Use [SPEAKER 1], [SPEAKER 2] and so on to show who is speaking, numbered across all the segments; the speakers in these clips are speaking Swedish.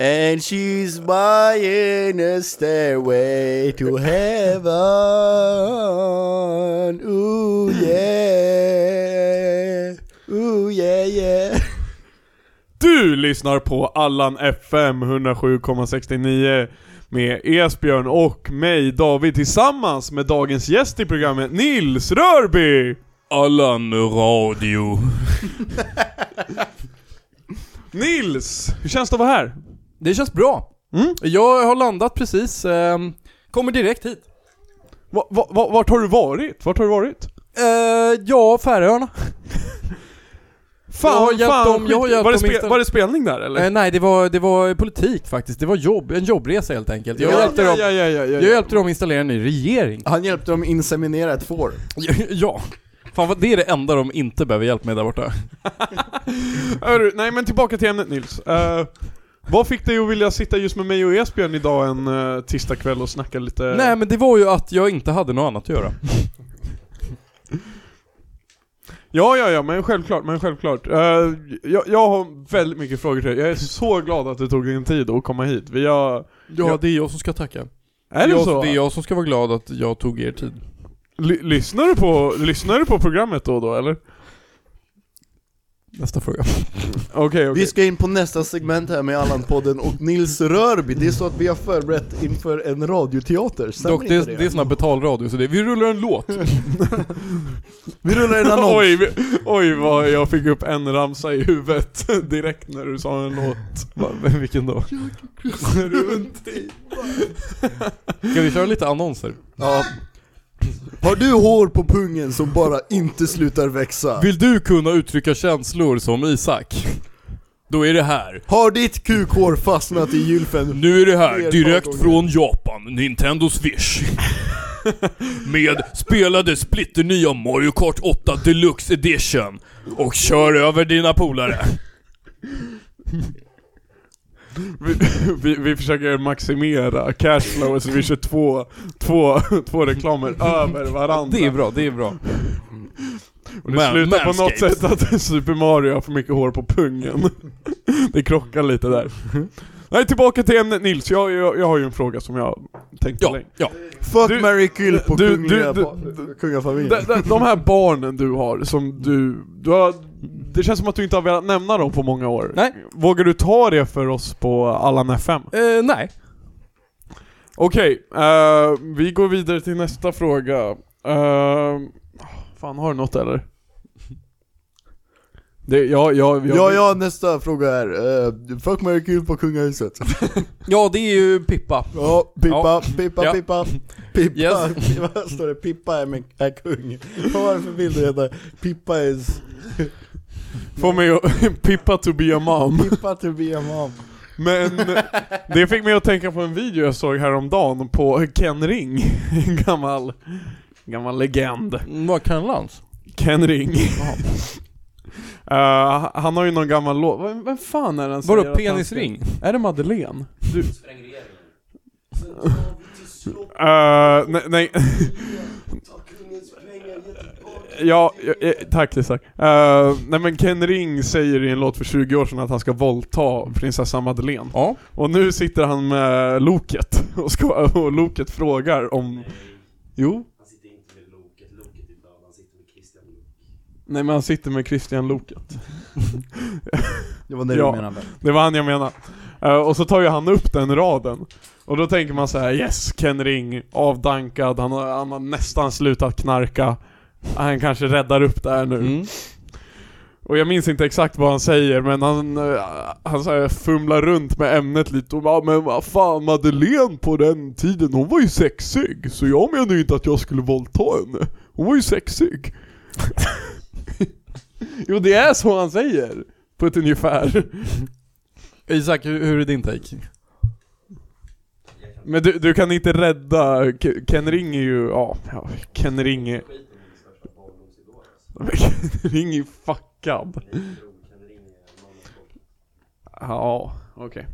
[SPEAKER 1] And she's buying a stairway to heaven Ooh yeah Ooh yeah yeah
[SPEAKER 2] Du lyssnar på Allan FM 107,69 med Esbjörn och mig David tillsammans med dagens gäst i programmet Nils Rörby!
[SPEAKER 3] Allan Radio.
[SPEAKER 2] Nils, hur känns det att vara här?
[SPEAKER 3] Det känns bra.
[SPEAKER 2] Mm?
[SPEAKER 3] Jag har landat precis, ehm, kommer direkt hit.
[SPEAKER 2] Va, va, va, vart har du varit? Vart har du varit?
[SPEAKER 3] Eh, ja, Färöarna. Jag har hjälpt dem, jag har
[SPEAKER 2] skit.
[SPEAKER 3] hjälpt
[SPEAKER 2] var, det
[SPEAKER 3] dem
[SPEAKER 2] spe,
[SPEAKER 3] inte.
[SPEAKER 2] var det spelning där eller?
[SPEAKER 3] Eh, nej, det var, det var politik faktiskt. Det var jobb, en jobbresa helt enkelt. Jag,
[SPEAKER 1] Ja,
[SPEAKER 3] hjälpte, dem,
[SPEAKER 2] ja, ja, ja, ja,
[SPEAKER 3] jag hjälpte dem installera en ny regering.
[SPEAKER 1] Han hjälpte dem inseminera ett får
[SPEAKER 3] ja. Fan vad, det är det enda de inte behöver hjälp med där borta.
[SPEAKER 2] Hörru, nej men tillbaka till ämnet Nils. Eh, vad fick dig att vilja sitta just med mig och Esbjörn idag en uh, tisdagkväll och snacka lite...
[SPEAKER 3] Nej men det var ju att jag inte hade något annat att göra.
[SPEAKER 2] Ja, ja, ja, men självklart, men självklart. Eh, jag, jag har väldigt mycket frågor till dig. Jag är så glad att du tog din tid att komma hit. Vi har... Ja.
[SPEAKER 3] det är jag som ska tacka.
[SPEAKER 2] Är det
[SPEAKER 3] jag,
[SPEAKER 2] så?
[SPEAKER 3] Det är jag som ska vara glad att jag tog er tid.
[SPEAKER 2] Ly- lyssnar, du på, lyssnar du på programmet då och då eller?
[SPEAKER 3] Nästa fråga.
[SPEAKER 2] Okej, okej.
[SPEAKER 1] Vi ska in på nästa segment här med Allan-podden och Nils Rörby Det är så att vi har förberett inför en radioteater, stämmer
[SPEAKER 3] Dock, det,
[SPEAKER 1] inte
[SPEAKER 3] är- det är sån här betalradio, så det, vi rullar en låt.
[SPEAKER 1] Vi rullar en annons
[SPEAKER 2] Oj, vi- oj vad jag fick upp en ramsa i huvudet direkt när du sa en låt.
[SPEAKER 3] Vilken då?
[SPEAKER 2] Runt i.
[SPEAKER 3] Ska vi köra lite annonser?
[SPEAKER 1] Ja. Har du hår på pungen som bara inte slutar växa?
[SPEAKER 3] Vill du kunna uttrycka känslor som Isak? Då är det här.
[SPEAKER 1] Har ditt kukhår fastnat i gylfen?
[SPEAKER 3] Nu är det
[SPEAKER 1] Fler
[SPEAKER 3] här, direkt
[SPEAKER 1] gånger.
[SPEAKER 3] från Japan, Nintendo Swish. Med spelade splitternya Mario Kart 8 Deluxe Edition. Och kör över dina polare.
[SPEAKER 2] Vi, vi, vi försöker maximera cashflow så vi kör två, två, två reklamer över varandra.
[SPEAKER 3] bra, det är bra.
[SPEAKER 2] Och det
[SPEAKER 3] Man-
[SPEAKER 2] slutar på något
[SPEAKER 3] Manscaped.
[SPEAKER 2] sätt att Super Mario har för mycket hår på pungen. Det krockar lite där. Nej, tillbaka till ämnet Nils. Jag, jag, jag har ju en fråga som jag tänkte
[SPEAKER 3] Ja,
[SPEAKER 2] länge.
[SPEAKER 3] ja.
[SPEAKER 1] Fuck,
[SPEAKER 2] Du-
[SPEAKER 1] marry, kill på
[SPEAKER 2] du-
[SPEAKER 1] kungliga
[SPEAKER 2] du-
[SPEAKER 1] pa- kungafamiljen.
[SPEAKER 2] De, de, de här barnen du har, som du... du har, det känns som att du inte har velat nämna dem på många år.
[SPEAKER 3] Nej.
[SPEAKER 2] Vågar du ta det för oss på Allan FM?
[SPEAKER 3] Eh, nej.
[SPEAKER 2] Okej, eh, vi går vidare till nästa fråga. Eh, fan, har du något eller? Det, ja, ja, jag-
[SPEAKER 1] Ja, ja, nästa fråga är, eh, fuck, marry, kill på kungahuset.
[SPEAKER 3] Ja, det är ju Pippa.
[SPEAKER 1] Ja, pippa,
[SPEAKER 3] Ja.
[SPEAKER 1] pippa,
[SPEAKER 3] Ja.
[SPEAKER 1] pippa, pippa,
[SPEAKER 3] Yes.
[SPEAKER 1] pippa, står det, pippa är, min, är kung. Vad var det för bild du hette? Pippa is,
[SPEAKER 2] Får mig att pippa to be a mom.
[SPEAKER 1] pippa to be a mom.
[SPEAKER 2] Men det fick mig att tänka på en video jag såg häromdagen på Ken Ring. En gammal, gammal legend.
[SPEAKER 3] Vad kan Lans?
[SPEAKER 2] Ken Ring. Eh, han har ju någon gammal låt, vem, vem fan är den som säger
[SPEAKER 3] Vadå
[SPEAKER 2] att han ska-
[SPEAKER 3] penisring?
[SPEAKER 2] Är det Madeleine? Du... Eh, nej, nej. Ja, ja, eh, tack Isak. Eh, nej men Ken Ring säger i en låt för 20 år sedan att han ska våldta prinsessan Madeleine.
[SPEAKER 3] Ja.
[SPEAKER 2] Och nu sitter han med Loket och, ska, och Loket frågar om... Jo? Nej men han sitter med Christian Loket.
[SPEAKER 1] Det var det
[SPEAKER 2] Ja.
[SPEAKER 1] du menade.
[SPEAKER 2] Det var han jag menade. Eh, och så tar ju han upp den raden. Och då tänker man så här: yes, Ken Ring, avdankad, han har, han har nästan slutat knarka. Han kanske räddar upp det här nu.
[SPEAKER 3] Mm.
[SPEAKER 2] Och jag minns inte exakt vad han säger men han, eh, han så här fumlar runt med ämnet lite och bara, men vad fan Madeleine på den tiden hon var ju sexig så jag menar ju inte att jag skulle våldta henne. Hon var ju sexig. jo det är så han säger. På ett ungefär.
[SPEAKER 3] Isak, hur, hur är din take?
[SPEAKER 2] Men du, du kan inte rädda, Ke- Ken Ring är ju, ja, ja, Ken Ring är... Men Ken Ring är ju fuckad. Ja, okej.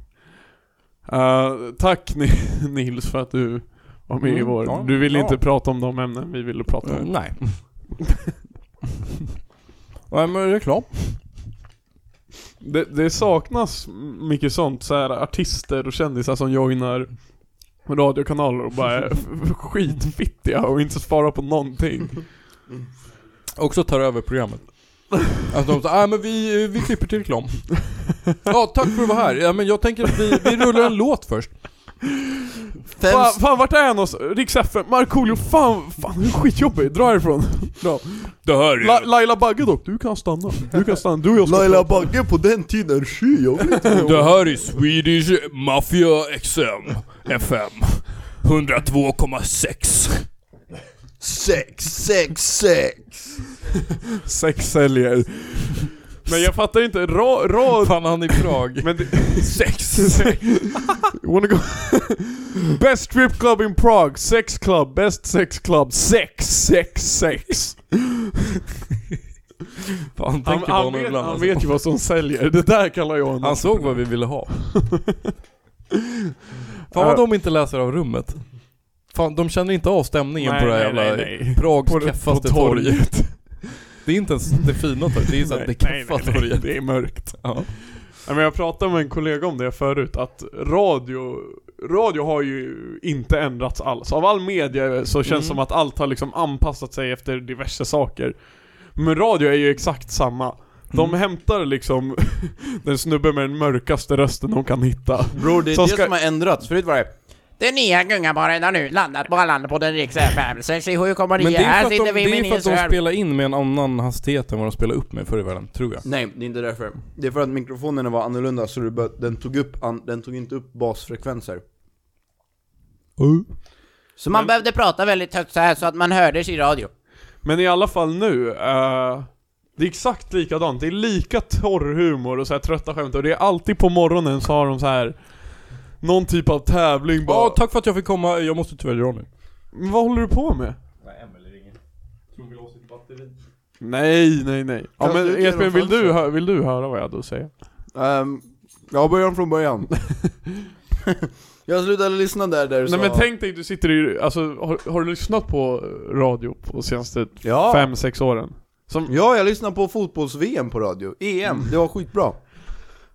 [SPEAKER 2] Eh, tack Ni- Nils för att du var med i
[SPEAKER 3] Mm,
[SPEAKER 2] vår.
[SPEAKER 3] ja,
[SPEAKER 2] du ville
[SPEAKER 3] ja. Mm.
[SPEAKER 2] inte prata om de ämnen vi ville prata
[SPEAKER 4] Mm,
[SPEAKER 2] om.
[SPEAKER 3] nej. nej men reklam.
[SPEAKER 2] Det, det saknas mycket sånt, så här artister och kändisar som joinar radiokanaler och bara är f- skitfittiga och inte svarar på någonting.
[SPEAKER 4] Också tar över programmet. Att de säger, ah, men vi, vi klipper till reklam. ja, tack för att du var här. Ja, men jag tänker att vi, vi rullar en låt först.
[SPEAKER 1] Fem
[SPEAKER 2] Fan, fan vart är han oss? Riks FM, Markoolio, fan, fan hur skitjobbig, dra härifrån. Dra.
[SPEAKER 4] Det här
[SPEAKER 2] La, Laila Bagge dock, du kan stanna. Du kan stanna, du och jag ska
[SPEAKER 1] Laila
[SPEAKER 2] prata.
[SPEAKER 1] Bagge på den tiden, sky, jag vet inte.
[SPEAKER 4] Det här är Swedish Mafia XM FM 102,6
[SPEAKER 1] Sex, sex, sex!
[SPEAKER 2] Sex säljer. Men jag fattar inte, ra, ra,
[SPEAKER 4] Fan han i Prag
[SPEAKER 2] men det,
[SPEAKER 4] Sex
[SPEAKER 2] wanna go Best strip club in Prague, sex club, best sex club, sex, sex, sex.
[SPEAKER 4] Fan han
[SPEAKER 2] Han,
[SPEAKER 4] tänker på
[SPEAKER 2] han,
[SPEAKER 4] honom
[SPEAKER 2] vet,
[SPEAKER 4] ibland
[SPEAKER 2] han
[SPEAKER 4] alltså.
[SPEAKER 2] vet ju vad som säljer, det där kallar jag en...
[SPEAKER 4] Han såg vad vi ville ha Fan vad de inte läser av rummet Fan de känner inte av stämningen
[SPEAKER 2] Nej,
[SPEAKER 4] på det här
[SPEAKER 2] nej,
[SPEAKER 4] jävla
[SPEAKER 2] nej, nej.
[SPEAKER 4] Prags
[SPEAKER 2] På det-
[SPEAKER 4] keffaste
[SPEAKER 2] på
[SPEAKER 4] torg.
[SPEAKER 2] torget.
[SPEAKER 4] Det är inte ens det fina torget, det är så här, det keffa torget
[SPEAKER 2] det är mörkt.
[SPEAKER 4] Ja.
[SPEAKER 2] Nej, men jag pratade med en kollega om det förut, att radio, radio har ju inte ändrats alls. Av all media så känns det som att allt har liksom anpassat sig efter diverse saker. Men radio är ju exakt samma. De hämtar liksom den snubben med den mörkaste rösten de kan hitta.
[SPEAKER 1] Bror, det är
[SPEAKER 2] Som
[SPEAKER 1] det
[SPEAKER 2] ska-
[SPEAKER 1] som har ändrats. Förut var det
[SPEAKER 5] Den nya gungabaren har nu landat på Arlandapodden Rix FM 67,9.
[SPEAKER 4] Men det är
[SPEAKER 5] Här
[SPEAKER 4] för
[SPEAKER 5] sitter
[SPEAKER 4] att de,
[SPEAKER 5] vi
[SPEAKER 4] det
[SPEAKER 5] med
[SPEAKER 4] är för
[SPEAKER 5] Nils
[SPEAKER 4] att de
[SPEAKER 5] Röhl.
[SPEAKER 4] spelar in med en annan hastighet än vad de spelar upp med förr i världen, tror jag
[SPEAKER 1] Nej, det är inte därför. Det är för att mikrofonerna var annorlunda så det bör, den, tog upp an, den tog inte upp basfrekvenser.
[SPEAKER 5] Så man behövde prata väldigt högt så här så att man hördes i radio.
[SPEAKER 2] Men i alla fall nu, eh, det är exakt likadant. Det är lika torr humor och så här trötta skämt och det är alltid på morgonen så har de så här någon typ av tävling bara.
[SPEAKER 4] Ja, tack för att jag fick komma, jag måste tyvärr dra nu
[SPEAKER 2] Men vad håller du på med? Nej, nej, nej. Ja,
[SPEAKER 1] Kasta ut
[SPEAKER 2] men
[SPEAKER 1] genom
[SPEAKER 2] Esbjörn, vill du,
[SPEAKER 1] fönstret.
[SPEAKER 2] hö- vill du höra vad jag hade att säga?
[SPEAKER 1] Um, jag börjar från början. jag slutade lyssna där, där du
[SPEAKER 2] Nej
[SPEAKER 1] sa...
[SPEAKER 2] men tänk dig, du sitter i, alltså har, har du lyssnat på radio på senaste
[SPEAKER 1] Ja.
[SPEAKER 2] fem, sex åren? Som,
[SPEAKER 1] Ja, jag lyssnade på fotbolls-VM på radio. EM, det var skitbra.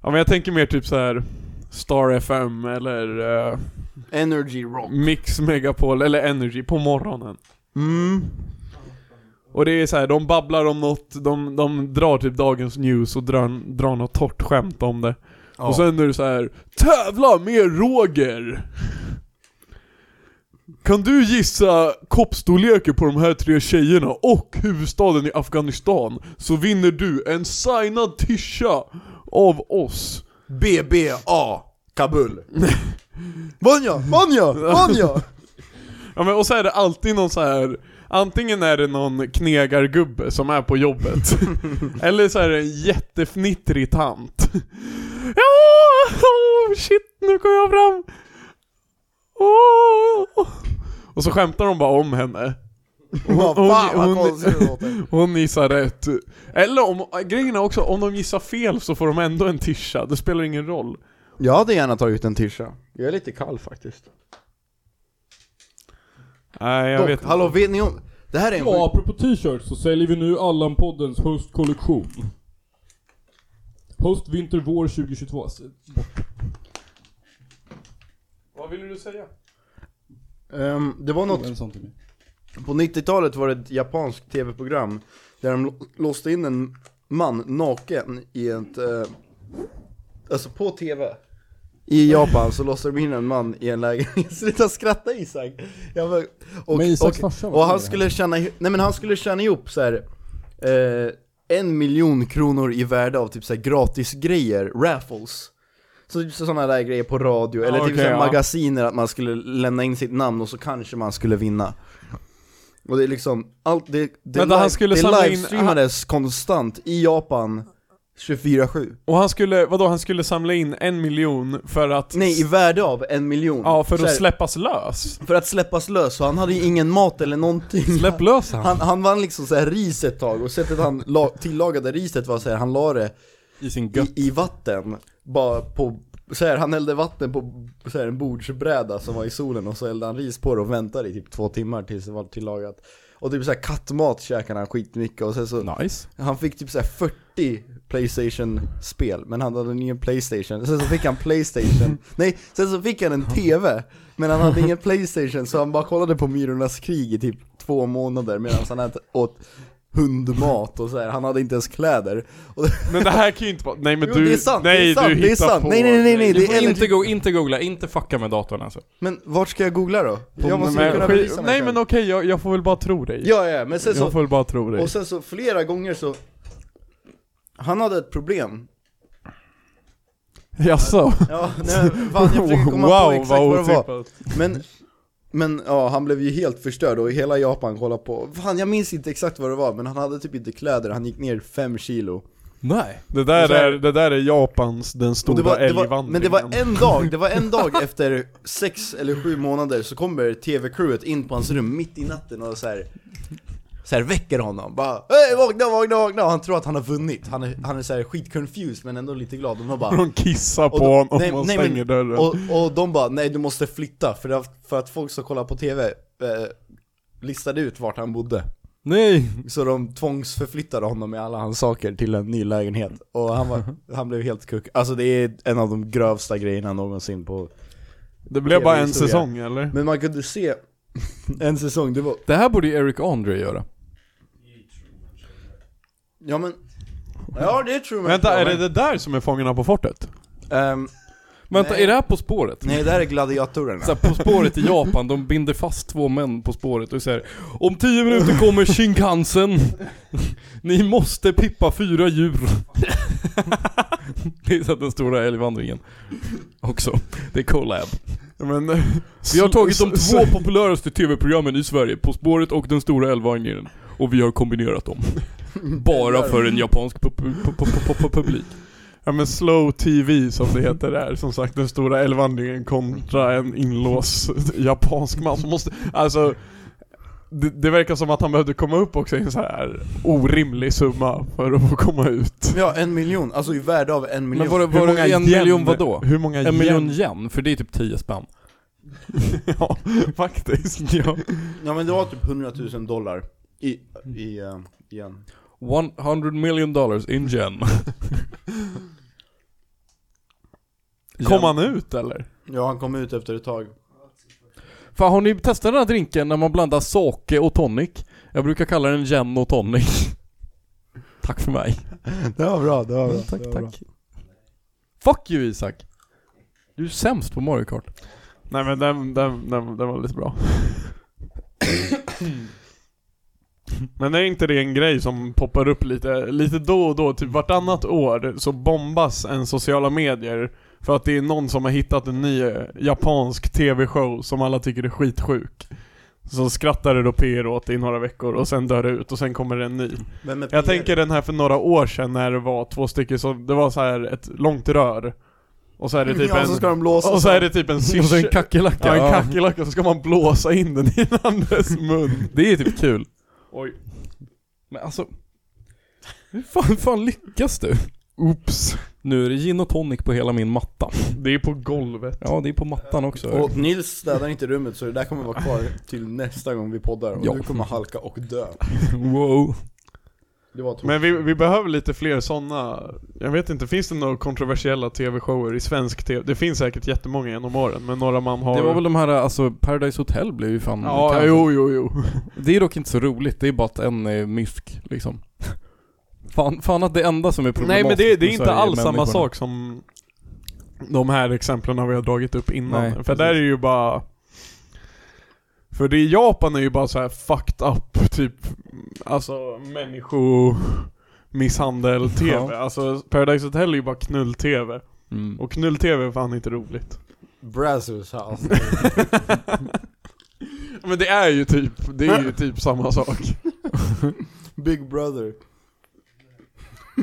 [SPEAKER 2] ja men jag tänker mer typ så här Star FM eller eh,
[SPEAKER 1] Energy rock.
[SPEAKER 2] Mix Megapol eller Energy på morgonen.
[SPEAKER 1] Mm.
[SPEAKER 2] Och det är så här, de babblar om något, de, de drar typ dagens news och drar, drar något torrt skämt om det.
[SPEAKER 1] Ja.
[SPEAKER 2] Och sen är det så här Tävla med Roger! Kan du gissa koppstorleken på de här tre tjejerna och huvudstaden i Afghanistan så vinner du en signad tisha av oss.
[SPEAKER 1] BBA, Kabul. Vann jag? Vann jag? Vann jag?
[SPEAKER 2] Ja, men, och så är det alltid någon så här Antingen är det någon knegargubbe som är på jobbet Eller så är det en jättefnittrig tant Ja, oh, shit nu kom jag fram Åh. Och så skämtar de bara om henne
[SPEAKER 1] Vad fan vad
[SPEAKER 2] hon-
[SPEAKER 1] konstigt det låter.
[SPEAKER 2] Hon gissar rätt Eller om, grejen är också om de gissar fel så får de ändå en tisha, det spelar ingen roll
[SPEAKER 1] Jag hade gärna tagit en tisha. Jag är lite kall faktiskt.
[SPEAKER 2] Nej jag
[SPEAKER 1] Dock,
[SPEAKER 2] vet inte.
[SPEAKER 1] hallå vet ni om... Det här är en sjuk-
[SPEAKER 4] apropå t-shirts så säljer vi nu Allan-poddens höstkollektion. Höst, vinter, vår 2022.
[SPEAKER 2] Vad ville du säga?
[SPEAKER 1] Ehm, det var något, på 90-talet var det ett japanskt tv-program där de lo- låste in en man naken i ett, eh, alltså på tv. I Japan så låste de in en man i en lägenhet, sluta skratta Isak! Jag bara, och,
[SPEAKER 3] Men Isaks
[SPEAKER 1] och,
[SPEAKER 3] farsa var
[SPEAKER 1] och
[SPEAKER 3] med
[SPEAKER 1] han
[SPEAKER 3] i det här.
[SPEAKER 1] skulle tjäna, nej men han skulle tjäna ihop så här. Eh, en miljon kronor i värde av typ så här gratis grejer, raffles så typ sådana där grejer på radio, eller typ
[SPEAKER 2] okej,
[SPEAKER 1] såhär
[SPEAKER 2] ja.
[SPEAKER 1] magasiner att man skulle lämna in sitt namn och så kanske man skulle vinna Och det är liksom, allt det, det,
[SPEAKER 2] Vänta, han skulle
[SPEAKER 1] det
[SPEAKER 2] samla in-
[SPEAKER 1] livestreamades konstant i Japan 24-7
[SPEAKER 2] Och han skulle, vadå han skulle samla in en miljon för att
[SPEAKER 1] Nej, i värde av en miljon
[SPEAKER 2] Ja, för
[SPEAKER 1] Så här,
[SPEAKER 2] att släppas lös.
[SPEAKER 1] för att släppas lös, så han hade ju ingen mat eller någonting
[SPEAKER 4] Släpp lös han.
[SPEAKER 1] han, han vann liksom såhär ris ett tag, och sättet han la, tillagade riset var såhär, han la det
[SPEAKER 4] I sin gött.
[SPEAKER 1] i, i vatten, bara på så här, han hällde vatten på så här, en bordsbräda som var i solen och så hällde han ris på det och väntade i typ två timmar tills det var tillagat Och typ såhär kattmat käkade han skitmycket och sen så
[SPEAKER 3] Nice.
[SPEAKER 1] Han fick typ såhär 40 Playstation-spel, men han hade ingen Playstation. Sen så fick han Playstation, nej, sen så fick han en TV, men han hade ingen Playstation så han bara kollade på Myrornas krig i typ två månader medan han ät- åt hundmat och så här. han hade inte ens kläder. Och,
[SPEAKER 2] Men det här kan ju inte vara... Nej men
[SPEAKER 1] Jo,
[SPEAKER 2] du...
[SPEAKER 1] det är sant,
[SPEAKER 2] nej,
[SPEAKER 1] det är sant,
[SPEAKER 2] du
[SPEAKER 1] det är
[SPEAKER 2] hittar
[SPEAKER 1] sant.
[SPEAKER 2] På.
[SPEAKER 1] Nej, nej, nej, nej.
[SPEAKER 3] Du
[SPEAKER 1] det
[SPEAKER 3] får
[SPEAKER 1] är
[SPEAKER 3] inte, go- inte googla, inte fucka med datorn alltså.
[SPEAKER 1] Men vart ska jag googla då? Jag måste ju
[SPEAKER 2] men,
[SPEAKER 1] kunna
[SPEAKER 2] skit-
[SPEAKER 1] bevisa mig
[SPEAKER 2] Nej
[SPEAKER 1] själv.
[SPEAKER 2] men okej, jag, jag får väl bara tro dig.
[SPEAKER 1] Ja, ja, men sen så
[SPEAKER 2] jag får väl bara tro dig.
[SPEAKER 1] Och sen så flera gånger så Han hade ett problem
[SPEAKER 2] Jaså?
[SPEAKER 1] Ja, nej, fan, jag försöker komma på exakt vad, det var
[SPEAKER 2] otippat.
[SPEAKER 1] Men, men ja, han blev ju helt förstörd och hela Japan kollade på Fan, jag minns inte exakt vad det var men han hade typ inte kläder, han gick ner 5 kilo
[SPEAKER 3] Nej.
[SPEAKER 2] Det där,
[SPEAKER 1] Så här-
[SPEAKER 2] är, det där är Japans den
[SPEAKER 1] och
[SPEAKER 2] stora
[SPEAKER 1] det var, det var,
[SPEAKER 2] älgvandringen.
[SPEAKER 1] Men det var en dag, det var en dag efter sex eller sju månader så kommer TV-crewet in på hans rum mitt i natten och så här. Så här väcker honom, bara Hej vakna, vakna, vakna! Och han tror att han har vunnit, han är, han är så här skitconfused men ändå lite glad, de har bara
[SPEAKER 2] De kissar på
[SPEAKER 1] då-
[SPEAKER 2] honom och
[SPEAKER 1] nej,
[SPEAKER 2] man
[SPEAKER 1] nej, men-
[SPEAKER 2] stänger dörren.
[SPEAKER 1] Och, och de bara, nej du måste flytta för att, för att folk som kollar på TV eh, listade ut vart han bodde.
[SPEAKER 3] Nej.
[SPEAKER 1] Så de tvångsförflyttade honom med alla hans saker till en ny lägenhet. Och han, var, han blev helt kuck. Alltså det är en av de grövsta grejerna någonsin på...
[SPEAKER 2] det blev bara en
[SPEAKER 1] TV-historia.
[SPEAKER 2] säsong eller?
[SPEAKER 1] Men man kunde se en säsong, det var...
[SPEAKER 3] Det här borde ju Eric Andre göra.
[SPEAKER 1] Ja men... Ja det tror jag.
[SPEAKER 2] Vänta, är det det där som är Fångarna på fortet?
[SPEAKER 1] Ehm,
[SPEAKER 3] Vänta,
[SPEAKER 1] Nej.
[SPEAKER 3] är det här På spåret?
[SPEAKER 1] nej det här är gladiatorerna.
[SPEAKER 3] Så här, på spåret i Japan, de binder fast två män på spåret och säger Om tio minuter kommer Shinkansen. Ni måste pippa fyra djur. det är så att den stora älgvandringen. Också. Det är collab.
[SPEAKER 2] Men,
[SPEAKER 3] Vi har tagit de två populäraste tv-programmen i Sverige, På spåret och Den stora älgvandringen. Och vi har kombinerat dem. Bara för en japansk pu- pu- pu- pu- pu- publik.
[SPEAKER 2] Ja men slow TV som det heter där, som sagt den stora älgvandringen kontra en inlåst japansk man som måste, alltså det, det verkar som att han behövde komma upp också i en så här orimlig summa för att få komma ut.
[SPEAKER 1] Ja en miljon, alltså i värde av en miljon.
[SPEAKER 3] Men var det, var det en
[SPEAKER 2] yen-
[SPEAKER 3] miljon vadå?
[SPEAKER 2] Hur många
[SPEAKER 3] En
[SPEAKER 2] yen?
[SPEAKER 3] miljon yen? För det är typ 10 spänn.
[SPEAKER 2] ja, faktiskt. Ja.
[SPEAKER 1] Ja men det var typ 100 000 dollar. I... I... eh, igen.
[SPEAKER 3] 100 million dollars in yen.
[SPEAKER 2] Kom han ut eller?
[SPEAKER 1] Ja han kom ut efter ett tag.
[SPEAKER 3] Fan har ni testat den här drinken när man blandar sake och tonic? Jag brukar kalla den gin och tonic. Tack för mig.
[SPEAKER 1] Det var bra, det var bra.
[SPEAKER 3] Mm, tack, tack. Fuck you Isak. Du är sämst på Mario Kart.
[SPEAKER 2] Nej men den, den, den, den var lite bra. Men är inte det en grej som poppar upp lite, lite då och då? Typ vartannat år så bombas en sociala medier för att det är någon som har hittat en ny eh, japansk TV-show som alla tycker är skitsjuk. Så skrattar européer åt det i några veckor och sen dör det ut och sen kommer det en ny.
[SPEAKER 1] Vem är
[SPEAKER 2] Jag
[SPEAKER 1] Pierre?
[SPEAKER 2] tänker den här för några år sedan när det var två stycken som, det var så här ett långt rör. Och så är det typ
[SPEAKER 1] Mm, ja,
[SPEAKER 2] en...
[SPEAKER 1] så ska de blåsa
[SPEAKER 2] Och så är det typ en
[SPEAKER 3] Och så
[SPEAKER 2] syrsa
[SPEAKER 3] en kackerlacka.
[SPEAKER 2] Ja, en kackerlacka, så ska man blåsa in den i den andres mun.
[SPEAKER 3] Det är typ kul.
[SPEAKER 2] Oj.
[SPEAKER 3] Men alltså. Hur fan, hur fan lyckas du?
[SPEAKER 2] Oops.
[SPEAKER 3] Nu är det gin och tonic på hela min matta.
[SPEAKER 2] Det är på golvet.
[SPEAKER 3] Ja, det är på mattan också.
[SPEAKER 2] typ-
[SPEAKER 1] Och Nils städar inte rummet så det där kommer vara kvar till nästa gång vi poddar och
[SPEAKER 3] Ja.
[SPEAKER 1] du kommer halka och dö
[SPEAKER 3] Wow.
[SPEAKER 1] Det var tråkigt
[SPEAKER 2] Men vi, vi behöver lite fler sådana. Jag vet inte, finns det några kontroversiella tv-shower i svensk tv? Det finns säkert jättemånga genom åren, men några man har...
[SPEAKER 3] Det var väl de här, alltså Paradise Hotel blev ju fan
[SPEAKER 2] Ja,
[SPEAKER 3] kaos.
[SPEAKER 2] jo, jo, jo.
[SPEAKER 3] Det är dock inte så roligt, det är bara att en är mysk liksom. Fan, fan att det enda som är
[SPEAKER 2] Nej
[SPEAKER 3] problematiskt
[SPEAKER 2] men det, det är
[SPEAKER 3] med
[SPEAKER 2] inte
[SPEAKER 3] Sverige
[SPEAKER 2] alls samma
[SPEAKER 3] människorna.
[SPEAKER 2] sak som de här exemplen vi har dragit upp innan.
[SPEAKER 3] Nej,
[SPEAKER 2] för
[SPEAKER 3] precis.
[SPEAKER 2] där är ju bara... För det i Japan är ju bara så här fucked up, typ alltså människomisshandel-tv.
[SPEAKER 3] Ja.
[SPEAKER 2] Alltså Paradise Hotel är ju bara knull-tv.
[SPEAKER 3] Mm.
[SPEAKER 2] Och knull-tv är fan inte roligt.
[SPEAKER 1] Brazzers house
[SPEAKER 2] Men det är ju typ, det är ju typ samma sak.
[SPEAKER 1] Big brother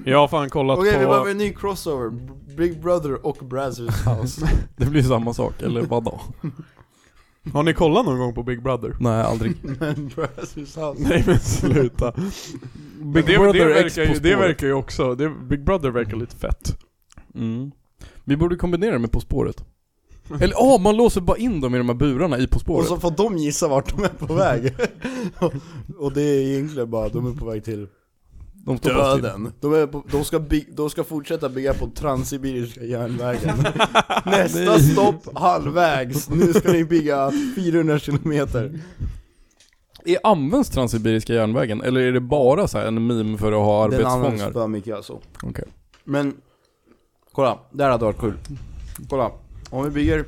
[SPEAKER 2] Jag har fan kollat
[SPEAKER 1] Okej vi
[SPEAKER 2] på...
[SPEAKER 1] behöver en ny crossover B- Big brother och Brazzers house
[SPEAKER 3] Det blir samma sak, eller vadå?
[SPEAKER 2] Har ni kollat någon gång på Big Brother?
[SPEAKER 3] Nej, aldrig.
[SPEAKER 1] Men Brazzers house
[SPEAKER 2] Nej men sluta. Big det,
[SPEAKER 3] Brother
[SPEAKER 2] det,
[SPEAKER 3] X
[SPEAKER 2] verkar
[SPEAKER 3] på
[SPEAKER 2] ju, det
[SPEAKER 3] spåret.
[SPEAKER 2] verkar ju också, det, Big Brother verkar lite fett.
[SPEAKER 3] Mm. Vi borde kombinera det med På spåret. Eller ja, man låser bara in dem i de här burarna i På
[SPEAKER 1] Och
[SPEAKER 3] spåret.
[SPEAKER 1] så får de gissa vart de är på väg. och, och det är egentligen bara, de är på väg till
[SPEAKER 3] de står fast i-
[SPEAKER 1] döden. De, är på, de, ska, by, de ska fortsätta bygga på Transsibiriska järnvägen. Nästa stopp halvvägs. Nu ska ni bygga 400 kilometer.
[SPEAKER 3] Är används Transsibiriska järnvägen eller är det bara så här en meme för att ha
[SPEAKER 1] Den används
[SPEAKER 3] arbetsfångar?
[SPEAKER 1] för mycket alltså.
[SPEAKER 3] Okej.
[SPEAKER 1] Men, kolla. Det här hade varit kul. Kolla. Om vi bygger...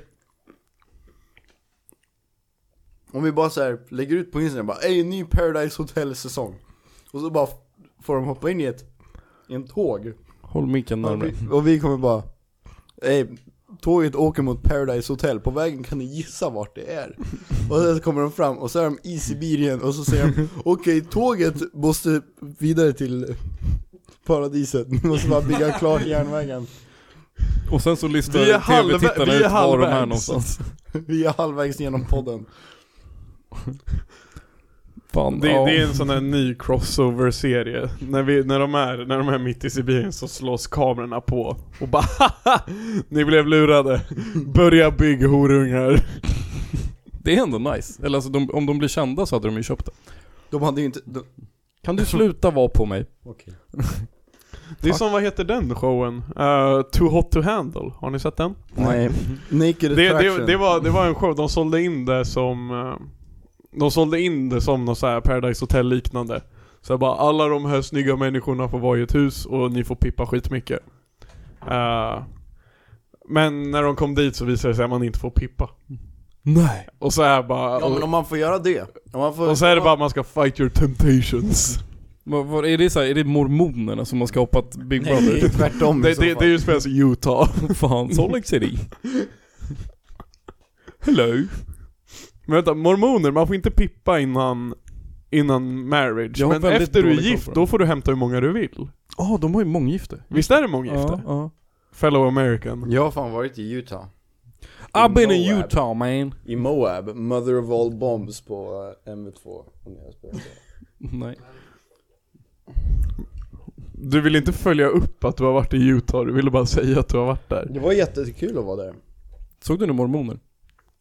[SPEAKER 1] Om vi bara så här lägger ut på Instagram bara Ey, ny Paradise Hotel-säsong. Och så bara f- får de hoppa in i ett, i en tåg.
[SPEAKER 3] Håll micken
[SPEAKER 1] Och
[SPEAKER 3] närmare.
[SPEAKER 1] vi, och vi kommer bara, ey, tåget åker mot Paradise Hotel, på vägen kan ni gissa vart det är? Och sen så kommer de fram och så är de i Sibirien och så säger de, okej tåget måste vidare till paradiset, ni måste bara bygga klart järnvägen.
[SPEAKER 3] Och sen så listar
[SPEAKER 1] Vi är halvvä-
[SPEAKER 3] tv-tittarna
[SPEAKER 1] vi är
[SPEAKER 3] ut var de är
[SPEAKER 1] halvvägs.
[SPEAKER 3] någonstans.
[SPEAKER 1] Vi är halvvägs genom podden.
[SPEAKER 3] Fan,
[SPEAKER 2] Det,
[SPEAKER 3] ja.
[SPEAKER 2] det är en sån här ny crossover-serie. När, vi, när, de är, när de är mitt i Sibirien så slås kamerorna på och bara "Haha, Ni blev lurade. Börja bygg horungar.
[SPEAKER 3] det är ändå nice. Eller alltså de, om de blir kända så hade de ju köpt det.
[SPEAKER 1] De hade ju inte, de,
[SPEAKER 3] Kan du sluta vara på mig?
[SPEAKER 2] Det är som, vad heter den showen? Eh, Too hot to handle. Har ni sett den?
[SPEAKER 1] nej, Naked
[SPEAKER 2] Det,
[SPEAKER 1] Attraction.
[SPEAKER 2] det, det, var, det var en show, de sålde in det som... eh, De sålde in det som något så här Paradise Hotel liknande. Så jag bara, alla de här snygga människorna får vara i ett hus och ni får pippa skitmycket. Eh, men när de kom dit så visade det sig att man inte får pippa.
[SPEAKER 3] Nej.
[SPEAKER 2] Och så är bara...
[SPEAKER 1] Ja men om man får göra det, om man får...
[SPEAKER 2] och så är det bara att man ska fight your temptations.
[SPEAKER 3] Vad, vad, är, det så här, är det mormonerna som har skapat Big
[SPEAKER 1] Nej,
[SPEAKER 3] Brother?
[SPEAKER 1] tvärtom i
[SPEAKER 2] Det,
[SPEAKER 1] så
[SPEAKER 2] det,
[SPEAKER 1] fall.
[SPEAKER 2] det är ju spelas i Utah.
[SPEAKER 3] Fan, Salt Lake City. Hello.
[SPEAKER 2] Men vänta, mormoner, man får inte pippa innan, innan marriage.
[SPEAKER 3] Jag har
[SPEAKER 2] Men
[SPEAKER 3] väldigt
[SPEAKER 2] efter du är
[SPEAKER 3] dålig koll
[SPEAKER 2] gift,
[SPEAKER 3] på
[SPEAKER 2] då
[SPEAKER 3] dem.
[SPEAKER 2] får du hämta hur många du vill.
[SPEAKER 3] Ja, de har ju månggifte.
[SPEAKER 2] Visst är det månggifte?
[SPEAKER 3] Ja, ja.
[SPEAKER 2] Fellow American.
[SPEAKER 1] Jag har fan varit i Utah.
[SPEAKER 3] I've been in
[SPEAKER 1] Moab.
[SPEAKER 3] Utah man.
[SPEAKER 1] I Moab, Mother of All Bombs på eh, MV2. om ni har spelat det.
[SPEAKER 3] Nej.
[SPEAKER 2] Du vill inte följa upp att du har varit i Utah, du ville bara säga att du har varit där.
[SPEAKER 1] Det var jättekul att vara där.
[SPEAKER 3] Såg du nu mormoner?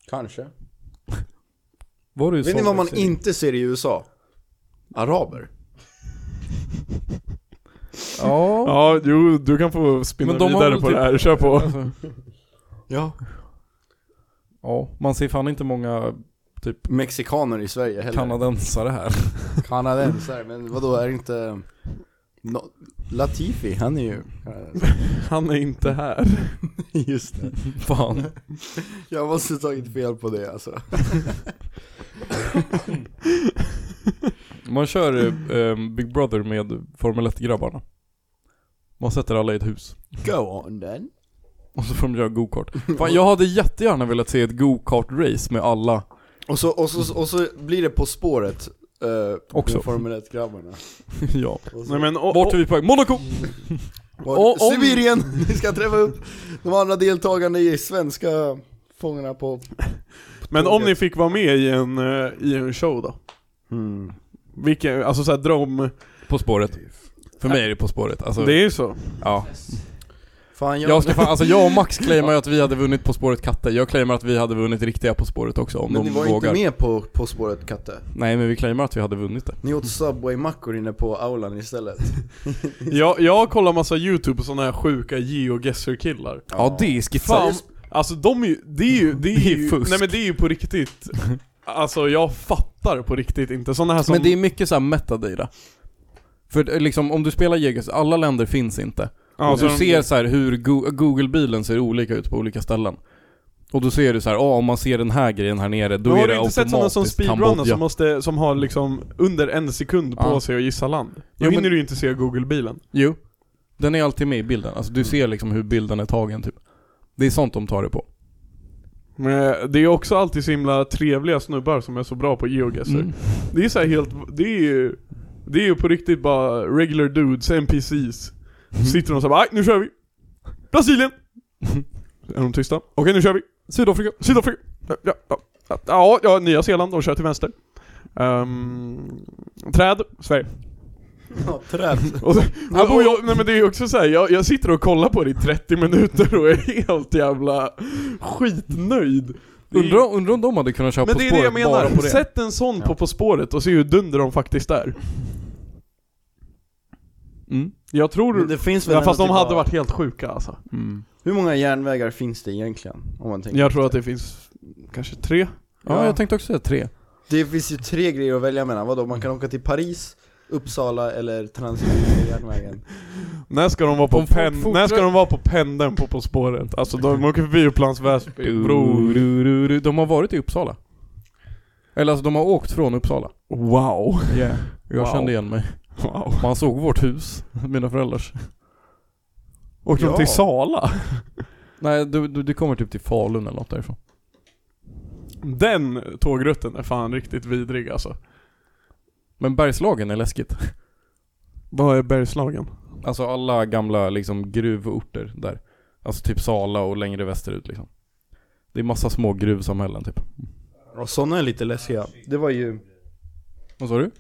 [SPEAKER 1] Kanske.
[SPEAKER 3] Var du i
[SPEAKER 1] Vet ni
[SPEAKER 3] Salt
[SPEAKER 1] vad man
[SPEAKER 3] Lake City?
[SPEAKER 1] inte ser i USA? Araber.
[SPEAKER 3] Ja.
[SPEAKER 2] Ja, jo, du kan få spinna
[SPEAKER 3] Men de har
[SPEAKER 2] vidare
[SPEAKER 3] väl
[SPEAKER 2] på
[SPEAKER 3] typ-
[SPEAKER 2] det här, kör på.
[SPEAKER 3] Alltså,
[SPEAKER 1] Ja.
[SPEAKER 3] ja, man ser fan inte många typ
[SPEAKER 1] Mexikaner i Sverige heller.
[SPEAKER 3] kanadensare här.
[SPEAKER 1] Kanadensare, men vadå är det inte... No... Latifi, han är ju...
[SPEAKER 2] Han är inte här.
[SPEAKER 1] Just det.
[SPEAKER 3] Fan.
[SPEAKER 1] Jag måste ha tagit fel på det alltså.
[SPEAKER 3] Man kör eh, eh, Big Brother med Formel 1-grabbarna. Man sätter alla i ett hus.
[SPEAKER 1] Go on then.
[SPEAKER 3] Och så får de göra go-kart. Fan, jag hade jättegärna velat se ett go-kart-race med alla.
[SPEAKER 1] Och så, och så, och så blir det På spåret. eh,
[SPEAKER 3] Också.
[SPEAKER 1] Med Formel 1-grabbarna.
[SPEAKER 3] ja.
[SPEAKER 1] Och så-
[SPEAKER 2] Nej men, och,
[SPEAKER 3] Vart är vi på väg? Monaco!
[SPEAKER 1] Var,
[SPEAKER 3] Och om-
[SPEAKER 1] Sibirien! Vi ska träffa upp de andra deltagarna i svenska fångarna på...
[SPEAKER 2] men om ni fick vara med i en, eh, i en show då? Vilken, alltså såhär dröm...
[SPEAKER 3] På spåret. För mig är det På spåret. Alltså,
[SPEAKER 2] Det är ju så.
[SPEAKER 3] ja.
[SPEAKER 1] Fan jag...
[SPEAKER 3] jag, ska fan, alltså, jag och Max claimar ju att vi hade vunnit På spåret katter. Jag claimar att vi hade vunnit riktiga På spåret också om
[SPEAKER 1] men
[SPEAKER 3] de
[SPEAKER 1] ni var
[SPEAKER 3] vågar.
[SPEAKER 1] inte med på På spåret Katte.
[SPEAKER 3] Nej men vi claimar att vi hade vunnit det.
[SPEAKER 1] Ni åt Subway-mackor inne på aulan istället.
[SPEAKER 2] Jag, jag kollar massa youtube på såna här sjuka Geo Gesser-killar.
[SPEAKER 3] Ja, det är skitsat.
[SPEAKER 2] Fan, alltså de är ju, det är ju, det är
[SPEAKER 3] Det är
[SPEAKER 2] ju,
[SPEAKER 3] fusk.
[SPEAKER 2] nej men det är ju på riktigt Alltså jag fattar på riktigt inte, såna här som,
[SPEAKER 3] Men det är mycket såhär metadata. För det är liksom om du spelar Jägers, alla länder finns inte.
[SPEAKER 2] ja,
[SPEAKER 3] och
[SPEAKER 2] så
[SPEAKER 3] du
[SPEAKER 2] de-
[SPEAKER 3] ser så här hur Go- Google-bilen ser olika ut på olika ställen. Och då ser du så här, ja om man ser den här grejen här nere, då
[SPEAKER 2] Men
[SPEAKER 3] är
[SPEAKER 2] har
[SPEAKER 3] det
[SPEAKER 2] du inte sett
[SPEAKER 3] automatiskt
[SPEAKER 2] sådana som speedrunner
[SPEAKER 3] Kambodja.
[SPEAKER 2] som, måste, som har liksom under en sekund på
[SPEAKER 3] Ja.
[SPEAKER 2] sig att gissa land? Då
[SPEAKER 3] Jo, men-
[SPEAKER 2] hinner du ju inte se Google-bilen.
[SPEAKER 3] Jo. Den är alltid med i bilden. Alltså
[SPEAKER 2] Mm.
[SPEAKER 3] du ser liksom hur bilden är tagen typ. Det är sånt de tar det på.
[SPEAKER 2] Men eh, det är också alltid så himla trevliga snubbar som är så bra på geogesser.
[SPEAKER 3] Mm.
[SPEAKER 2] Det är så här helt, det är ju, det är ju på riktigt bara regular dudes, NPCs.
[SPEAKER 3] Mm.
[SPEAKER 2] Sitter de såhär bara "Aj, nu kör vi! Brasilien! är de tysta? Okej nu kör vi!
[SPEAKER 3] Sydafrika.
[SPEAKER 2] Sydafrika! Ja, ja, ja, ja, ja Nya Zeeland, de kör till vänster. Ehm, träd, Sverige.
[SPEAKER 1] Ja, träd.
[SPEAKER 2] Och, och, och jag, nej men det är ju också så här, jag, jag sitter och kollar på det i 30 minuter och är helt jävla skitnöjd. Det är-
[SPEAKER 3] Undrar undra om de hade kunnat köra
[SPEAKER 2] men
[SPEAKER 3] På
[SPEAKER 2] det är det
[SPEAKER 3] spåret
[SPEAKER 2] jag
[SPEAKER 3] bara på
[SPEAKER 2] menar,
[SPEAKER 3] det.
[SPEAKER 2] sätt en sån på På spåret och se hur dunder de faktiskt är. Mm. Jag
[SPEAKER 1] Men
[SPEAKER 2] tror...
[SPEAKER 1] Det finns väl
[SPEAKER 2] Ja,
[SPEAKER 1] ändå
[SPEAKER 2] fast de
[SPEAKER 1] typ
[SPEAKER 2] hade
[SPEAKER 1] av-
[SPEAKER 2] varit helt sjuka alltså.
[SPEAKER 3] Mm.
[SPEAKER 1] Hur många järnvägar finns det egentligen? Om man tänker
[SPEAKER 2] Jag tror att det finns kanske tre.
[SPEAKER 3] Ja,
[SPEAKER 1] Ja.
[SPEAKER 3] jag tänkte också säga tre.
[SPEAKER 1] Det finns ju tre grejer att välja mellan, vadå? Man kan åka till Paris, Uppsala eller Transsibiriska järnvägen
[SPEAKER 2] När ska de vara på,
[SPEAKER 3] Om folk
[SPEAKER 2] pen,
[SPEAKER 3] fortsätter-
[SPEAKER 2] när ska de vara på pendeln på På spåret? Alltså de åker förbi Upplands Väsby, bro.
[SPEAKER 3] Bro. De har varit i Uppsala. Eller alltså de har åkt från Uppsala.
[SPEAKER 2] Wow.
[SPEAKER 3] Jag
[SPEAKER 2] Wow.
[SPEAKER 3] kände igen mig.
[SPEAKER 2] wow.
[SPEAKER 3] Man såg vårt hus, mina föräldrars.
[SPEAKER 2] Åker
[SPEAKER 1] Ja.
[SPEAKER 2] de till Sala?
[SPEAKER 3] Nej, du, du, det kommer typ till Falun eller något därifrån.
[SPEAKER 2] Den tågrutten är fan riktigt vidrig alltså.
[SPEAKER 3] Men Bergslagen är läskigt.
[SPEAKER 2] Vad är Bergslagen?
[SPEAKER 3] Alltså alla gamla liksom gruvorter där. Alltså typ Sala och längre västerut liksom. Det är massa små gruvsamhällen typ.
[SPEAKER 1] Och sådana är lite läskiga Det var ju,
[SPEAKER 3] Vad sa du?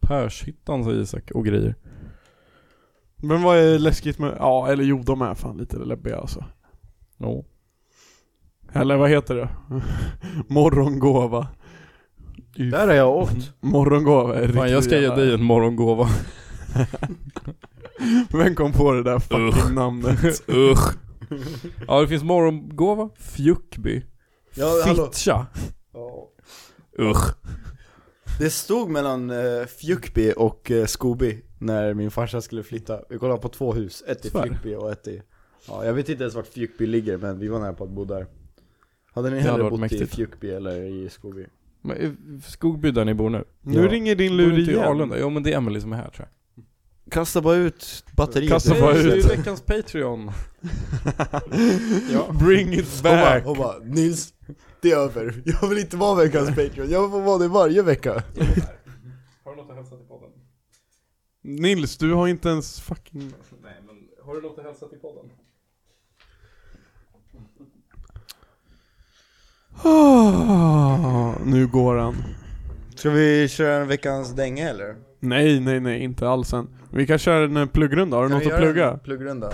[SPEAKER 3] Pershyttan säger Isak och grejer.
[SPEAKER 2] Men vad är läskigt med... Ja, eller jo, de är fan lite läbbiga alltså.
[SPEAKER 3] Ja.
[SPEAKER 2] Eller vad heter det? Morgongåva.
[SPEAKER 1] där har jag åkt
[SPEAKER 2] Morgongåva är
[SPEAKER 3] Fan jag ska ge
[SPEAKER 2] jävla-
[SPEAKER 3] dig en morgongåva.
[SPEAKER 2] Vem kom på det där fucking namnet?
[SPEAKER 3] Usch. Ja det finns morgongåva, Fjuckby,
[SPEAKER 1] ja, hallå.
[SPEAKER 3] Fittja.
[SPEAKER 1] Ja.
[SPEAKER 3] Usch.
[SPEAKER 1] Det stod mellan eh, Fjukby och eh, Skoby när min farsa skulle flytta Vi kollade på två hus, ett i
[SPEAKER 3] Svär.
[SPEAKER 1] Fjukby och ett i Ja, jag vet inte ens vart Fjukby ligger men vi var nära på att bo där Hade ni
[SPEAKER 3] hade
[SPEAKER 1] hellre
[SPEAKER 3] varit
[SPEAKER 1] bott i
[SPEAKER 3] mäktigt.
[SPEAKER 1] Fjukby eller i Skoby?
[SPEAKER 3] Men eh, Skogby där ni bor nu.
[SPEAKER 2] Nu
[SPEAKER 1] Ja.
[SPEAKER 2] ringer din
[SPEAKER 3] Bor
[SPEAKER 2] lur
[SPEAKER 3] du inte i
[SPEAKER 2] igen.
[SPEAKER 3] Arlunda? Jo men det är Emelie som är här tror jag.
[SPEAKER 1] Kasta bara ut batteriet
[SPEAKER 2] Kasta bara
[SPEAKER 3] Hej,
[SPEAKER 2] ut.
[SPEAKER 3] det är veckans Patreon.
[SPEAKER 2] Bring it
[SPEAKER 1] Hon bara,
[SPEAKER 2] back!
[SPEAKER 1] hon bara, Nils, det är över. Jag vill inte vara veckans Patreon, jag får vara det varje vecka.
[SPEAKER 3] Har du något att hälsa till podden?
[SPEAKER 2] Nils, du har inte ens fucking...
[SPEAKER 3] Nej men, har du något att hälsa till podden?
[SPEAKER 2] Ah, nu går han.
[SPEAKER 1] Ska vi köra en veckans dänga eller?
[SPEAKER 2] Nej, nej, nej, inte alls än. Vi kan köra en eh, pluggrunda, har du något att plugga?
[SPEAKER 1] Pluggrunda.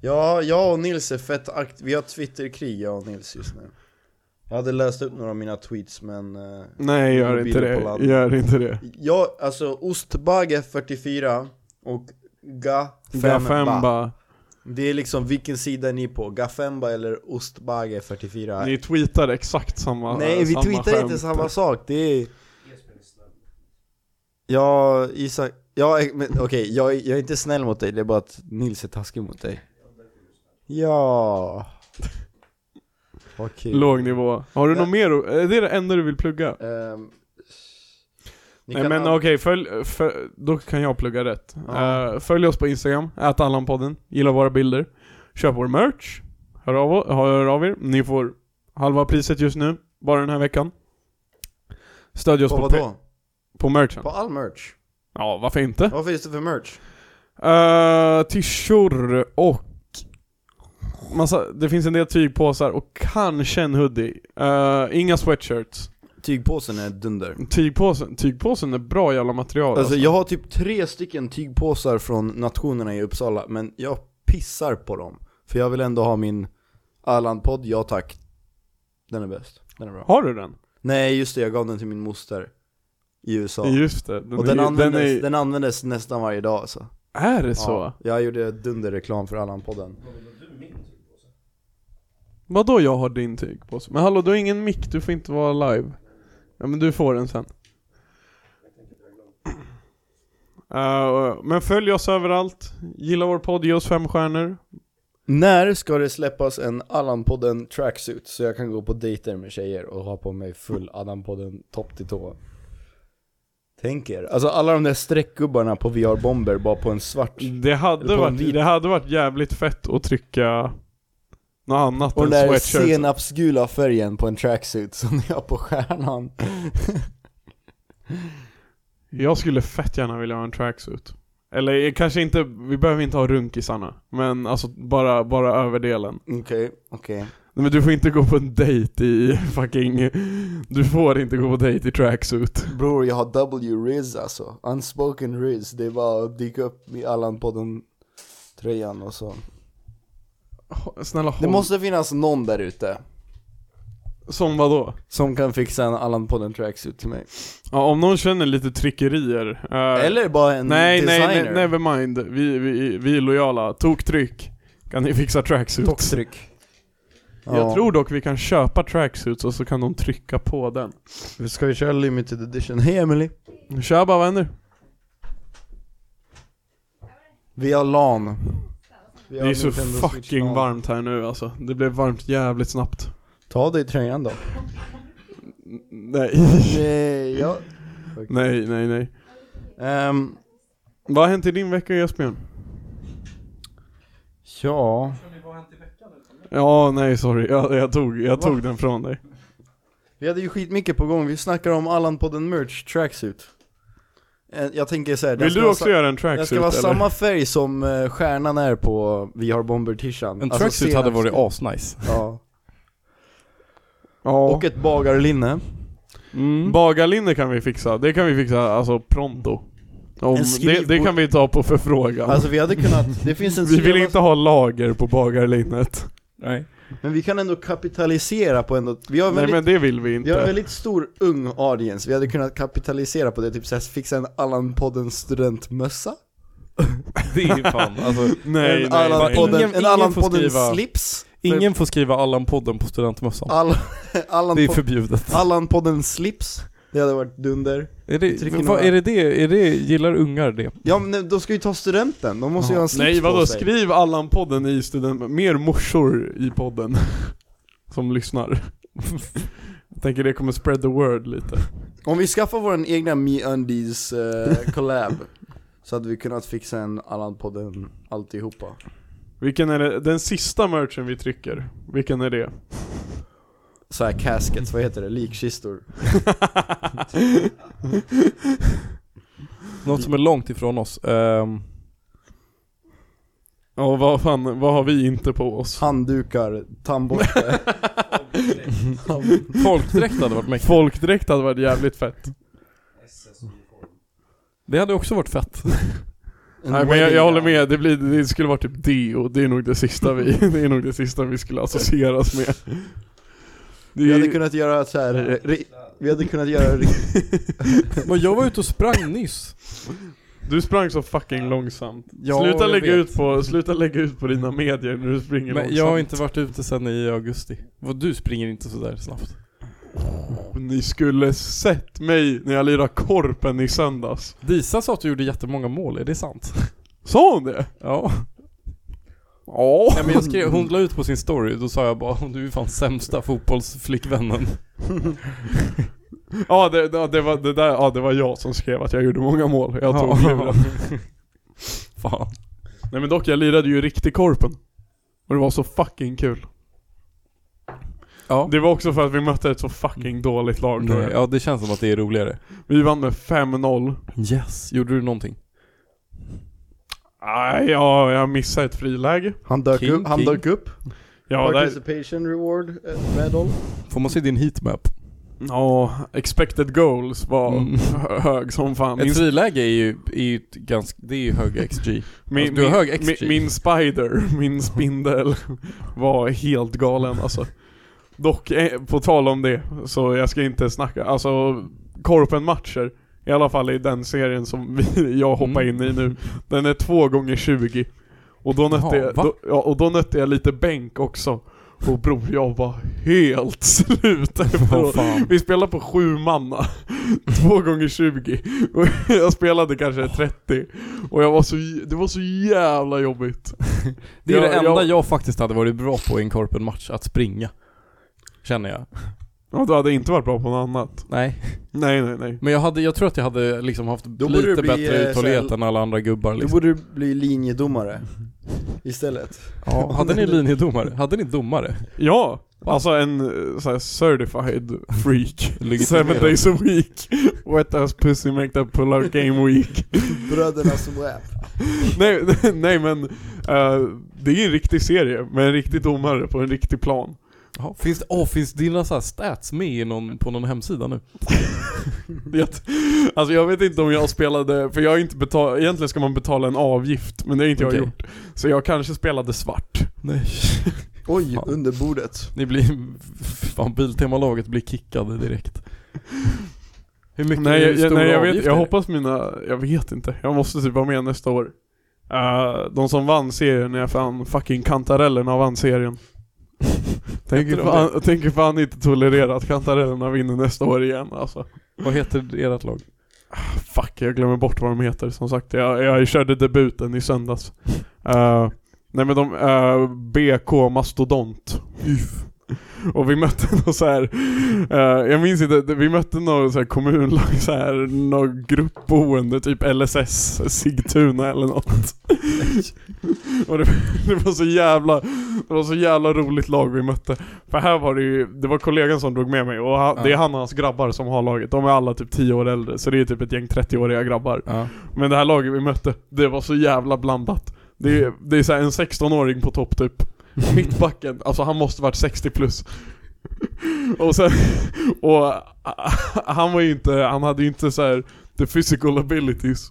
[SPEAKER 1] Ja, jag och Nils är fett akt vi har twitterkrig jag och Nils just nu. Jag hade läst upp några av mina tweets men... eh,
[SPEAKER 2] Nej, gör inte
[SPEAKER 1] Mobilen på
[SPEAKER 2] det.
[SPEAKER 1] land.
[SPEAKER 2] Gör inte det.
[SPEAKER 1] jag, alltså ostbage44 och gafemba.
[SPEAKER 2] Gafemba.
[SPEAKER 1] Det är liksom, vilken sida är ni på? Gafemba eller ostbage44?
[SPEAKER 2] Ni tweetar exakt samma
[SPEAKER 1] Nej vi
[SPEAKER 2] samma
[SPEAKER 1] tweetar inte
[SPEAKER 2] skämt.
[SPEAKER 1] samma sak, det är... Ja, Isak, ja, eh, men okej, jag, är- jag är inte snäll mot dig, det är bara att Nils är taskig mot dig Ja... Okej
[SPEAKER 2] Låg nivå. Har du
[SPEAKER 1] Typ. Ja.
[SPEAKER 2] något mer? att- Är det det enda du vill plugga?
[SPEAKER 1] Ehm, ni
[SPEAKER 2] Nej
[SPEAKER 1] kan
[SPEAKER 2] men
[SPEAKER 1] an-
[SPEAKER 2] okej, följ, fö- då kan jag plugga rätt.
[SPEAKER 1] Ja.
[SPEAKER 2] Eh, följ oss på Instagram, @allanpodden, gilla våra bilder, köp vår merch, hör av, hör av er. Ni får halva priset just nu, bara den här veckan. Stödj oss
[SPEAKER 1] På
[SPEAKER 2] på,
[SPEAKER 1] vadå?
[SPEAKER 2] pe- på merchen.
[SPEAKER 1] På all merch?
[SPEAKER 2] Ja, varför inte?
[SPEAKER 1] Vad finns det för merch?
[SPEAKER 2] Uh, tishor och massa, det finns en del tygpåsar och kanske en hoodie. Eh, inga sweatshirts.
[SPEAKER 1] Tygpåsen är dunder
[SPEAKER 2] Tygpåsen, tygpåsen är bra jävla material
[SPEAKER 1] Alltså jag har typ tre stycken tygpåsar från nationerna i Uppsala, men jag pissar på dem. För jag vill ändå ha min Öland-podd, ja tack. Den är bäst. Den är bra.
[SPEAKER 2] Har du den?
[SPEAKER 1] Nej just det, jag gav den till min moster. I USA.
[SPEAKER 2] Just det. Den
[SPEAKER 1] Och den
[SPEAKER 2] är,
[SPEAKER 1] användes, den,
[SPEAKER 2] är,
[SPEAKER 1] användes nästan varje dag alltså.
[SPEAKER 2] är det så?
[SPEAKER 1] Ja, jag gjorde dunderreklam för Öland-podden.
[SPEAKER 2] Vadå jag har din tygpåse? Men hallå du har ingen mick, du får inte vara live. Ja men du får den sen. Eh, men följ oss överallt, gilla vår podd, ge oss fem stjärnor.
[SPEAKER 1] När ska det släppas en Allan-podden tracksuit så jag kan gå på dejter med tjejer och ha på mig full Allan-podden topp till tå? Tänk er, alltså alla de där streckgubbarna på VR Bomber bara på en svart
[SPEAKER 2] Det
[SPEAKER 1] Eller
[SPEAKER 2] hade,
[SPEAKER 1] på en vit-
[SPEAKER 2] varit, det hade varit jävligt fett att trycka något annat
[SPEAKER 1] Och den
[SPEAKER 2] än
[SPEAKER 1] där
[SPEAKER 2] sweatshirts.
[SPEAKER 1] senapsgula färgen på en tracksuit som ni har på stjärnan
[SPEAKER 2] Jag skulle fett gärna vilja ha en tracksuit. Eller eh, kanske inte, vi behöver inte ha runkisarna. Men alltså bara, bara överdelen.
[SPEAKER 1] Okej, okej.
[SPEAKER 2] Nej, men du får inte gå på en dejt i fucking... Du får inte gå på dejt i tracksuit.
[SPEAKER 1] Bror, jag har W Riz alltså. Unspoken Riz. Det är bara att dyka upp i Allan-podden tröjan och så.
[SPEAKER 2] Hå- Snälla håll...
[SPEAKER 1] Det måste finnas någon där ute
[SPEAKER 2] Som vadå?
[SPEAKER 1] som kan fixa en Allan-podden tracksuit till mig.
[SPEAKER 2] Ja, om någon känner lite trickerier. eh,
[SPEAKER 1] Eller bara en
[SPEAKER 2] Nej, nej,
[SPEAKER 1] designer.
[SPEAKER 2] nej, never mind. Vi, vi, vi är lojala. Toktryck. Kan ni fixa tracksuits?
[SPEAKER 1] Toktryck.
[SPEAKER 2] Jag tror dock vi kan köpa tracksuits och så kan de trycka på den.
[SPEAKER 1] Ska vi köra limited edition? Hej Emily.
[SPEAKER 2] Kör bara, vad händer?
[SPEAKER 1] Vi har LAN. Vi
[SPEAKER 2] Det
[SPEAKER 1] har
[SPEAKER 2] är så
[SPEAKER 1] Nintendo Switch
[SPEAKER 2] fucking
[SPEAKER 1] LAN.
[SPEAKER 2] varmt här nu alltså. Det blev varmt jävligt snabbt.
[SPEAKER 1] Ta dig tröjan då.
[SPEAKER 2] Nej.
[SPEAKER 1] Nej, Eh, ja.
[SPEAKER 2] nej, nej, nej.
[SPEAKER 1] Ehm,
[SPEAKER 2] Vad har hänt i din vecka Esbjörn?
[SPEAKER 1] ja.
[SPEAKER 2] Ja, nej sorry. Jag, jag, tog, jag tog den från dig.
[SPEAKER 1] Vi hade ju skitmycket på gång, vi snackar om Allan-podden merch tracksuit. Eh, Jag tänker såhär, den
[SPEAKER 2] Vill
[SPEAKER 1] ska
[SPEAKER 2] du
[SPEAKER 1] vara
[SPEAKER 2] också
[SPEAKER 1] sa-
[SPEAKER 2] göra en
[SPEAKER 1] Den
[SPEAKER 2] tracksuit
[SPEAKER 1] ska vara
[SPEAKER 2] eller?
[SPEAKER 1] samma färg som eh, stjärnan är på Vi har bomber-tishan.
[SPEAKER 3] En tracksuit hade varit
[SPEAKER 1] senapsgul.
[SPEAKER 3] asnice.
[SPEAKER 1] Ja.
[SPEAKER 2] Ja.
[SPEAKER 1] Och ett bagarlinne.
[SPEAKER 3] Mm.
[SPEAKER 2] Bagarlinne kan vi fixa, det kan vi fixa alltså pronto. Om,
[SPEAKER 1] En
[SPEAKER 2] det,
[SPEAKER 1] skrivbord-
[SPEAKER 2] det kan vi ta på förfrågan.
[SPEAKER 1] Alltså vi hade kunnat, det finns en
[SPEAKER 2] vi vill
[SPEAKER 1] jävla-
[SPEAKER 2] inte ha lager på bagarlinnet.
[SPEAKER 3] Nej.
[SPEAKER 1] Men vi kan ändå kapitalisera på ändå, vi har en
[SPEAKER 2] Nej
[SPEAKER 1] väldigt,
[SPEAKER 2] men det vill vi
[SPEAKER 1] vi har en
[SPEAKER 2] inte.
[SPEAKER 1] väldigt stor ung audience, vi hade kunnat kapitalisera på det, typ såhär fixa en Allan-podden studentmössa.
[SPEAKER 3] Det är fan alltså.
[SPEAKER 2] Nej,
[SPEAKER 1] en
[SPEAKER 2] nej, nej.
[SPEAKER 1] Allan-podden,
[SPEAKER 3] Ingen-
[SPEAKER 1] en
[SPEAKER 3] ingen får
[SPEAKER 1] Allan-podden
[SPEAKER 3] skriva-
[SPEAKER 1] slips.
[SPEAKER 3] Ingen får skriva Allan-podden på studentmössan.
[SPEAKER 1] All,
[SPEAKER 3] Det är
[SPEAKER 1] Allan-podden
[SPEAKER 3] förbjudet.
[SPEAKER 1] Allan-podden Slips, det hade varit dunder.
[SPEAKER 3] Är det,
[SPEAKER 1] Trycker
[SPEAKER 3] men vad,
[SPEAKER 1] några-
[SPEAKER 3] är det det? Är det, gillar ungar det?
[SPEAKER 1] Ja men nej, de ska ju ta studenten, de måste ju ha en slips
[SPEAKER 2] Nej
[SPEAKER 1] på
[SPEAKER 2] vadå,
[SPEAKER 1] sig.
[SPEAKER 2] skriv Allan-podden i student... Mer morsor i podden. Som lyssnar. Jag tänker det kommer spread the word lite.
[SPEAKER 1] Om vi skaffar vår egna MeUndies eh, collab så hade vi kunnat fixa en Allan-podden alltihopa.
[SPEAKER 2] Vilken är det? Den sista merchen vi trycker, vilken är det?
[SPEAKER 1] Så här caskets, vad heter det? Likkistor.
[SPEAKER 3] Något som är långt ifrån oss. Ehm,
[SPEAKER 2] Ja vad fan, vad har vi inte på oss?
[SPEAKER 1] Handdukar, tandborste.
[SPEAKER 3] folkdräkt hade varit mäktigt.
[SPEAKER 2] Folkdräkt hade varit jävligt fett.
[SPEAKER 3] Det hade också varit fett.
[SPEAKER 1] en
[SPEAKER 2] Nej men jag,
[SPEAKER 1] wedding
[SPEAKER 2] jag håller
[SPEAKER 1] gown.
[SPEAKER 2] med, det, blir, det skulle vara typ deo, det är nog det sista vi, det är nog det sista vi skulle associeras med. Det är,
[SPEAKER 1] Vi hade kunnat göra så här. ri- vi hade kunnat göra ri-
[SPEAKER 3] Men jag var ute och sprang nyss.
[SPEAKER 2] Du sprang så fucking långsamt.
[SPEAKER 3] Ja,
[SPEAKER 2] sluta,
[SPEAKER 3] jag
[SPEAKER 2] lägga
[SPEAKER 3] vet.
[SPEAKER 2] ut på, sluta lägga ut på dina medier när du springer
[SPEAKER 3] Men
[SPEAKER 2] långsamt.
[SPEAKER 3] jag har inte varit ute sedan i augusti. Vad, Du springer inte sådär snabbt.
[SPEAKER 2] Ni skulle sett mig när jag lirade korpen i söndags.
[SPEAKER 3] Disa sa att du gjorde jättemånga mål, är det sant?
[SPEAKER 2] Sa hon det?
[SPEAKER 3] Ja.
[SPEAKER 2] Ja.
[SPEAKER 3] Nej, men jag skrev, hon la ut på sin story, då sa jag bara du är fan sämsta fotbollsflickvännen.
[SPEAKER 2] Ja det, det, det, var, det, där, ja, det var jag som skrev att jag gjorde många mål. Jag tog
[SPEAKER 3] Ja.
[SPEAKER 2] luren.
[SPEAKER 3] Fan.
[SPEAKER 2] Nej men dock, jag lirade ju riktig korpen. Och det var så fucking kul.
[SPEAKER 3] Ja.
[SPEAKER 2] Det var också för att vi mötte ett så fucking dåligt lag tror
[SPEAKER 3] Det,
[SPEAKER 2] jag.
[SPEAKER 3] ja, det känns som att det är roligare.
[SPEAKER 2] Vi vann med 5-0.
[SPEAKER 3] Yes. Gjorde du någonting?
[SPEAKER 2] Nej, jag, jag missade ett friläge.
[SPEAKER 1] Han dök
[SPEAKER 3] King,
[SPEAKER 1] upp, han
[SPEAKER 3] king.
[SPEAKER 1] dök upp.
[SPEAKER 2] Ja, där, Liksom.
[SPEAKER 1] Participation reward eh, medal.
[SPEAKER 3] Får man se din heatmap?
[SPEAKER 2] ja expected goals var
[SPEAKER 3] Mm.
[SPEAKER 2] hö- hög som fan.
[SPEAKER 3] Ett
[SPEAKER 2] Min,
[SPEAKER 3] friläge är ju, är ju ett ganska, det är ju hög XG.
[SPEAKER 2] min,
[SPEAKER 3] alltså, du har
[SPEAKER 2] min,
[SPEAKER 3] hög XG.
[SPEAKER 2] min, min spider, min spindel, var helt galen alltså. Dock, eh, på tal om det, så jag ska inte snacka. Alltså, Korpen-matcher, i alla fall i den serien som vi, jag hoppar in i nu, den är två gånger 20 Och då nötte,
[SPEAKER 3] Mm. Jaha,
[SPEAKER 2] jag,
[SPEAKER 3] va?
[SPEAKER 2] då, ja, och då nötte jag lite bänk också. Och bror, jag var helt slut
[SPEAKER 3] Vad
[SPEAKER 2] efteråt.
[SPEAKER 3] fan.
[SPEAKER 2] Vi spelade på sju manna, två gånger 20 och jag spelade kanske 30 och jag var så, j- det var så jävla jobbigt.
[SPEAKER 3] Det är
[SPEAKER 2] Jag-
[SPEAKER 3] det enda jag...
[SPEAKER 2] jag-
[SPEAKER 3] faktiskt hade varit bra på i en korpenmatch, att springa. Känner jag.
[SPEAKER 2] Ja du hade inte varit bra på något annat.
[SPEAKER 3] Nej.
[SPEAKER 2] Nej nej nej.
[SPEAKER 3] Men jag hade, jag tror att jag hade liksom haft
[SPEAKER 1] borde
[SPEAKER 3] lite
[SPEAKER 1] du bli, eh,
[SPEAKER 3] bättre uthållighet
[SPEAKER 1] såhär-
[SPEAKER 3] än alla andra gubbar
[SPEAKER 1] Du
[SPEAKER 3] liksom.
[SPEAKER 1] borde bli linjedomare istället.
[SPEAKER 3] Ja, hade ni linjedomare? Hade ni domare?
[SPEAKER 2] Ja! Alltså en eh, så här, certified freak. Seven days a week. Wet ass pussy make that pull-out game week.
[SPEAKER 1] Bröderna Swap.
[SPEAKER 2] nej, nej men, eh, det är en riktig serie med en riktig domare på en riktig plan.
[SPEAKER 3] Finns, det, oh, finns dina så här stats med i någon, på någon hemsida nu?
[SPEAKER 2] Det, alltså jag vet inte om jag spelade, för jag har inte betalat, egentligen ska man betala en avgift, men det har inte
[SPEAKER 3] Okej.
[SPEAKER 2] jag gjort. Så jag kanske spelade svart.
[SPEAKER 3] Nej.
[SPEAKER 1] Oj,
[SPEAKER 3] Fan.
[SPEAKER 1] under bordet.
[SPEAKER 3] Ni blir... Fan, Biltemalaget blir kickade direkt. Hur mycket
[SPEAKER 2] Nej,
[SPEAKER 3] hur
[SPEAKER 2] jag,
[SPEAKER 3] stor
[SPEAKER 2] nej jag,
[SPEAKER 3] avgift
[SPEAKER 2] vet,
[SPEAKER 3] är
[SPEAKER 2] jag
[SPEAKER 3] det?
[SPEAKER 2] hoppas mina, jag vet inte. Jag måste typ vara med nästa år. Eh, de som vann serien är fan fucking kantarellerna vann serien. tänker,
[SPEAKER 3] Heter de
[SPEAKER 2] fan, tänker fan inte tolerera att kantarellerna vinner nästa år igen alltså.
[SPEAKER 3] Vad heter ert lag?
[SPEAKER 2] Fuck, jag glömmer bort vad de heter som sagt. Jag, jag körde debuten i söndags. Eh, nej men de, eh, BK Mastodont. Och vi mötte någon så här. eh, jag minns inte, vi mötte någon så här kommunlag, så här, någon gruppboende, typ LSS, Sigtuna eller något. Och det, det var så jävla, det var så jävla roligt lag vi mötte. För här var det ju, det var kollegan som drog med mig och han, det är han och hans grabbar som har laget. De är alla typ 10 år äldre, så det är typ ett gäng 30-åriga grabbar.
[SPEAKER 3] Ja.
[SPEAKER 2] Men det här laget vi mötte, det var så jävla blandat. Det är, det är så här en 16-åring på topp typ. Mittbacken, alltså han måste varit 60 plus. Och sen, och han var ju inte, han hade ju inte så här the physical abilities.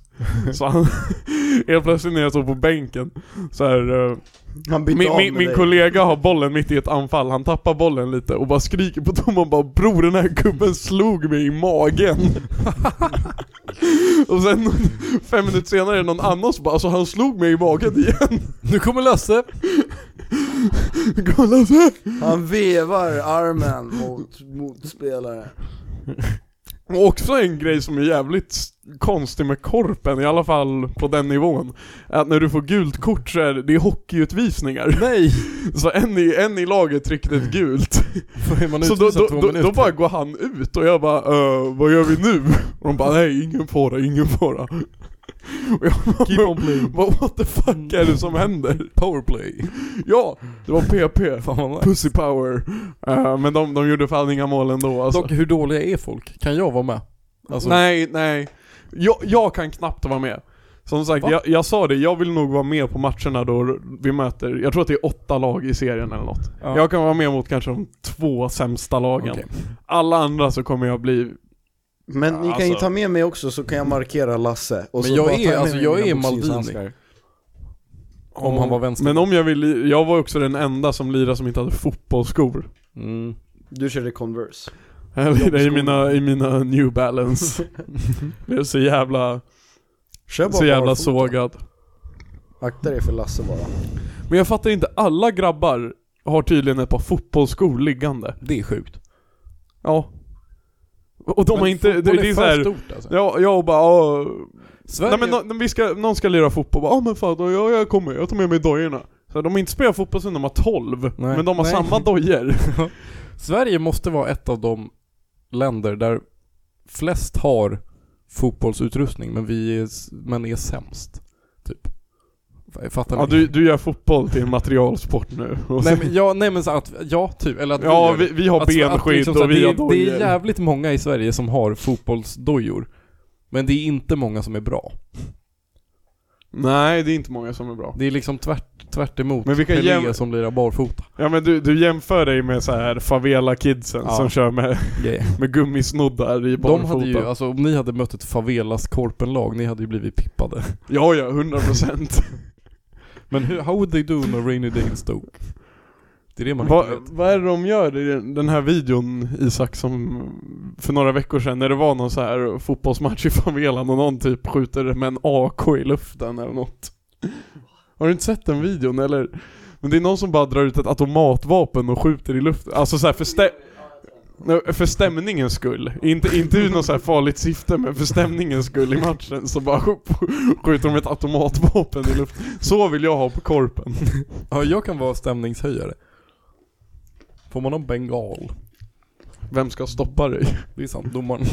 [SPEAKER 2] Så han, helt plötsligt när jag stod på bänken, så här, eh,
[SPEAKER 1] Han bytte
[SPEAKER 2] min,
[SPEAKER 1] av
[SPEAKER 2] min,
[SPEAKER 1] med
[SPEAKER 2] min
[SPEAKER 1] dig.
[SPEAKER 2] kollega har bollen mitt i ett anfall, han tappar bollen lite och bara skriker på domaren bara 'Bror den här gubben slog mig i magen' Och sen fem minuter senare är det någon annan som bara 'Alltså han slog mig i magen igen'
[SPEAKER 3] Nu kommer Lasse!
[SPEAKER 2] Kolla så här.
[SPEAKER 1] Han vevar armen mot motspelare.
[SPEAKER 2] Och också en grej som är jävligt s- konstig med korpen, i alla fall på den nivån Att när du får gult kort så är det, det är hockeyutvisningar Nej! Så en i, en i laget tryckte ett gult
[SPEAKER 3] För är man
[SPEAKER 2] Så
[SPEAKER 3] utvisad
[SPEAKER 2] då, då,
[SPEAKER 3] två
[SPEAKER 2] då,
[SPEAKER 3] minuter?
[SPEAKER 2] då bara går han ut och jag bara "Eh, vad gör vi nu? Och de bara nej, ingen fara, ingen fara. Och jag bara,
[SPEAKER 3] Keep on playing.
[SPEAKER 2] vad what the fuck är det som händer?
[SPEAKER 3] Powerplay.
[SPEAKER 2] Ja, det var PP.
[SPEAKER 3] Fan vad nice.
[SPEAKER 2] Pussy power. Eh, men de, de gjorde fan inga mål ändå alltså.
[SPEAKER 3] Dock, hur dåliga är folk? Kan jag vara med? Alltså,
[SPEAKER 2] Nej, nej. Jag, jag kan knappt vara med. Som sagt,
[SPEAKER 3] Va?
[SPEAKER 2] jag, jag sa det, jag vill nog vara med på matcherna då vi möter, jag tror att det är åtta lag i serien eller något.
[SPEAKER 3] Ja.
[SPEAKER 2] Jag kan vara med mot kanske de två sämsta lagen.
[SPEAKER 3] Okej.
[SPEAKER 2] Alla andra så kommer jag bli
[SPEAKER 1] Men ni kan ju
[SPEAKER 2] Alltså.
[SPEAKER 1] ta med mig också så kan jag markera Lasse. Och
[SPEAKER 3] Men
[SPEAKER 1] så
[SPEAKER 3] jag
[SPEAKER 1] bara
[SPEAKER 3] är-
[SPEAKER 1] tar med
[SPEAKER 3] alltså,
[SPEAKER 1] mig
[SPEAKER 3] jag
[SPEAKER 1] mina
[SPEAKER 3] är
[SPEAKER 1] boxningshandskar.
[SPEAKER 3] Maldini. Om han var vänster.
[SPEAKER 2] Men om jag vill, jag var också den enda som lirade som inte hade fotbollsskor.
[SPEAKER 3] Mm.
[SPEAKER 1] Du körde Converse.
[SPEAKER 2] Jag lirade i mina, i mina new balance. Blev så jävla,
[SPEAKER 1] Kör bara
[SPEAKER 2] så jävla
[SPEAKER 1] barfota.
[SPEAKER 2] sågad.
[SPEAKER 1] Akta dig för Lasse bara.
[SPEAKER 2] Men jag fattar inte, alla grabbar har tydligen ett par fotbollsskor liggande.
[SPEAKER 3] Det är sjukt.
[SPEAKER 2] Ja. Och de har inte, det, det är såhär,
[SPEAKER 3] stort alltså.
[SPEAKER 2] jag, jag bara "Ja,
[SPEAKER 3] Sverige...
[SPEAKER 2] Nej men nå- vi ska, någon ska lira fotboll, ja ah, men fan då, jag, jag kommer, jag tar med mig dojorna. Så de har inte spelat fotboll sedan de var 12,
[SPEAKER 3] Nej.
[SPEAKER 2] men de har
[SPEAKER 3] Nej.
[SPEAKER 2] samma dojor.
[SPEAKER 3] Sverige måste vara ett av de länder där flest har fotbollsutrustning men vi är, s- men är sämst. Typ. F- Fattar ni?
[SPEAKER 2] Ja, du, du gör fotboll till en materialsport nu. Och
[SPEAKER 3] Nej men, ja, nej men så att, ja typ, eller att
[SPEAKER 2] Ja,
[SPEAKER 3] gör det.
[SPEAKER 2] vi, vi har
[SPEAKER 3] Att- att
[SPEAKER 2] benskydd
[SPEAKER 3] liksom så här,
[SPEAKER 2] och vi har
[SPEAKER 3] det, är, det är
[SPEAKER 2] dojor.
[SPEAKER 3] jävligt många i Sverige som har fotbollsdojor. Men det är inte många som är bra.
[SPEAKER 2] Nej, det är inte många som är bra.
[SPEAKER 3] Det är liksom tvärt, tvärt emot
[SPEAKER 2] Men vi kan
[SPEAKER 3] Pelé
[SPEAKER 2] jäm-
[SPEAKER 3] som lirar barfota.
[SPEAKER 2] Ja men du, du jämför dig med så här favela-kidsen
[SPEAKER 3] Ja.
[SPEAKER 2] som kör med, med gummisnoddar i
[SPEAKER 3] De
[SPEAKER 2] barfota.
[SPEAKER 3] hade ju, alltså om ni hade mött ett favelas korpenlag, ni hade ju blivit pippade.
[SPEAKER 2] Ja ja, 100%.
[SPEAKER 3] Men hur, how would they do on a rainy day in Stoke? Det är det man
[SPEAKER 2] Vad
[SPEAKER 3] inte vet.
[SPEAKER 2] vad är det de gör i den- den här videon Isak som för några veckor sedan när det var någon så här fotbollsmatch i favelan och någon typ skjuter med en AK i luften eller något. Har du inte sett den videon eller? Men det är någon som bara drar ut ett automatvapen och skjuter i luften. Alltså så här för stä- Nej, för stämningens skull. Inte, inte ur något så här farligt syfte men för stämningens skull i matchen så bara sk- skjuter de ett automatvapen i luften. Så vill jag ha på korpen.
[SPEAKER 3] Ja, jag kan vara stämningshöjare. Får man ha bengal?
[SPEAKER 2] Vem ska stoppa dig?
[SPEAKER 3] Det är sant, domaren.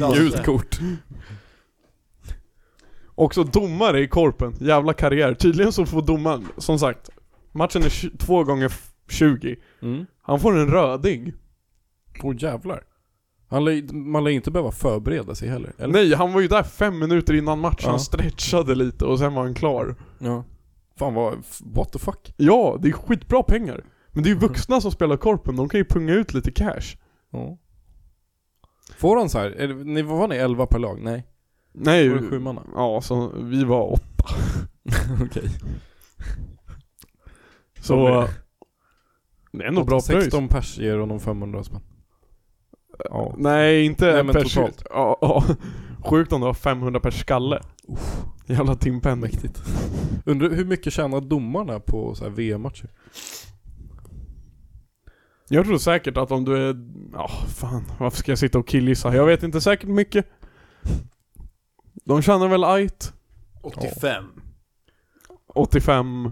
[SPEAKER 1] Lasse.
[SPEAKER 3] Gult kort.
[SPEAKER 2] Också domare i korpen, jävla karriär. Tydligen så får domaren, som sagt, matchen är tj- två gånger f- 20.
[SPEAKER 3] Mm.
[SPEAKER 2] Han får en röding.
[SPEAKER 3] Åh jävlar. Han lär, man lär inte behöva förbereda sig heller. Eller?
[SPEAKER 2] Nej, han var ju där fem minuter innan matchen,
[SPEAKER 3] Ja.
[SPEAKER 2] han stretchade lite och sen var han klar.
[SPEAKER 3] Ja. Fan vad, f- what the fuck?
[SPEAKER 2] Ja, det är skitbra pengar. Men det är ju
[SPEAKER 3] Mm.
[SPEAKER 2] vuxna som spelar korpen, de kan ju punga ut lite cash.
[SPEAKER 3] Ja. Får han så här? Är det, ni, vad var ni, 11 per lag? Nej.
[SPEAKER 2] Nej,
[SPEAKER 3] Var det sju manna?
[SPEAKER 2] ja, så vi var åtta.
[SPEAKER 3] Okej.
[SPEAKER 2] Så... Det är ändå bra pröjs.
[SPEAKER 3] 16 pers ger honom 500 spänn. Ja.
[SPEAKER 2] Nej, inte
[SPEAKER 3] Nej, men
[SPEAKER 2] per
[SPEAKER 3] totalt.
[SPEAKER 2] Ja, ja. Sjukt om det var 500 per skalle. Jävla timpenning.
[SPEAKER 3] Mäktigt. Undrar hur mycket tjänar domarna på så här VM-matcher?
[SPEAKER 2] Jag tror säkert att om du är... Ja, fan. Varför ska jag sitta och killgissa? Jag vet inte säkert mycket. De tjänar väl ajt?
[SPEAKER 1] 85.
[SPEAKER 2] 85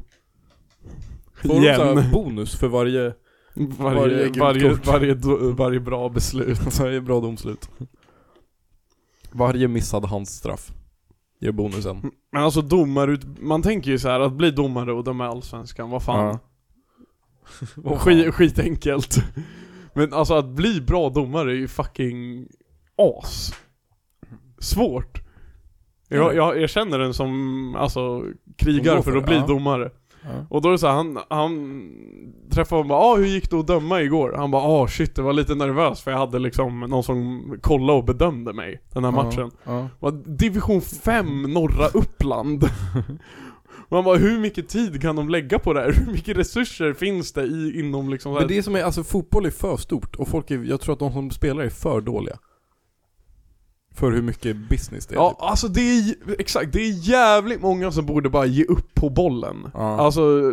[SPEAKER 3] Får de så
[SPEAKER 2] igen.
[SPEAKER 3] här bonus för varje,
[SPEAKER 2] Varje,
[SPEAKER 3] gult
[SPEAKER 2] varje,
[SPEAKER 3] kort.
[SPEAKER 2] varje, do- varje bra beslut.
[SPEAKER 3] varje bra domslut? Varje missad handstraff ger bonusen.
[SPEAKER 2] Men alltså domarut... Man tänker ju så här att bli domare och döma i Allsvenskan, vad fan.
[SPEAKER 3] Ja.
[SPEAKER 2] Och Skit, skitenkelt. Men alltså att bli bra domare är ju fucking as. Svårt. Jag, jag, jag känner en som alltså krigar
[SPEAKER 3] Mm.
[SPEAKER 2] för
[SPEAKER 3] Som går för
[SPEAKER 2] att
[SPEAKER 3] det,
[SPEAKER 2] bli
[SPEAKER 3] ja.
[SPEAKER 2] domare.
[SPEAKER 3] Ja.
[SPEAKER 2] Och då är det så här, han, han träffade honom och bara ah, hur gick det att döma igår? Han bara ah shit, jag var lite nervös för jag hade liksom någon som kollade och bedömde mig den här matchen.
[SPEAKER 3] Ja.
[SPEAKER 2] Va, Division 5 norra Uppland. Man bara, hur mycket tid kan de lägga på det här? Hur mycket resurser finns det i, inom liksom så här-
[SPEAKER 3] Men det är som är, alltså fotboll är för stort och folk är, jag tror att de som spelar är för dåliga. För hur mycket business det är.
[SPEAKER 2] Ja,
[SPEAKER 3] typ.
[SPEAKER 2] alltså det är, j- exakt, det är jävligt många som borde bara ge upp på bollen.
[SPEAKER 3] Ja.
[SPEAKER 2] Alltså,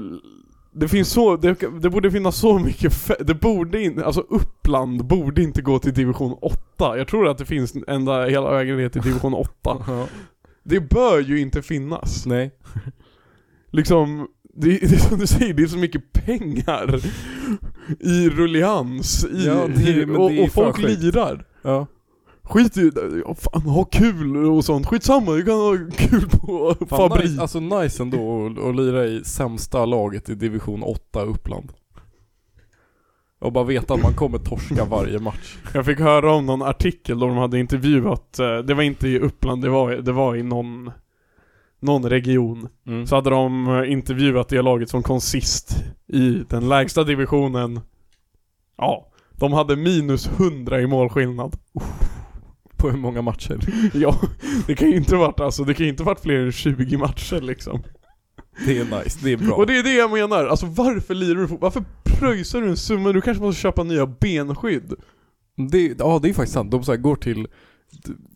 [SPEAKER 2] det finns så, det, det borde finnas så mycket, fe- det borde inte, alltså Uppland borde inte gå till division 8. Jag tror att det finns ända hela vägen ner till division 8.
[SPEAKER 3] Ja.
[SPEAKER 2] Det bör ju inte finnas.
[SPEAKER 3] Nej.
[SPEAKER 2] liksom, det, det är som du säger, det är så mycket pengar i rullians, i,
[SPEAKER 3] Ja, det är- men det
[SPEAKER 2] och,
[SPEAKER 3] är
[SPEAKER 2] och folk
[SPEAKER 3] fan sjukt.
[SPEAKER 2] lirar.
[SPEAKER 3] Ja.
[SPEAKER 2] Skit i, ja, fan ha kul och sånt, skitsamma, du kan ha kul på
[SPEAKER 3] Fan,
[SPEAKER 2] fabrik.
[SPEAKER 3] nice, alltså nice ändå att- att lira i sämsta laget i division 8 Uppland. Och bara veta att man kommer torska varje match.
[SPEAKER 2] Jag fick höra om någon artikel då de hade intervjuat, eh, det var inte i Uppland, det var, det var i någon, någon region.
[SPEAKER 3] Mm.
[SPEAKER 2] Så hade de eh, intervjuat det laget som kom sist i den lägsta divisionen. Ja, de hade minus 100 i målskillnad.
[SPEAKER 3] På hur många matcher?
[SPEAKER 2] Ja, det kan ju inte varit alltså, det kan ju inte varit fler än 20 matcher liksom.
[SPEAKER 3] Det är nice, det är bra.
[SPEAKER 2] Och det är det jag menar, alltså varför lirar du fot- Varför pröjsar du en summa? Du kanske måste köpa nya benskydd.
[SPEAKER 3] Det, ja det är faktiskt sant. De så här går till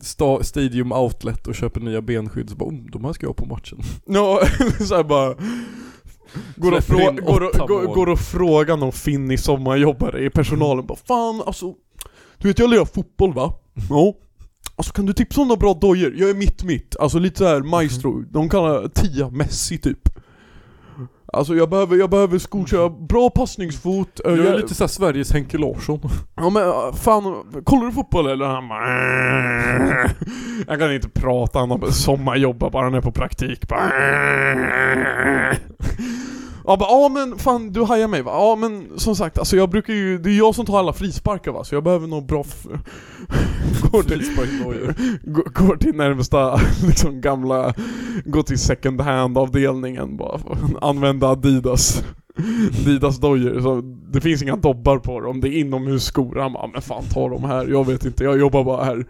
[SPEAKER 3] sta, Stadium Outlet och köper nya benskydd så bara "Mm, de här ska jag ha på matchen.
[SPEAKER 2] Ja, så här bara... Går och,
[SPEAKER 3] Släpper
[SPEAKER 2] frå-
[SPEAKER 3] in
[SPEAKER 2] går, och,
[SPEAKER 3] åtta
[SPEAKER 2] går,
[SPEAKER 3] mål.
[SPEAKER 2] går och frågar någon finnig sommarjobbare i personalen bara Fan alltså, du vet jag lirar fotboll va?
[SPEAKER 3] Mm.
[SPEAKER 2] Ja. Alltså kan du tipsa om några bra dojor? Jag är mitt-mitt, alltså lite så här
[SPEAKER 3] Mhm.
[SPEAKER 2] maestro, de kallar tia Messi typ Alltså jag behöver, jag behöver skor, så jag har bra passningsfot, eh,
[SPEAKER 3] Mhm. Jag
[SPEAKER 2] jag
[SPEAKER 3] är lite såhär Sveriges Henke Larsson.
[SPEAKER 2] Ja men äh, fan, kollar du fotboll eller? Han bara... "Äh." Jag kan inte prata, han har bara sommarjobbar bara, han är på praktik bara... Ja bara, ja men fan du hajar mig va? Ja men som sagt, alltså jag brukar ju, det är jag som tar alla frisparkar va, så jag behöver nog bra... F- går, till,
[SPEAKER 3] Frisparksdojor.
[SPEAKER 2] går- går till närmsta liksom gamla, går till second hand avdelningen bara, använda Adidas. Adidas dojor, så det finns inga dobbar på dem, det är inomhusskor. Han bara, men fan ta dem här, jag vet inte, jag jobbar bara här.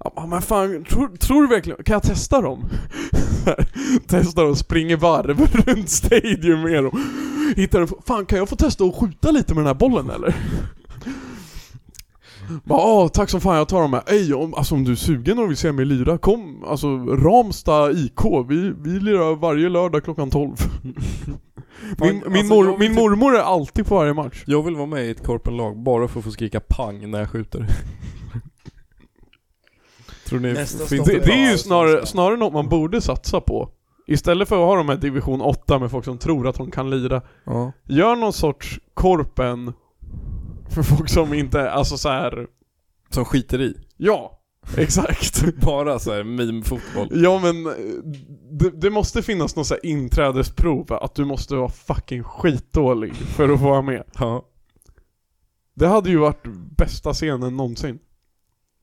[SPEAKER 2] Han bara, men fan, tror, tror du verkligen, kan jag testa dem? Så här, Testar dem, springer varv runt stadion med dem. Hittar dem, fan kan jag få testa att skjuta lite med den här bollen eller? Bara, "Ah, tack som fan jag tar dem här. Ey, om, alltså, om du är sugen och vill se mig lira, kom. Alltså Ramsta IK, vi, vi lirar varje lördag klockan 12. Min,
[SPEAKER 3] Fan,
[SPEAKER 2] min,
[SPEAKER 3] alltså, jag
[SPEAKER 2] mor,
[SPEAKER 3] vill
[SPEAKER 2] min
[SPEAKER 3] typ-
[SPEAKER 2] mormor är alltid på varje match.
[SPEAKER 3] Jag vill vara med i ett korpenlag bara för att få skrika pang när jag skjuter. Tror ni
[SPEAKER 1] Nästa
[SPEAKER 3] finns
[SPEAKER 1] stopp
[SPEAKER 2] Det, det är
[SPEAKER 1] Ja,
[SPEAKER 2] ju
[SPEAKER 1] det är
[SPEAKER 2] snarare,
[SPEAKER 1] sant.
[SPEAKER 2] snarare något man borde satsa på. Istället för att ha de här division 8 med folk som tror att de kan lira.
[SPEAKER 3] Ja.
[SPEAKER 2] Gör någon sorts korpen för folk som inte, alltså så här.
[SPEAKER 3] Som skiter i.
[SPEAKER 2] ja. Exakt.
[SPEAKER 3] Bara så här meme-fotboll.
[SPEAKER 2] Ja men eh, det, det måste finnas någon så här inträdesprov, att du måste vara fucking skitdålig för att få vara med.
[SPEAKER 3] Ja.
[SPEAKER 2] Det hade ju varit bästa scenen någonsin.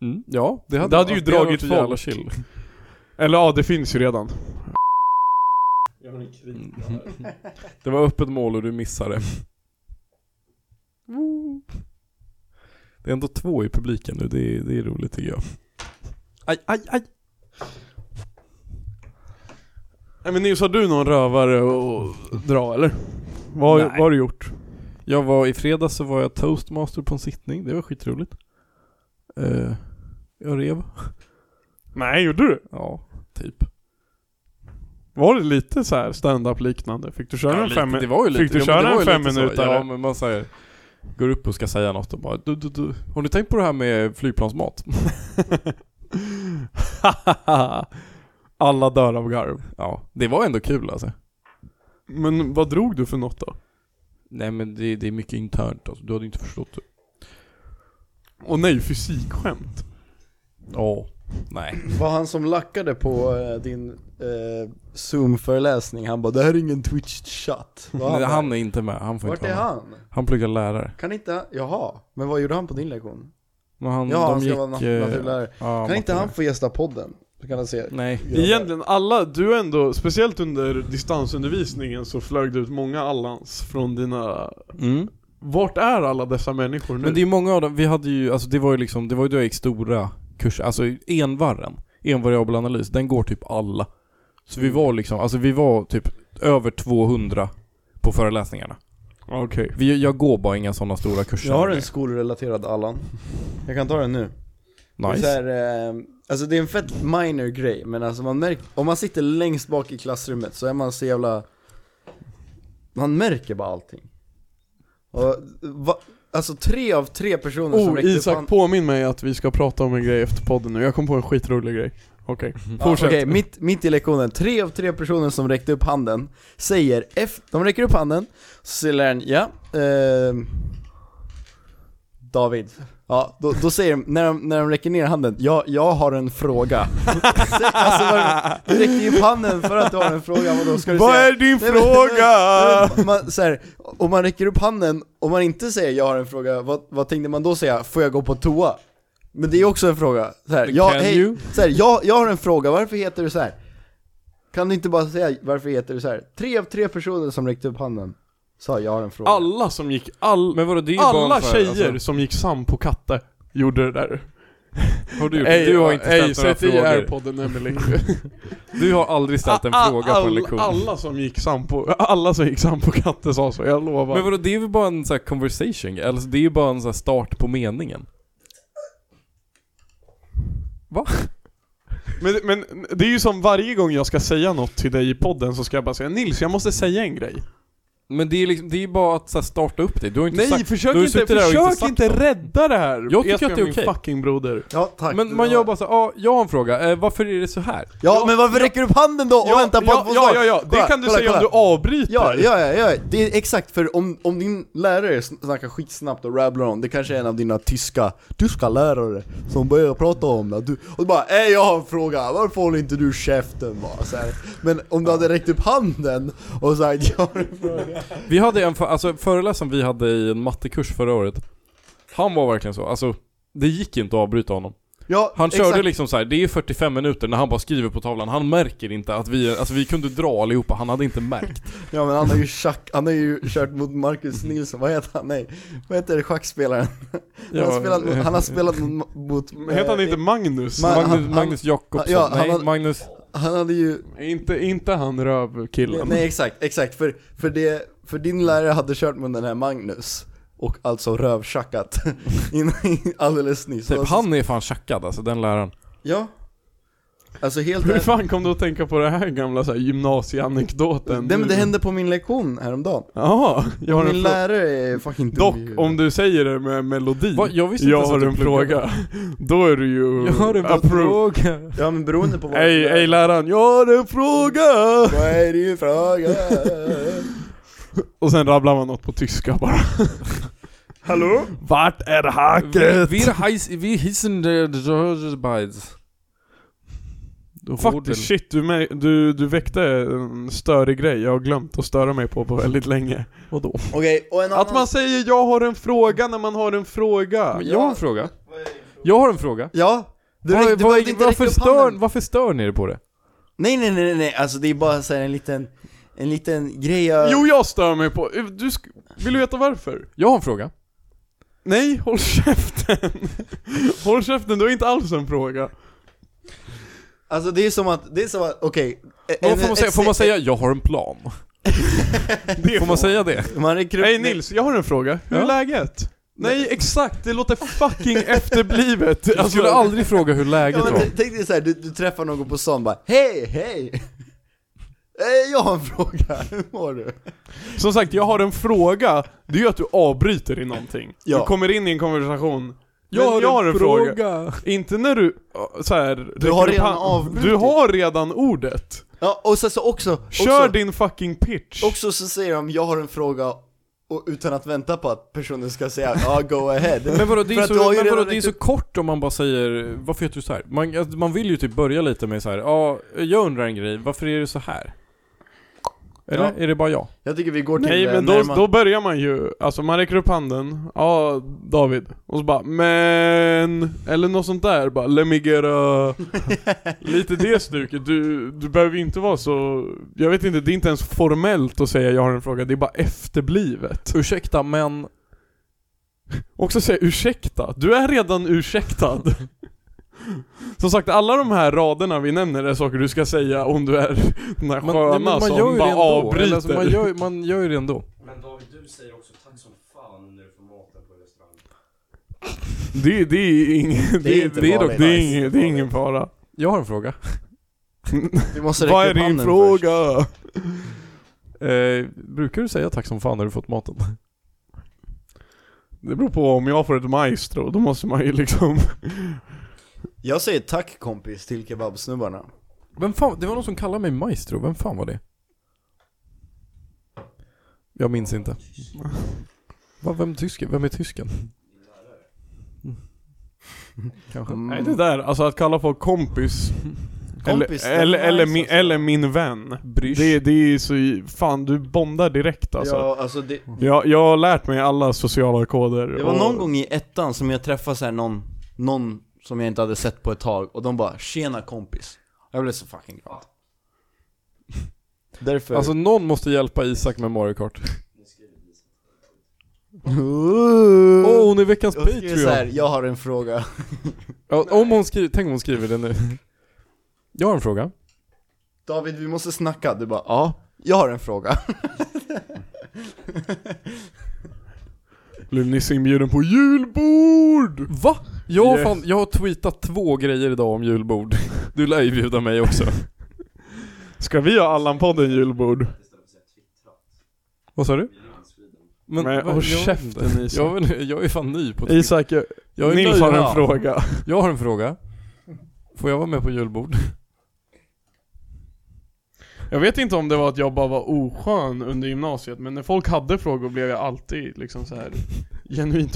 [SPEAKER 3] Mm. Ja, det hade,
[SPEAKER 2] Det hade ju
[SPEAKER 3] det hade
[SPEAKER 2] dragit
[SPEAKER 3] varit jävla
[SPEAKER 2] folk.
[SPEAKER 3] chill.
[SPEAKER 2] Eller ja, det finns ju redan.
[SPEAKER 3] Mm. Det var öppet mål och du missade. Det är ändå två i publiken nu, det är, det är roligt tycker jag. Aj, aj, aj!
[SPEAKER 2] Nej men Nils, har du någon rövare att dra eller? Vad,
[SPEAKER 3] Nej.
[SPEAKER 2] vad har du gjort?
[SPEAKER 3] Jag var i fredags så var jag toastmaster på en sittning, det var skitroligt. Eh, jag rev.
[SPEAKER 2] Nej, gjorde du?
[SPEAKER 3] Ja, typ.
[SPEAKER 2] Var det lite så här stand-up liknande? Fick du köra
[SPEAKER 3] Ja,
[SPEAKER 2] en
[SPEAKER 3] lite,
[SPEAKER 2] fem
[SPEAKER 3] det var ju lite,
[SPEAKER 2] Fick du
[SPEAKER 3] ja, men det
[SPEAKER 2] köra
[SPEAKER 3] var
[SPEAKER 2] en
[SPEAKER 3] ju
[SPEAKER 2] fem
[SPEAKER 3] lite så.
[SPEAKER 2] minuter?
[SPEAKER 3] Ja, men man säger Går upp och ska säga något och bara du, du, du. Har ni tänkt på det här med flygplansmat?
[SPEAKER 2] Alla dör av garv.
[SPEAKER 3] Ja, det var ändå kul alltså.
[SPEAKER 2] Men vad drog du för något då?
[SPEAKER 3] Nej men det, det är mycket internt alltså, du hade inte förstått det.
[SPEAKER 2] Åh nej, fysikskämt.
[SPEAKER 3] Ja. Nej.
[SPEAKER 1] Var han som lackade på eh, din eh, zoom-föreläsning, han bara 'Det här är ingen twitch-chatt' Var
[SPEAKER 3] Men
[SPEAKER 1] där?
[SPEAKER 3] han är inte med, han får
[SPEAKER 1] Vart
[SPEAKER 3] inte
[SPEAKER 1] är
[SPEAKER 3] vara med.
[SPEAKER 1] han?
[SPEAKER 3] Han pluggar lärare.
[SPEAKER 1] Kan inte, jaha, men vad gjorde han på din lektion?
[SPEAKER 3] Men han,
[SPEAKER 1] Ja,
[SPEAKER 3] de
[SPEAKER 1] han ska
[SPEAKER 3] gick...
[SPEAKER 1] vara nat-
[SPEAKER 3] eh,
[SPEAKER 1] naturlärare.
[SPEAKER 3] ja,
[SPEAKER 1] kan inte
[SPEAKER 3] matte-
[SPEAKER 1] han få gästa podden? Så kan han se
[SPEAKER 3] Nej.
[SPEAKER 2] Egentligen alla, du är ändå, speciellt under distansundervisningen så flög det ut många allans från dina...
[SPEAKER 3] Mm.
[SPEAKER 2] Vart är alla dessa människor nu?
[SPEAKER 3] Men det är ju många av dem, vi hade ju, alltså det var ju liksom, det var ju då jag gick stora kurser, alltså envarren, envariabel analys, den går typ alla. Så vi var liksom, alltså vi var typ över 200 på föreläsningarna.
[SPEAKER 2] Okej.
[SPEAKER 3] Vi, jag går bara inga sådana stora kurser.
[SPEAKER 1] Jag har en skolrelaterad Allan Jag kan ta den nu Så
[SPEAKER 3] Nice.
[SPEAKER 1] här, eh, alltså det är en fett minor grej, men alltså man märker, om man sitter längst bak i klassrummet så är man så jävla Man märker bara allting Och, va, Alltså tre av tre personer som
[SPEAKER 2] Oh,
[SPEAKER 1] räckte upp
[SPEAKER 2] Isak
[SPEAKER 1] hand-
[SPEAKER 2] påminn mig att vi ska prata om en grej efter podden nu. Jag kom på en skitrolig grej. Okej,
[SPEAKER 3] Mm.
[SPEAKER 1] Ja, Okej,
[SPEAKER 2] fortsätt.
[SPEAKER 1] mitt, mitt i lektionen, tre av tre personer som räckte upp handen säger F, de räcker upp handen, så säger läraren ja, ehm, David. Ja, då, då säger de, när de, när de räcker ner handen, ja, jag har en fråga. Sä- alltså, var, du räckte ju upp handen för att du har en fråga, vadå ska du
[SPEAKER 2] Vad
[SPEAKER 1] säga?
[SPEAKER 2] är din
[SPEAKER 1] Nej, men-
[SPEAKER 2] fråga?
[SPEAKER 1] Nej, men Man, så här, om man räcker upp handen, om man inte säger jag har en fråga, vad, vad tänkte man då säga? Får jag gå på toa? Men det är också en fråga. Så här, ja,
[SPEAKER 3] Can
[SPEAKER 1] hej,
[SPEAKER 3] you?
[SPEAKER 1] så här, jag, jag har en fråga, varför heter du så här? Kan du inte bara säga varför heter du så här? Tre av tre personer som räckte upp handen sa jag har en fråga.
[SPEAKER 2] Alla som gick, all,
[SPEAKER 3] Men vadå, det är ju bara
[SPEAKER 2] alla
[SPEAKER 3] för-
[SPEAKER 2] tjejer
[SPEAKER 3] alltså-
[SPEAKER 2] som gick sam på katte gjorde det där.
[SPEAKER 3] Har du gjort?
[SPEAKER 2] Ey,
[SPEAKER 3] du har inte
[SPEAKER 2] ey,
[SPEAKER 3] ställt några
[SPEAKER 2] sätt i
[SPEAKER 3] frågor.
[SPEAKER 2] airpodden Emelie.
[SPEAKER 3] Du har aldrig ställt en
[SPEAKER 2] A- a-
[SPEAKER 3] fråga på en
[SPEAKER 2] all-
[SPEAKER 3] lektion.
[SPEAKER 2] Alla som gick sam på, alla som gick sam på katte sa så, jag lovar.
[SPEAKER 3] Men vadå, det är ju bara en sån här conversation, eller alltså, det är ju bara en sån här start på meningen. Va?
[SPEAKER 2] Men, men det är ju som varje gång jag ska säga något till dig i podden så ska jag bara säga Nils, jag måste säga en grej. Men
[SPEAKER 3] Men det är, liksom, det är ju bara att så här, starta upp det. Du har inte
[SPEAKER 2] Nej,
[SPEAKER 3] sagt,
[SPEAKER 2] försök
[SPEAKER 3] du har
[SPEAKER 2] inte,
[SPEAKER 3] suttit där och
[SPEAKER 2] försök
[SPEAKER 3] sagt
[SPEAKER 2] inte
[SPEAKER 3] något.
[SPEAKER 2] rädda det här.
[SPEAKER 3] Jag tycker
[SPEAKER 2] Esbjörn,
[SPEAKER 3] att det är
[SPEAKER 2] min
[SPEAKER 3] okej.
[SPEAKER 2] fucking broder.
[SPEAKER 1] Ja tack.
[SPEAKER 3] Men man gör bara så här, ja, jag har en fråga. Eh, varför är det så här?
[SPEAKER 1] Ja men varför räcker du upp handen då och väntar på
[SPEAKER 2] ja,
[SPEAKER 1] att få
[SPEAKER 2] ja,
[SPEAKER 1] svar?
[SPEAKER 2] ja, ja, det
[SPEAKER 1] Kolla,
[SPEAKER 2] kan du
[SPEAKER 1] kolla,
[SPEAKER 2] säga
[SPEAKER 1] kolla.
[SPEAKER 2] om du avbryter.
[SPEAKER 1] Ja, ja, ja, ja, det är exakt för om, om din lärare sn- snackar skitsnabbt och rabblar om, det kanske är en av dina tyska, tyska lärare som börjar prata om det, du, och du bara äh, jag har en fråga, varför håller inte du käften bara? Så här. Men om du hade räckt upp handen och sagt jag har en fråga
[SPEAKER 3] Vi hade en, för- alltså föreläsaren vi hade i en mattekurs förra året. Han var verkligen så, alltså det gick inte att avbryta honom.
[SPEAKER 1] ja,
[SPEAKER 3] Han körde
[SPEAKER 1] exakt.
[SPEAKER 3] liksom så här, det är 45 minuter när han bara skriver på tavlan. Han märker inte att vi, alltså vi kunde dra allihopa, han hade inte märkt.
[SPEAKER 1] Ja men han har ju schack, han har ju kört mot Marcus Nilsson, vad heter han? Nej, vad heter det, schackspelaren? Han har
[SPEAKER 3] Ja,
[SPEAKER 1] spelat, mot-
[SPEAKER 3] eh,
[SPEAKER 1] han har spelat mot, mot
[SPEAKER 2] Men Heter han
[SPEAKER 1] Eh,
[SPEAKER 2] inte Magnus?
[SPEAKER 1] Man-
[SPEAKER 3] Magnus,
[SPEAKER 1] han- han-
[SPEAKER 3] Magnus Jakobsson,
[SPEAKER 1] ja, han
[SPEAKER 3] nej
[SPEAKER 1] hade-
[SPEAKER 3] Magnus...
[SPEAKER 1] han hade ju
[SPEAKER 2] Inte, inte han rövkillen.
[SPEAKER 1] Nej exakt, exakt. För, för, det, för din lärare hade kört med den här Magnus och alltså rövschackat in, in, alldeles nyss.
[SPEAKER 3] Typ,
[SPEAKER 1] alltså,
[SPEAKER 3] han är fan tjackad alltså, den läraren.
[SPEAKER 1] Ja. Alltså helt
[SPEAKER 2] Hur
[SPEAKER 1] ärligt.
[SPEAKER 2] fan kom du att tänka på det här gamla så här, gymnasieanekdoten?
[SPEAKER 1] Nej men det hände på min lektion häromdagen.
[SPEAKER 2] Jaha, jag har en
[SPEAKER 1] Min
[SPEAKER 2] fråga.
[SPEAKER 1] lärare är fucking dum i
[SPEAKER 2] Dock,
[SPEAKER 1] huvudet.
[SPEAKER 2] om du säger det med melodi,
[SPEAKER 3] Va? Jag
[SPEAKER 2] jag,
[SPEAKER 3] visste inte ens att
[SPEAKER 2] har
[SPEAKER 3] du
[SPEAKER 2] en
[SPEAKER 3] pluggade.
[SPEAKER 2] fråga, då är du ju
[SPEAKER 3] fråga.
[SPEAKER 1] Ja men beroende på vad
[SPEAKER 2] Ej, ej läraren, jag har en fråga!
[SPEAKER 1] Vad är din fråga?
[SPEAKER 2] Och sen rabblar man något på tyska bara.
[SPEAKER 1] Hallå?
[SPEAKER 2] Vart är hacket?
[SPEAKER 3] Wir, heiß, wir hießen der George Bides.
[SPEAKER 2] Faktiskt shit, du, mär- du, du väckte en störig grej jag har glömt att störa mig på på väldigt länge. Vadå?
[SPEAKER 1] Okej, och en annan...
[SPEAKER 2] Att man säger 'jag har en fråga' när man har en fråga.
[SPEAKER 3] Jag har en fråga. Jag har en fråga.
[SPEAKER 1] Ja? Du,
[SPEAKER 3] Var-
[SPEAKER 1] räck, du
[SPEAKER 3] var-
[SPEAKER 1] behövde inte
[SPEAKER 3] varför,
[SPEAKER 1] räcka upp
[SPEAKER 3] stör,
[SPEAKER 1] handen.
[SPEAKER 3] varför stör ni er på det?
[SPEAKER 1] Nej, nej, nej, nej, nej, alltså det är bara så här en liten, en liten grej jag...
[SPEAKER 2] Jo, jag stör mig på... eh, Du sk- Vill du veta varför?
[SPEAKER 3] Jag har en fråga.
[SPEAKER 2] Nej, håll käften! håll käften, du har inte alls en fråga.
[SPEAKER 1] Alltså det är som att, det är som att, okej... en-
[SPEAKER 3] Vad får, man
[SPEAKER 1] ett-
[SPEAKER 3] säga, får man säga 'jag har en plan'? får man säga det?
[SPEAKER 1] Man är krupp...
[SPEAKER 2] Hej Nils, jag har en fråga. Hur är
[SPEAKER 3] Ja.
[SPEAKER 2] läget? Nej, exakt, det låter fucking efterblivet. Alltså,
[SPEAKER 3] Jag skulle aldrig fråga hur läget
[SPEAKER 1] Ja,
[SPEAKER 3] var.
[SPEAKER 1] men t- tänk dig såhär, du, du träffar någon på stan bara Hej, hej! Eh, Jag har en fråga, hur mår du?
[SPEAKER 2] Som sagt, jag har en fråga. Det är ju att du avbryter i någonting.
[SPEAKER 1] Ja.
[SPEAKER 2] Du kommer in i en konversation. Jag har, jag har en fråga. Inte när du äh, så här, räcker
[SPEAKER 1] har
[SPEAKER 2] upp
[SPEAKER 1] redan
[SPEAKER 2] hand-
[SPEAKER 1] avbrutit.
[SPEAKER 2] Du har redan ordet.
[SPEAKER 1] Ja, och sen så också,
[SPEAKER 2] Kör
[SPEAKER 1] också,
[SPEAKER 2] din fucking pitch.
[SPEAKER 1] också så säger de jag har en fråga och, utan att vänta på att personen ska säga ja, go ahead
[SPEAKER 3] Men vadå, det
[SPEAKER 1] För
[SPEAKER 3] är,
[SPEAKER 1] att
[SPEAKER 3] så,
[SPEAKER 1] du har ju
[SPEAKER 3] men vadå,
[SPEAKER 1] redan
[SPEAKER 3] det är så
[SPEAKER 1] räckt
[SPEAKER 3] kort om man bara säger 'Varför heter du så här? Man, alltså, man vill ju typ börja lite med så här. ja, jag undrar en grej, varför är du så här? Eller?
[SPEAKER 1] Ja.
[SPEAKER 3] Är det bara jag?
[SPEAKER 1] Jag tycker vi går till
[SPEAKER 2] Nej
[SPEAKER 1] eh,
[SPEAKER 2] men då,
[SPEAKER 1] närmare-
[SPEAKER 2] då börjar man ju, alltså man räcker upp handen, ja David, och så bara men, eller något sånt där bara let me get a... Lite det stuket, du, du behöver ju inte vara så, jag vet inte, det är inte ens formellt att säga jag har en fråga, det är bara efterblivet.
[SPEAKER 3] Ursäkta men...
[SPEAKER 2] Också säga ursäkta, du är redan ursäktad. Som sagt, alla de här raderna vi nämner är saker du ska säga om du är den här
[SPEAKER 3] Man, nej,
[SPEAKER 2] sköna
[SPEAKER 3] men man
[SPEAKER 2] som
[SPEAKER 3] gör ju det
[SPEAKER 2] bara
[SPEAKER 3] ändå.
[SPEAKER 2] avbryter.
[SPEAKER 3] Eller, alltså, man, gör, man gör ju det ändå.
[SPEAKER 6] Men David, du säger också tack som fan när du får maten på restaurang.
[SPEAKER 2] Det, det är ingen,
[SPEAKER 1] Det är
[SPEAKER 2] det,
[SPEAKER 1] inte
[SPEAKER 2] det är dock,
[SPEAKER 1] farligt.
[SPEAKER 2] det är ingen, det är ingen fara.
[SPEAKER 3] Jag har en fråga.
[SPEAKER 1] Vi måste räcka
[SPEAKER 2] Vad är
[SPEAKER 1] upp
[SPEAKER 2] din
[SPEAKER 1] handen först.
[SPEAKER 2] fråga?
[SPEAKER 3] Eh, brukar du säga tack som fan när du fått maten?
[SPEAKER 2] Det beror på om jag får ett maestro, då måste man ju liksom...
[SPEAKER 1] Jag säger tack kompis till kebabsnubbarna
[SPEAKER 3] Vem fan, det var någon som kallade mig maestro, vem fan var det? Jag minns inte. Va, vem, tysken? vem är tysken? Mm. Kanske.
[SPEAKER 1] Mm.
[SPEAKER 2] Nej det där, alltså att kalla folk kompis.
[SPEAKER 1] Kompis,
[SPEAKER 2] eller,
[SPEAKER 1] det
[SPEAKER 2] eller,
[SPEAKER 1] är
[SPEAKER 2] eller,
[SPEAKER 1] nice
[SPEAKER 2] min,
[SPEAKER 1] alltså.
[SPEAKER 2] eller min vän.
[SPEAKER 3] Brysch.
[SPEAKER 2] Det, det är så... Fan du bondar direkt alltså.
[SPEAKER 1] Ja, alltså det,
[SPEAKER 2] Jag, jag har lärt mig alla sociala koder.
[SPEAKER 1] det var någon gång i ettan som jag träffade så här någon, någon som jag inte hade sett på ett tag och de bara 'Tjena kompis' Jag blev så fucking glad Därför...
[SPEAKER 3] Alltså någon måste hjälpa Isak med Mario Kart.
[SPEAKER 2] Mm.
[SPEAKER 3] Åh, hon är veckans
[SPEAKER 1] jag skriver så här,
[SPEAKER 3] Patreon!
[SPEAKER 1] jag har en fråga
[SPEAKER 3] Ja, om hon skriver, tänk om hon skriver det nu. Jag har en fråga.
[SPEAKER 1] David vi måste snacka, du bara ja, jag har en fråga
[SPEAKER 2] Blev Nisse inbjuden på julbord?
[SPEAKER 3] Va? Jag, har
[SPEAKER 2] Yes.
[SPEAKER 3] fan, jag har tweetat två grejer idag om julbord. Du lär ju bjuda mig också.
[SPEAKER 2] Ska vi ha Allan-podden julbord?
[SPEAKER 3] Vad sa du? Men,
[SPEAKER 2] Men
[SPEAKER 3] vad-
[SPEAKER 2] håll
[SPEAKER 3] jag vet
[SPEAKER 2] käften,
[SPEAKER 3] inte.
[SPEAKER 2] Isak.
[SPEAKER 3] jag, vet- jag är fan ny på Twitter.
[SPEAKER 2] Isak, jag,
[SPEAKER 3] jag är
[SPEAKER 2] Nils
[SPEAKER 3] nöjd.
[SPEAKER 2] har en
[SPEAKER 3] Ja.
[SPEAKER 2] fråga.
[SPEAKER 3] Jag har en fråga. Får jag vara med på julbord?
[SPEAKER 2] Jag vet inte om det var att jag bara var oskön under gymnasiet, men när folk hade frågor blev jag alltid liksom så här genuint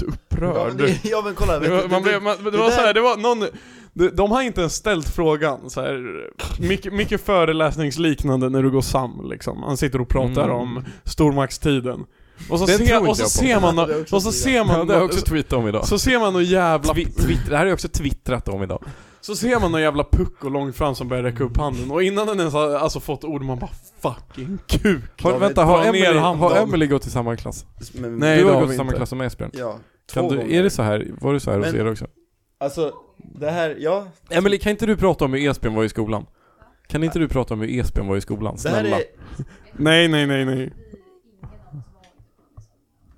[SPEAKER 1] Ja men,
[SPEAKER 2] upprörd.
[SPEAKER 1] det, ja, men kolla,
[SPEAKER 2] Det
[SPEAKER 1] vet
[SPEAKER 2] var,
[SPEAKER 1] du, det,
[SPEAKER 2] man blev,
[SPEAKER 1] det,
[SPEAKER 2] man, det var
[SPEAKER 1] där-
[SPEAKER 2] så här, det var någon, de, de har inte ens ställt frågan så här, mycket, mycket föreläsningsliknande när du går sam liksom. Han sitter och pratar
[SPEAKER 3] Mm.
[SPEAKER 2] om stormaktstiden. Och så,
[SPEAKER 3] Den tror
[SPEAKER 2] ser,
[SPEAKER 3] inte
[SPEAKER 2] och så
[SPEAKER 3] jag på.
[SPEAKER 2] ser man,
[SPEAKER 1] Det är också
[SPEAKER 2] och så
[SPEAKER 1] så
[SPEAKER 2] ser
[SPEAKER 3] Ja,
[SPEAKER 2] man,
[SPEAKER 3] det har jag också tweetat om idag.
[SPEAKER 2] så ser man någon jävla
[SPEAKER 3] Twi- Twitter, det här har jag också twittrat om idag.
[SPEAKER 2] Så ser man någon jävla pucko långt fram som börjar räcka upp handen och innan den ens har alltså, fått ord man bara 'fucking kuk'
[SPEAKER 3] Har,
[SPEAKER 1] David,
[SPEAKER 3] vänta,
[SPEAKER 2] dra
[SPEAKER 3] har
[SPEAKER 2] ner
[SPEAKER 3] Emily,
[SPEAKER 2] handen.
[SPEAKER 3] har Emily gått i samma klass?
[SPEAKER 1] men,
[SPEAKER 2] Nej,
[SPEAKER 3] du
[SPEAKER 2] det har
[SPEAKER 3] har gått
[SPEAKER 2] vi
[SPEAKER 3] i samma
[SPEAKER 2] inte.
[SPEAKER 3] klass som Esbjörn.
[SPEAKER 1] ja, två
[SPEAKER 3] Kan du,
[SPEAKER 1] gånger
[SPEAKER 3] är det så här, var det så här hos
[SPEAKER 1] Men-
[SPEAKER 3] er också?
[SPEAKER 1] Alltså, det här, ja,
[SPEAKER 3] Emily, kan inte du prata om hur Esbjörn var i skolan? Kan inte du prata om hur Esbjörn var i skolan?
[SPEAKER 1] det här
[SPEAKER 3] Snälla.
[SPEAKER 1] är,
[SPEAKER 2] Nej nej nej nej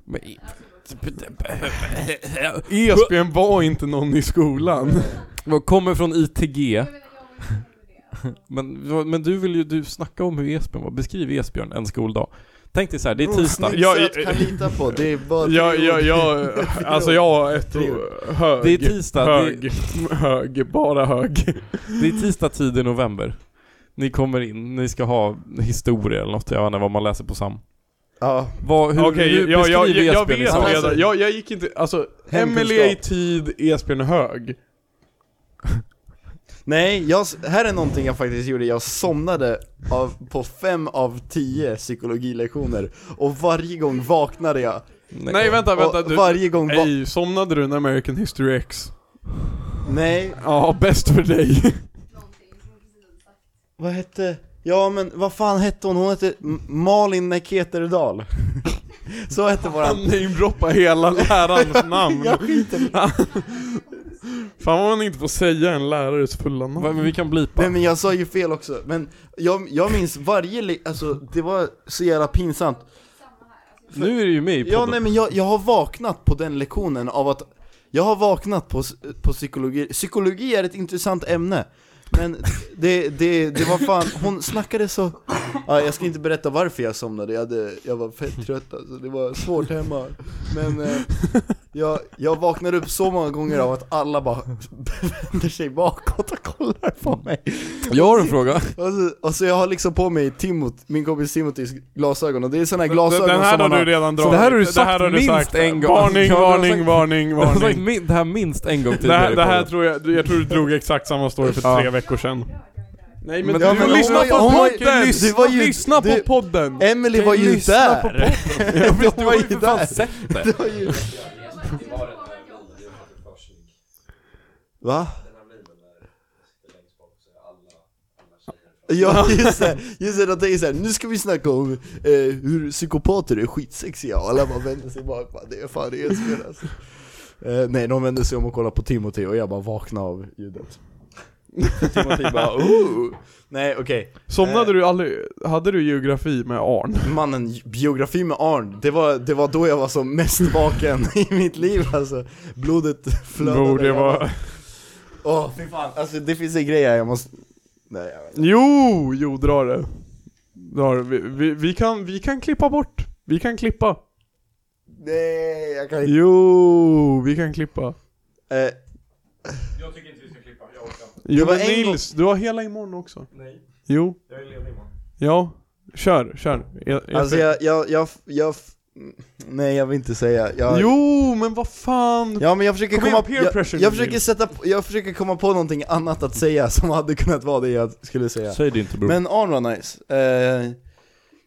[SPEAKER 3] Men,
[SPEAKER 2] Alltså, Esbjörn var inte någon i skolan
[SPEAKER 3] vad kommer från ITG? Men, vad- men du vill ju du snacka om hur Esbjörn var. Beskriv Esbjörn en skoldag. Tänk dig så här, det är tisdag.
[SPEAKER 1] jag,
[SPEAKER 2] Jag-
[SPEAKER 1] jag, kan lita på, det är bara
[SPEAKER 2] Jag, jag, jag, alltså jag har ett o- hög
[SPEAKER 3] Det är tisdag, det är-
[SPEAKER 2] hög, hög, bara hög
[SPEAKER 3] Det är tisdag tid i november. Ni kommer in, ni ska ha historia eller något, jag vet inte vad man läser på SAM.
[SPEAKER 1] Ja,
[SPEAKER 3] Vad, hur,
[SPEAKER 2] Okej,
[SPEAKER 3] hur liksom
[SPEAKER 2] jag, jag, jag,
[SPEAKER 3] beskriv
[SPEAKER 2] jag
[SPEAKER 3] e-spel i
[SPEAKER 2] vet
[SPEAKER 3] sammanhang?
[SPEAKER 2] redan. Jag, jag gick inte, alltså,
[SPEAKER 1] Hemkunskap.
[SPEAKER 2] Emelie i tid, e-spelen hög.
[SPEAKER 1] Nej, jag, här är någonting jag faktiskt gjorde, jag somnade av, på fem av tio psykologilektioner Och varje gång vaknade jag
[SPEAKER 2] Nej, vänta, vänta.
[SPEAKER 1] och
[SPEAKER 2] Du,
[SPEAKER 1] varje gång va-
[SPEAKER 2] Ej, somnade du när American History X?
[SPEAKER 1] Nej,
[SPEAKER 2] Ja, bäst för dig.
[SPEAKER 1] vad hette, ja men vad fan hette hon? Hon hette M- Malin Neketerdal Så hette
[SPEAKER 2] Han
[SPEAKER 1] våran
[SPEAKER 2] namedroppar hela lärarens namn.
[SPEAKER 1] Jag skiter i-
[SPEAKER 2] Fan vad man inte får säga en lärares fulla namn.
[SPEAKER 3] Va, men vi kan blipa.
[SPEAKER 1] Nej men jag sa ju fel också, men jag, jag minns varje, le- alltså det var så jävla pinsamt
[SPEAKER 3] Nu är det ju med i
[SPEAKER 1] Ja
[SPEAKER 3] podden.
[SPEAKER 1] nej men jag, jag har vaknat på den lektionen av att Jag har vaknat på, s- på psykologi, psykologi är ett intressant ämne Men det, det, det var fan, hon snackade så ja, Jag ska inte berätta varför jag somnade, jag, hade, jag var fett trött alltså, det var svårt hemma Men eh, jag, jag vaknade upp så många gånger av att alla bara vänder sig bakåt och kollar på mig
[SPEAKER 3] Jag har en fråga.
[SPEAKER 1] och så, och så jag har liksom på mig Timot, min kompis Timothys glasögon och det är såna här glasögon
[SPEAKER 2] Den här
[SPEAKER 1] som
[SPEAKER 2] har
[SPEAKER 1] man
[SPEAKER 2] du redan
[SPEAKER 3] Så
[SPEAKER 2] dragit.
[SPEAKER 3] det här har du sagt minst en gång.
[SPEAKER 2] Varning,
[SPEAKER 3] Ja, du har
[SPEAKER 2] varning,
[SPEAKER 3] sagt-
[SPEAKER 2] varning,
[SPEAKER 3] Jag har sagt
[SPEAKER 2] varning.
[SPEAKER 3] min, det här minst en gång
[SPEAKER 2] Det
[SPEAKER 3] tidigare
[SPEAKER 2] här,
[SPEAKER 3] i
[SPEAKER 2] det här
[SPEAKER 3] podden.
[SPEAKER 2] tror jag, jag tror du drog exakt samma story för
[SPEAKER 3] Ja.
[SPEAKER 2] tre veckor sedan. Nej men,
[SPEAKER 3] Men-
[SPEAKER 2] du
[SPEAKER 3] Ja, men hon
[SPEAKER 2] lyssnar
[SPEAKER 3] var ju-
[SPEAKER 2] på
[SPEAKER 3] hon var ju-
[SPEAKER 2] podden!
[SPEAKER 1] lyssna- det var ju-
[SPEAKER 2] lyssna på
[SPEAKER 1] det-
[SPEAKER 2] podden!
[SPEAKER 1] Emily var ju
[SPEAKER 3] Lyssna på
[SPEAKER 1] där!
[SPEAKER 3] podden.
[SPEAKER 1] Jag vet, du var ju
[SPEAKER 3] för fan
[SPEAKER 1] där!
[SPEAKER 3] sett det.
[SPEAKER 1] Det var ju... Va? Ja just det, just det, de tänker såhär, nu ska vi snacka om eh, hur psykopater är skitsexiga och alla bara vänder sig bak, bara, det är fan det är spel alltså. eh, Nej de vänder sig om och kollar på Timothy och jag bara vaknar av ljudet Timothy bara ooh Nej okej, Eh.
[SPEAKER 2] Somnade du aldrig, hade du geografi med Arn?
[SPEAKER 1] Mannen, biografi med Arn, det var, det var då jag var som mest vaken i mitt liv alltså Blodet flödade
[SPEAKER 2] Jo, det var...
[SPEAKER 1] Åh fy fan, alltså det finns en grej här jag måste... Nej jag vet inte.
[SPEAKER 2] Jo, jo dra det. Dra det. Vi, vi, vi, kan, vi kan klippa bort. Vi kan klippa.
[SPEAKER 1] Nej jag kan inte...
[SPEAKER 2] Jo, vi kan klippa.
[SPEAKER 1] Eh,
[SPEAKER 6] Jag tycker inte vi ska klippa, jag orkar inte.
[SPEAKER 2] Jo
[SPEAKER 1] var
[SPEAKER 2] men
[SPEAKER 1] en gång-
[SPEAKER 2] Nils, du har hela imorgon också.
[SPEAKER 6] Nej,
[SPEAKER 2] Jo,
[SPEAKER 6] jag är ledig imorgon.
[SPEAKER 2] ja. Kör, kör. E- Jag, jag
[SPEAKER 1] alltså jag, jag, jag, jag... Nej jag vill inte säga, jag...
[SPEAKER 2] Jo, men vad fan.
[SPEAKER 1] Ja men jag försöker
[SPEAKER 2] Kom igen,
[SPEAKER 1] komma...
[SPEAKER 2] peer pressure
[SPEAKER 1] jag,
[SPEAKER 2] nu,
[SPEAKER 1] jag, försöker
[SPEAKER 2] Nils.
[SPEAKER 1] sätta, på- jag försöker komma på någonting annat att säga som hade kunnat vara det jag skulle säga
[SPEAKER 3] Säg det inte bror.
[SPEAKER 1] Men Arn var nice, eh...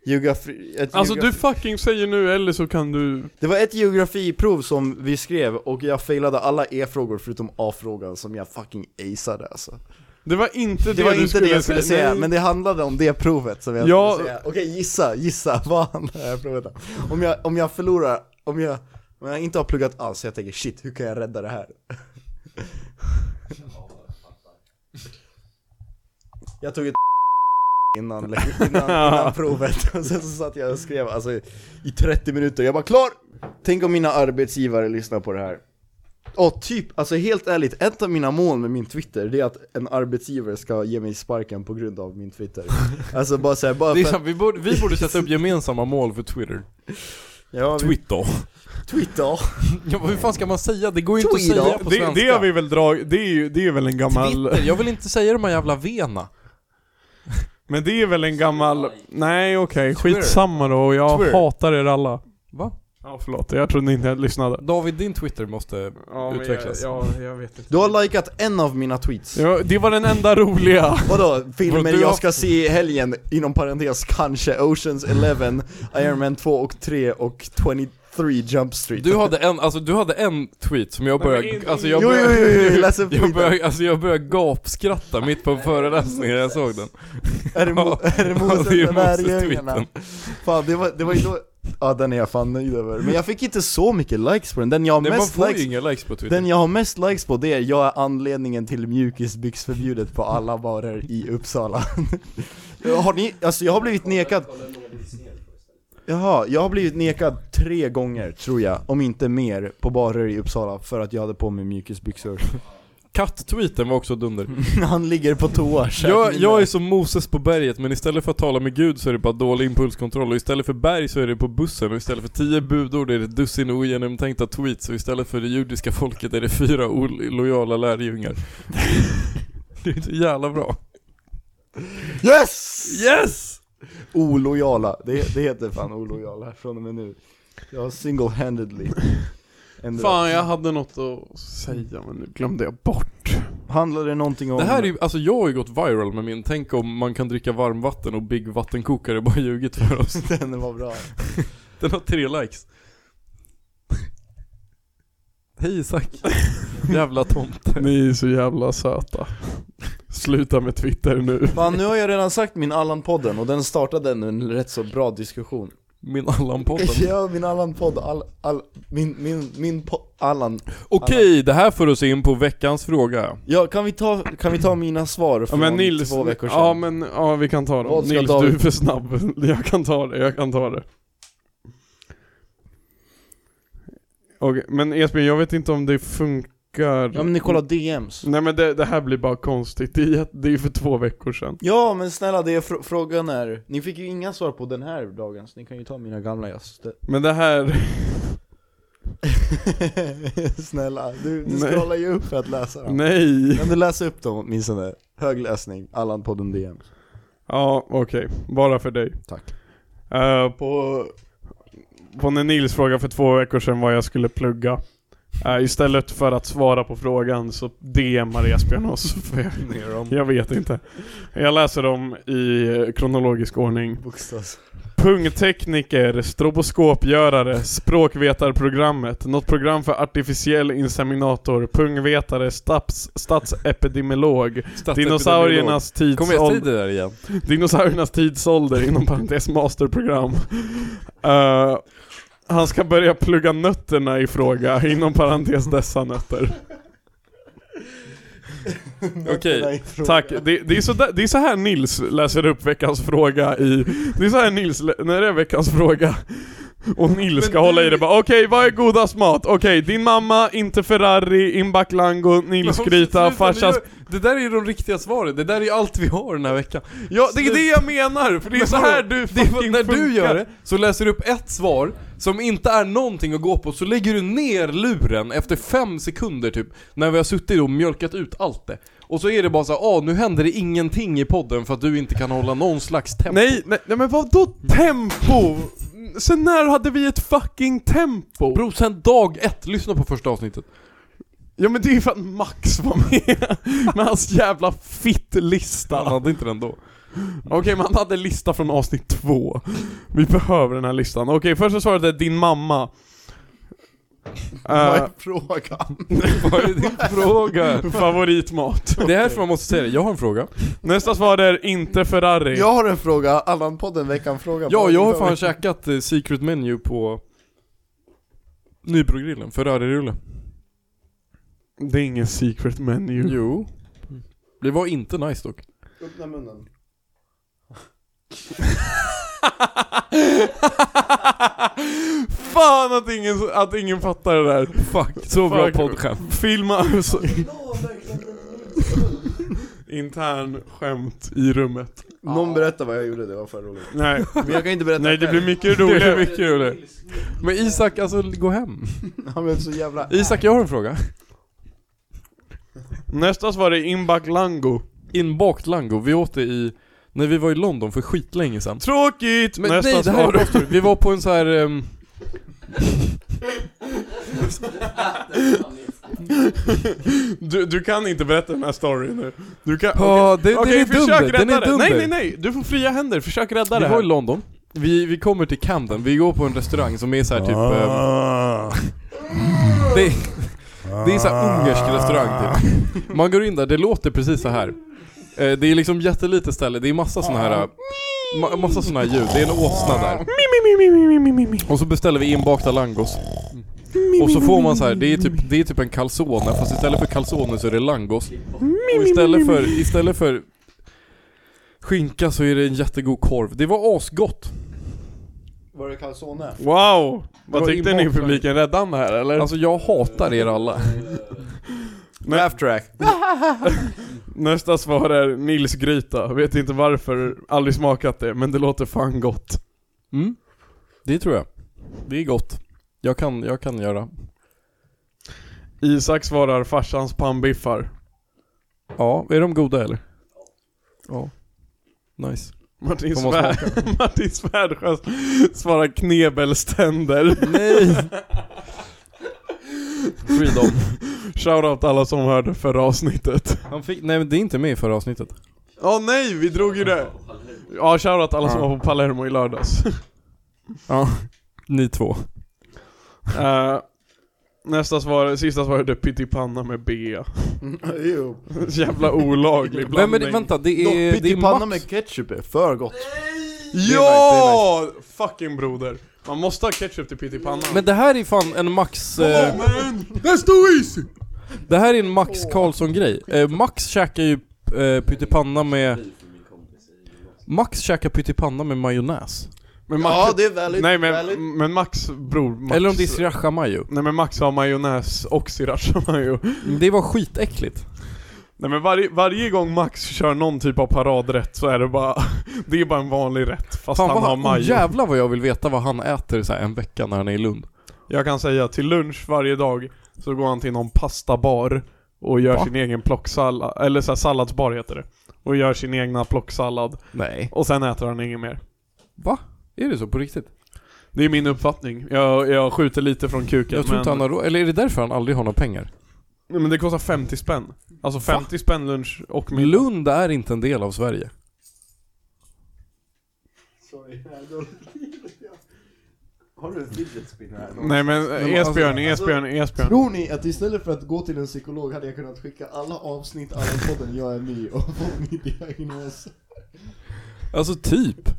[SPEAKER 1] Geografi... ett
[SPEAKER 2] Alltså
[SPEAKER 1] geografi-
[SPEAKER 2] du fucking säger nu eller så kan du...
[SPEAKER 1] Det var ett geografiprov som vi skrev och jag failade alla E-frågor förutom A-frågan som jag fucking aceade alltså
[SPEAKER 2] Det var inte det,
[SPEAKER 1] Det var
[SPEAKER 2] du
[SPEAKER 1] inte
[SPEAKER 2] skulle
[SPEAKER 1] det jag skulle säga,
[SPEAKER 2] Nej.
[SPEAKER 1] men det handlade om det provet som jag
[SPEAKER 2] Ja.
[SPEAKER 1] skulle säga Okej gissa, gissa, vad handlar det här provet om? Om jag, om jag förlorar, om jag, om jag inte har pluggat alls, jag tänker shit, hur kan jag rädda det här? Jag tog ett innan, innan, innan provet, och sen så satt jag och skrev alltså, i 30 minuter, jag bara klar! Tänk om mina arbetsgivare lyssnar på det här Ja typ, alltså helt ärligt, ett av mina mål med min Twitter det är att en arbetsgivare ska ge mig sparken på grund av min Twitter Alltså bara såhär, bara
[SPEAKER 3] Det är
[SPEAKER 1] för att-
[SPEAKER 3] sant, vi, borde, vi borde sätta upp gemensamma mål för Twitter.
[SPEAKER 1] ja, vi-
[SPEAKER 3] Twitter.
[SPEAKER 1] Twitter
[SPEAKER 3] Ja, vad hur fan ska man säga? Det går ju inte att
[SPEAKER 1] Twitter.
[SPEAKER 3] säga på
[SPEAKER 2] det,
[SPEAKER 3] svenska.
[SPEAKER 2] det har vi väl dragit, det är ju det är väl en gammal...
[SPEAKER 3] Twitter, jag vill inte säga de här jävla vena.
[SPEAKER 2] Men det är väl en gammal... Nej okej,
[SPEAKER 3] Twitter.
[SPEAKER 2] skitsamma då och jag
[SPEAKER 3] Twitter.
[SPEAKER 2] hatar er alla.
[SPEAKER 3] Va?
[SPEAKER 2] Ja förlåt, jag trodde inte jag lyssnade.
[SPEAKER 3] David, din Twitter måste
[SPEAKER 2] Ja,
[SPEAKER 3] utvecklas.
[SPEAKER 2] Jag, ja, jag vet inte.
[SPEAKER 1] Du har likat en av mina tweets
[SPEAKER 2] Ja, det var den enda roliga.
[SPEAKER 1] Vadå? Filmer
[SPEAKER 3] Du har-
[SPEAKER 1] jag ska se i helgen, inom parentes kanske, Oceans 11, Iron Man 2 och 3 och 23 Jump Street
[SPEAKER 3] Du hade en, alltså du hade en tweet som jag
[SPEAKER 2] Nej, men
[SPEAKER 3] började,
[SPEAKER 2] in-
[SPEAKER 3] alltså jag
[SPEAKER 1] Jo,
[SPEAKER 3] började,
[SPEAKER 1] jo, jo, jo, läs upp
[SPEAKER 3] jag
[SPEAKER 1] tweeten.
[SPEAKER 3] började, alltså jag började gapskratta mitt på en föreläsning när jag såg den.
[SPEAKER 1] Är det, mo- är det
[SPEAKER 3] Ja, det är ju
[SPEAKER 1] Moses lärjungarna?
[SPEAKER 3] Moses-tweeten.
[SPEAKER 1] Fan det var, det var ju då, ja den är jag fan nöjd över Men jag fick inte så mycket likes på den, den jag har
[SPEAKER 3] Nej, man
[SPEAKER 1] mest
[SPEAKER 3] får ju
[SPEAKER 1] likes
[SPEAKER 3] inga likes på Twitter.
[SPEAKER 1] Den jag har mest likes på det är jag är anledningen till mjukisbyxförbudet på alla barer i Uppsala Har ni, alltså jag har blivit nekad Jaha, jag har blivit nekad tre gånger tror jag, om inte mer, på barer i Uppsala för att jag hade på mig mjukisbyxor
[SPEAKER 3] Katt-tweeten var också dunder.
[SPEAKER 1] Han ligger på toa käkar
[SPEAKER 3] Jag,
[SPEAKER 1] middag.
[SPEAKER 3] jag är som Moses på berget, men istället för att tala med Gud så är det bara dålig impulskontroll och istället för berg så är det på bussen och istället för tio budord är det ett dussin ogenomtänkta tweets och istället för det judiska folket är det fyra olojala lärjungar. det är så jävla bra.
[SPEAKER 1] Yes!
[SPEAKER 3] Yes!
[SPEAKER 1] Olojala, det, det heter fan olojala från och med nu. Jag har single-handedly ändrat.
[SPEAKER 2] Fan, jag hade något att säga men nu glömde jag bort.
[SPEAKER 1] Handlar det någonting om...
[SPEAKER 3] Det här är ju, alltså jag har ju gått viral med min, tänk om man kan dricka varmvatten och Big vattenkokare bara ljugit för oss.
[SPEAKER 1] Den var bra.
[SPEAKER 3] Den har tre likes. Hej Isak. Jävla tomte.
[SPEAKER 2] Ni är så jävla söta. Sluta med Twitter nu.
[SPEAKER 1] Fan, nu har jag redan sagt min Allan-podden och den startade ändå en rätt så bra diskussion.
[SPEAKER 3] Min Allan-podden.
[SPEAKER 1] Ja, min Allan-podd, all, all, min, min, min po- Allan.
[SPEAKER 3] Okej, det här för oss in på veckans fråga.
[SPEAKER 1] Ja, kan vi ta, kan vi ta mina svar
[SPEAKER 2] Ja
[SPEAKER 1] från
[SPEAKER 2] men Nils,
[SPEAKER 1] två veckor sedan?
[SPEAKER 2] ja men ja, vi kan ta dem.
[SPEAKER 1] Vad ska
[SPEAKER 2] Nils
[SPEAKER 1] David-
[SPEAKER 2] du är för snabb. Jag kan ta det, jag kan ta det. Okej, men Esbjörn jag vet inte om det funkar.
[SPEAKER 1] ja men ni kollar DMs.
[SPEAKER 2] Nej men det, det här blir bara konstigt, det är, jätte- det är för två veckor sedan.
[SPEAKER 1] Ja men snälla, det är fr- frågan är, ni fick ju inga svar på den här dagens, ni kan ju ta mina gamla jag stä-
[SPEAKER 2] Men det här,
[SPEAKER 1] Snälla, du, du
[SPEAKER 2] Nej.
[SPEAKER 1] scrollar ju upp för att läsa dem.
[SPEAKER 2] nej.
[SPEAKER 1] Kan du läsa upp dem åtminstone? Högläsning, Allan-podden DM.
[SPEAKER 2] Ja okej, bara för dig.
[SPEAKER 1] Tack.
[SPEAKER 2] Eh, på, på när Nils frågade för två veckor sedan vad jag skulle plugga. Eh, istället för att svara på frågan så DMar Esbjörn oss. För jag, jag vet inte. Jag läser dem i eh, kronologisk ordning.
[SPEAKER 1] Bokstavs.
[SPEAKER 2] Pungtekniker, stroboskopgörare, språkvetarprogrammet, något program för artificiell inseminator, pungvetare, stats, statsepidemiolog, dinosauriernas
[SPEAKER 3] Kommer jag
[SPEAKER 2] tidsålder.
[SPEAKER 3] säga det där igen?
[SPEAKER 2] Dinosauriernas tidsålder, inom parentes masterprogram. Eh, han ska börja plugga nötterna i fråga, inom parentes dessa nötter.
[SPEAKER 3] Okej.
[SPEAKER 2] Tack. Det, det, är så där, det är så här Nils läser upp veckans fråga i... Det är så här Nils, lä- när det är veckans fråga. Och Nils ska hålla i det bara, okej vad är godast mat? Okej, din mamma, inte Ferrari, inback lango, Nils gryta,
[SPEAKER 3] Sluta, nu
[SPEAKER 2] farsas...
[SPEAKER 3] gör- Det där är ju de riktiga svaren, det där är ju allt vi har den här veckan.
[SPEAKER 2] Ja, det är det jag menar! För det är
[SPEAKER 3] Men
[SPEAKER 2] så
[SPEAKER 3] vadå?
[SPEAKER 2] här du
[SPEAKER 3] Det
[SPEAKER 2] fucking
[SPEAKER 3] är, när
[SPEAKER 2] funkar.
[SPEAKER 3] du gör det, så läser du upp ett svar som inte är någonting att gå på, så lägger du ner luren efter fem sekunder typ, när vi har suttit och mjölkat ut allt det. Och så är det bara så här, ah nu händer det ingenting i podden för att du inte kan hålla någon slags tempo.
[SPEAKER 2] Nej, nej, nej men vadå tempo? Sen när hade vi ett fucking tempo?
[SPEAKER 3] Bro, sen dag ett, lyssna på första avsnittet.
[SPEAKER 2] Ja men det är ju för att Max var med med hans jävla
[SPEAKER 3] Han
[SPEAKER 2] fittlista.
[SPEAKER 3] hade inte den då.
[SPEAKER 2] Okej men han hade lista från avsnitt två. Vi behöver den här listan. Okej första svaret är din mamma.
[SPEAKER 1] Vad
[SPEAKER 2] Eh,
[SPEAKER 1] är frågan?
[SPEAKER 3] Vad är din fråga?
[SPEAKER 2] favoritmat.
[SPEAKER 3] Det är därför man måste säga det, jag har en fråga.
[SPEAKER 2] Nästa svar är inte Ferrari.
[SPEAKER 1] Jag har en fråga, Allan-podden veckan-fråga.
[SPEAKER 3] Ja, jag har fan käkat eh, Secret Menu på Nybrogrillen, Ferrari-rulle.
[SPEAKER 2] Det är ingen secret menu.
[SPEAKER 3] Jo. Det var inte nice dock.
[SPEAKER 1] Öppna munnen.
[SPEAKER 2] Fan att ingen, att ingen fattar det där.
[SPEAKER 3] Fuck, så bra
[SPEAKER 2] Fuck.
[SPEAKER 3] poddskämt.
[SPEAKER 2] Filma så... Intern skämt i rummet.
[SPEAKER 1] Någon berättar vad jag gjorde, det var för roligt.
[SPEAKER 2] Nej,
[SPEAKER 1] Men jag kan inte berätta
[SPEAKER 2] nej det blir
[SPEAKER 1] själv.
[SPEAKER 2] mycket
[SPEAKER 3] Det
[SPEAKER 2] roligare.
[SPEAKER 3] är mycket roligt. Men Isak, alltså gå hem.
[SPEAKER 1] Han blev så jävla...
[SPEAKER 3] Isak, jag har en fråga.
[SPEAKER 2] Nästa svar är inback lango.
[SPEAKER 3] Inbakt lango, vi åt det i, när vi var i London för skitlänge sedan.
[SPEAKER 2] Tråkigt!
[SPEAKER 3] Men
[SPEAKER 2] Nästa
[SPEAKER 3] nej, det här är
[SPEAKER 2] svar.
[SPEAKER 3] bra story. Vi var på en så här... ehm,
[SPEAKER 2] Du, du kan inte berätta den här storyn nu. Du kan...
[SPEAKER 3] Ja, det,
[SPEAKER 2] Okej,
[SPEAKER 3] den är
[SPEAKER 2] försök
[SPEAKER 3] dunder,
[SPEAKER 2] rädda
[SPEAKER 3] den är
[SPEAKER 2] det. Nej, nej,
[SPEAKER 3] dunder.
[SPEAKER 2] nej! Du får fria händer, försök rädda
[SPEAKER 3] Vi
[SPEAKER 2] det
[SPEAKER 3] var
[SPEAKER 2] här.
[SPEAKER 3] i London, vi, vi kommer till Camden, vi går på en restaurang som är så här typ... ehm,
[SPEAKER 1] Ah.
[SPEAKER 2] eh,
[SPEAKER 3] Det, det är så här ungersk restaurang typ. Man går in där, det låter precis så här. Eh, Det är liksom jättelite ställe, det är massa såna här eh, ma- Massa såna här ljud, det är en åsna där. Och så beställer vi inbakta langos. Och så får man så här, det är typ, det är typ en calzone fast istället för calzone så är det langos. Och istället för, istället för skinka så är det en jättegod korv. Det var asgott.
[SPEAKER 1] Var det calzone?
[SPEAKER 2] Wow! Vad
[SPEAKER 3] var
[SPEAKER 2] tyckte ni i
[SPEAKER 3] inbakt lango.
[SPEAKER 2] publiken? Räddade han det här eller?
[SPEAKER 3] Alltså jag hatar er alla.
[SPEAKER 1] Laugh track.
[SPEAKER 2] Nästa svar är Nils gryta. Vet inte varför, aldrig smakat det, men det låter fan gott.
[SPEAKER 3] Mm. Det tror jag. Det är gott. Jag kan, jag kan göra.
[SPEAKER 2] Isak svarar farsans pannbiffar.
[SPEAKER 3] Ja, är de goda eller? Ja. Nice.
[SPEAKER 2] Martin,
[SPEAKER 3] Får man
[SPEAKER 2] Svär... Martin Svärdsjö svarar knebelständer.
[SPEAKER 3] Nej! Freedom.
[SPEAKER 2] Shoutout alla som hörde förra avsnittet.
[SPEAKER 3] Han fick, nej men det är inte med i förra avsnittet.
[SPEAKER 2] Ja nej, vi drog ju det! Ja, shoutout alla som var på Palermo i lördags.
[SPEAKER 3] Ja. Ni två.
[SPEAKER 2] Eh, nästa svar, sista svaret är pyttipanna med B.
[SPEAKER 1] Jo.
[SPEAKER 2] Jävla olaglig blandning.
[SPEAKER 3] Vem är det, vänta, det
[SPEAKER 1] Dock,
[SPEAKER 3] är, det är
[SPEAKER 1] pyttipanna
[SPEAKER 3] Max.
[SPEAKER 1] med ketchup är för gott.
[SPEAKER 2] Ja! Fucking broder. Man måste ha ketchup till pyttipanna.
[SPEAKER 3] Men det här är fan en Max... Eh,
[SPEAKER 2] man! That's too easy!
[SPEAKER 3] det här är en Max Karlsson-grej. Eh, Max käkar ju eh, pyttipanna med... Max käkar pyttipanna med majonnäs.
[SPEAKER 2] Men Max,
[SPEAKER 1] Ja, det är väldigt,
[SPEAKER 2] nej
[SPEAKER 1] väldigt.
[SPEAKER 2] men, men Max bror, Max,
[SPEAKER 3] Eller om det är srirachamajo.
[SPEAKER 2] Nej men Max har majonnäs och srirachamajo.
[SPEAKER 3] Det var skitäckligt.
[SPEAKER 2] Nej men varje, varje gång Max kör någon typ av paradrätt så är det bara, det är bara en vanlig rätt fast
[SPEAKER 3] Fan
[SPEAKER 2] han har
[SPEAKER 3] vad, oh,
[SPEAKER 2] majo.
[SPEAKER 3] jävlar vad jag vill veta vad han äter så här en vecka när han är i Lund.
[SPEAKER 2] Jag kan säga till lunch varje dag så går han till någon pastabar och gör
[SPEAKER 3] Va?
[SPEAKER 2] sin egen plocksallad, eller så här, salladsbar heter det. Och gör sin egna plocksallad
[SPEAKER 3] Nej.
[SPEAKER 2] och sen äter han inget mer.
[SPEAKER 3] Va? Är det så på riktigt?
[SPEAKER 2] Det är min uppfattning. Jag, jag skjuter lite från kuken
[SPEAKER 3] Jag tror inte
[SPEAKER 2] men,
[SPEAKER 3] han har råd. Eller är det därför han aldrig har några pengar?
[SPEAKER 2] Nej, men det kostar 50 spänn. Alltså 50 spänn lunch och middag.
[SPEAKER 3] Lund är inte en del av Sverige.
[SPEAKER 1] Har du en fidget spinner här?
[SPEAKER 2] Nej men eh, Esbjörn,
[SPEAKER 7] alltså-
[SPEAKER 2] Esbjörn, Esbjörn.
[SPEAKER 7] Tror ni att istället för att gå till en psykolog hade jag kunnat skicka alla avsnitt, alla podden, jag är ny och få min diagnos?
[SPEAKER 3] Alltså typ.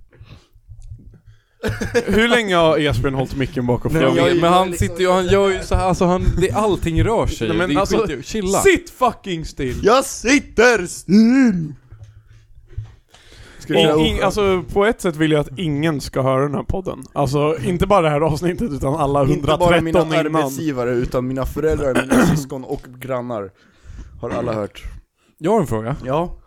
[SPEAKER 2] Hur länge har Esbjörn hållit micken bakom
[SPEAKER 3] Nej,
[SPEAKER 2] fjärran?
[SPEAKER 3] jag, men han sitter ju, han gör ju så här, alltså han, det, allting rör sig
[SPEAKER 2] Nej, men
[SPEAKER 3] det är
[SPEAKER 2] alltså,
[SPEAKER 3] skit, chilla.
[SPEAKER 2] Sitt fucking still!
[SPEAKER 1] Jag sitter still! Ska
[SPEAKER 2] In, in, alltså på ett sätt vill jag att ingen ska höra den här podden. Alltså inte bara det här avsnittet utan alla
[SPEAKER 1] Inte bara
[SPEAKER 2] 113
[SPEAKER 1] mina
[SPEAKER 2] innan.
[SPEAKER 1] arbetsgivare utan mina föräldrar, mina syskon och grannar Har alla hört
[SPEAKER 3] Jag har en fråga.
[SPEAKER 1] Ja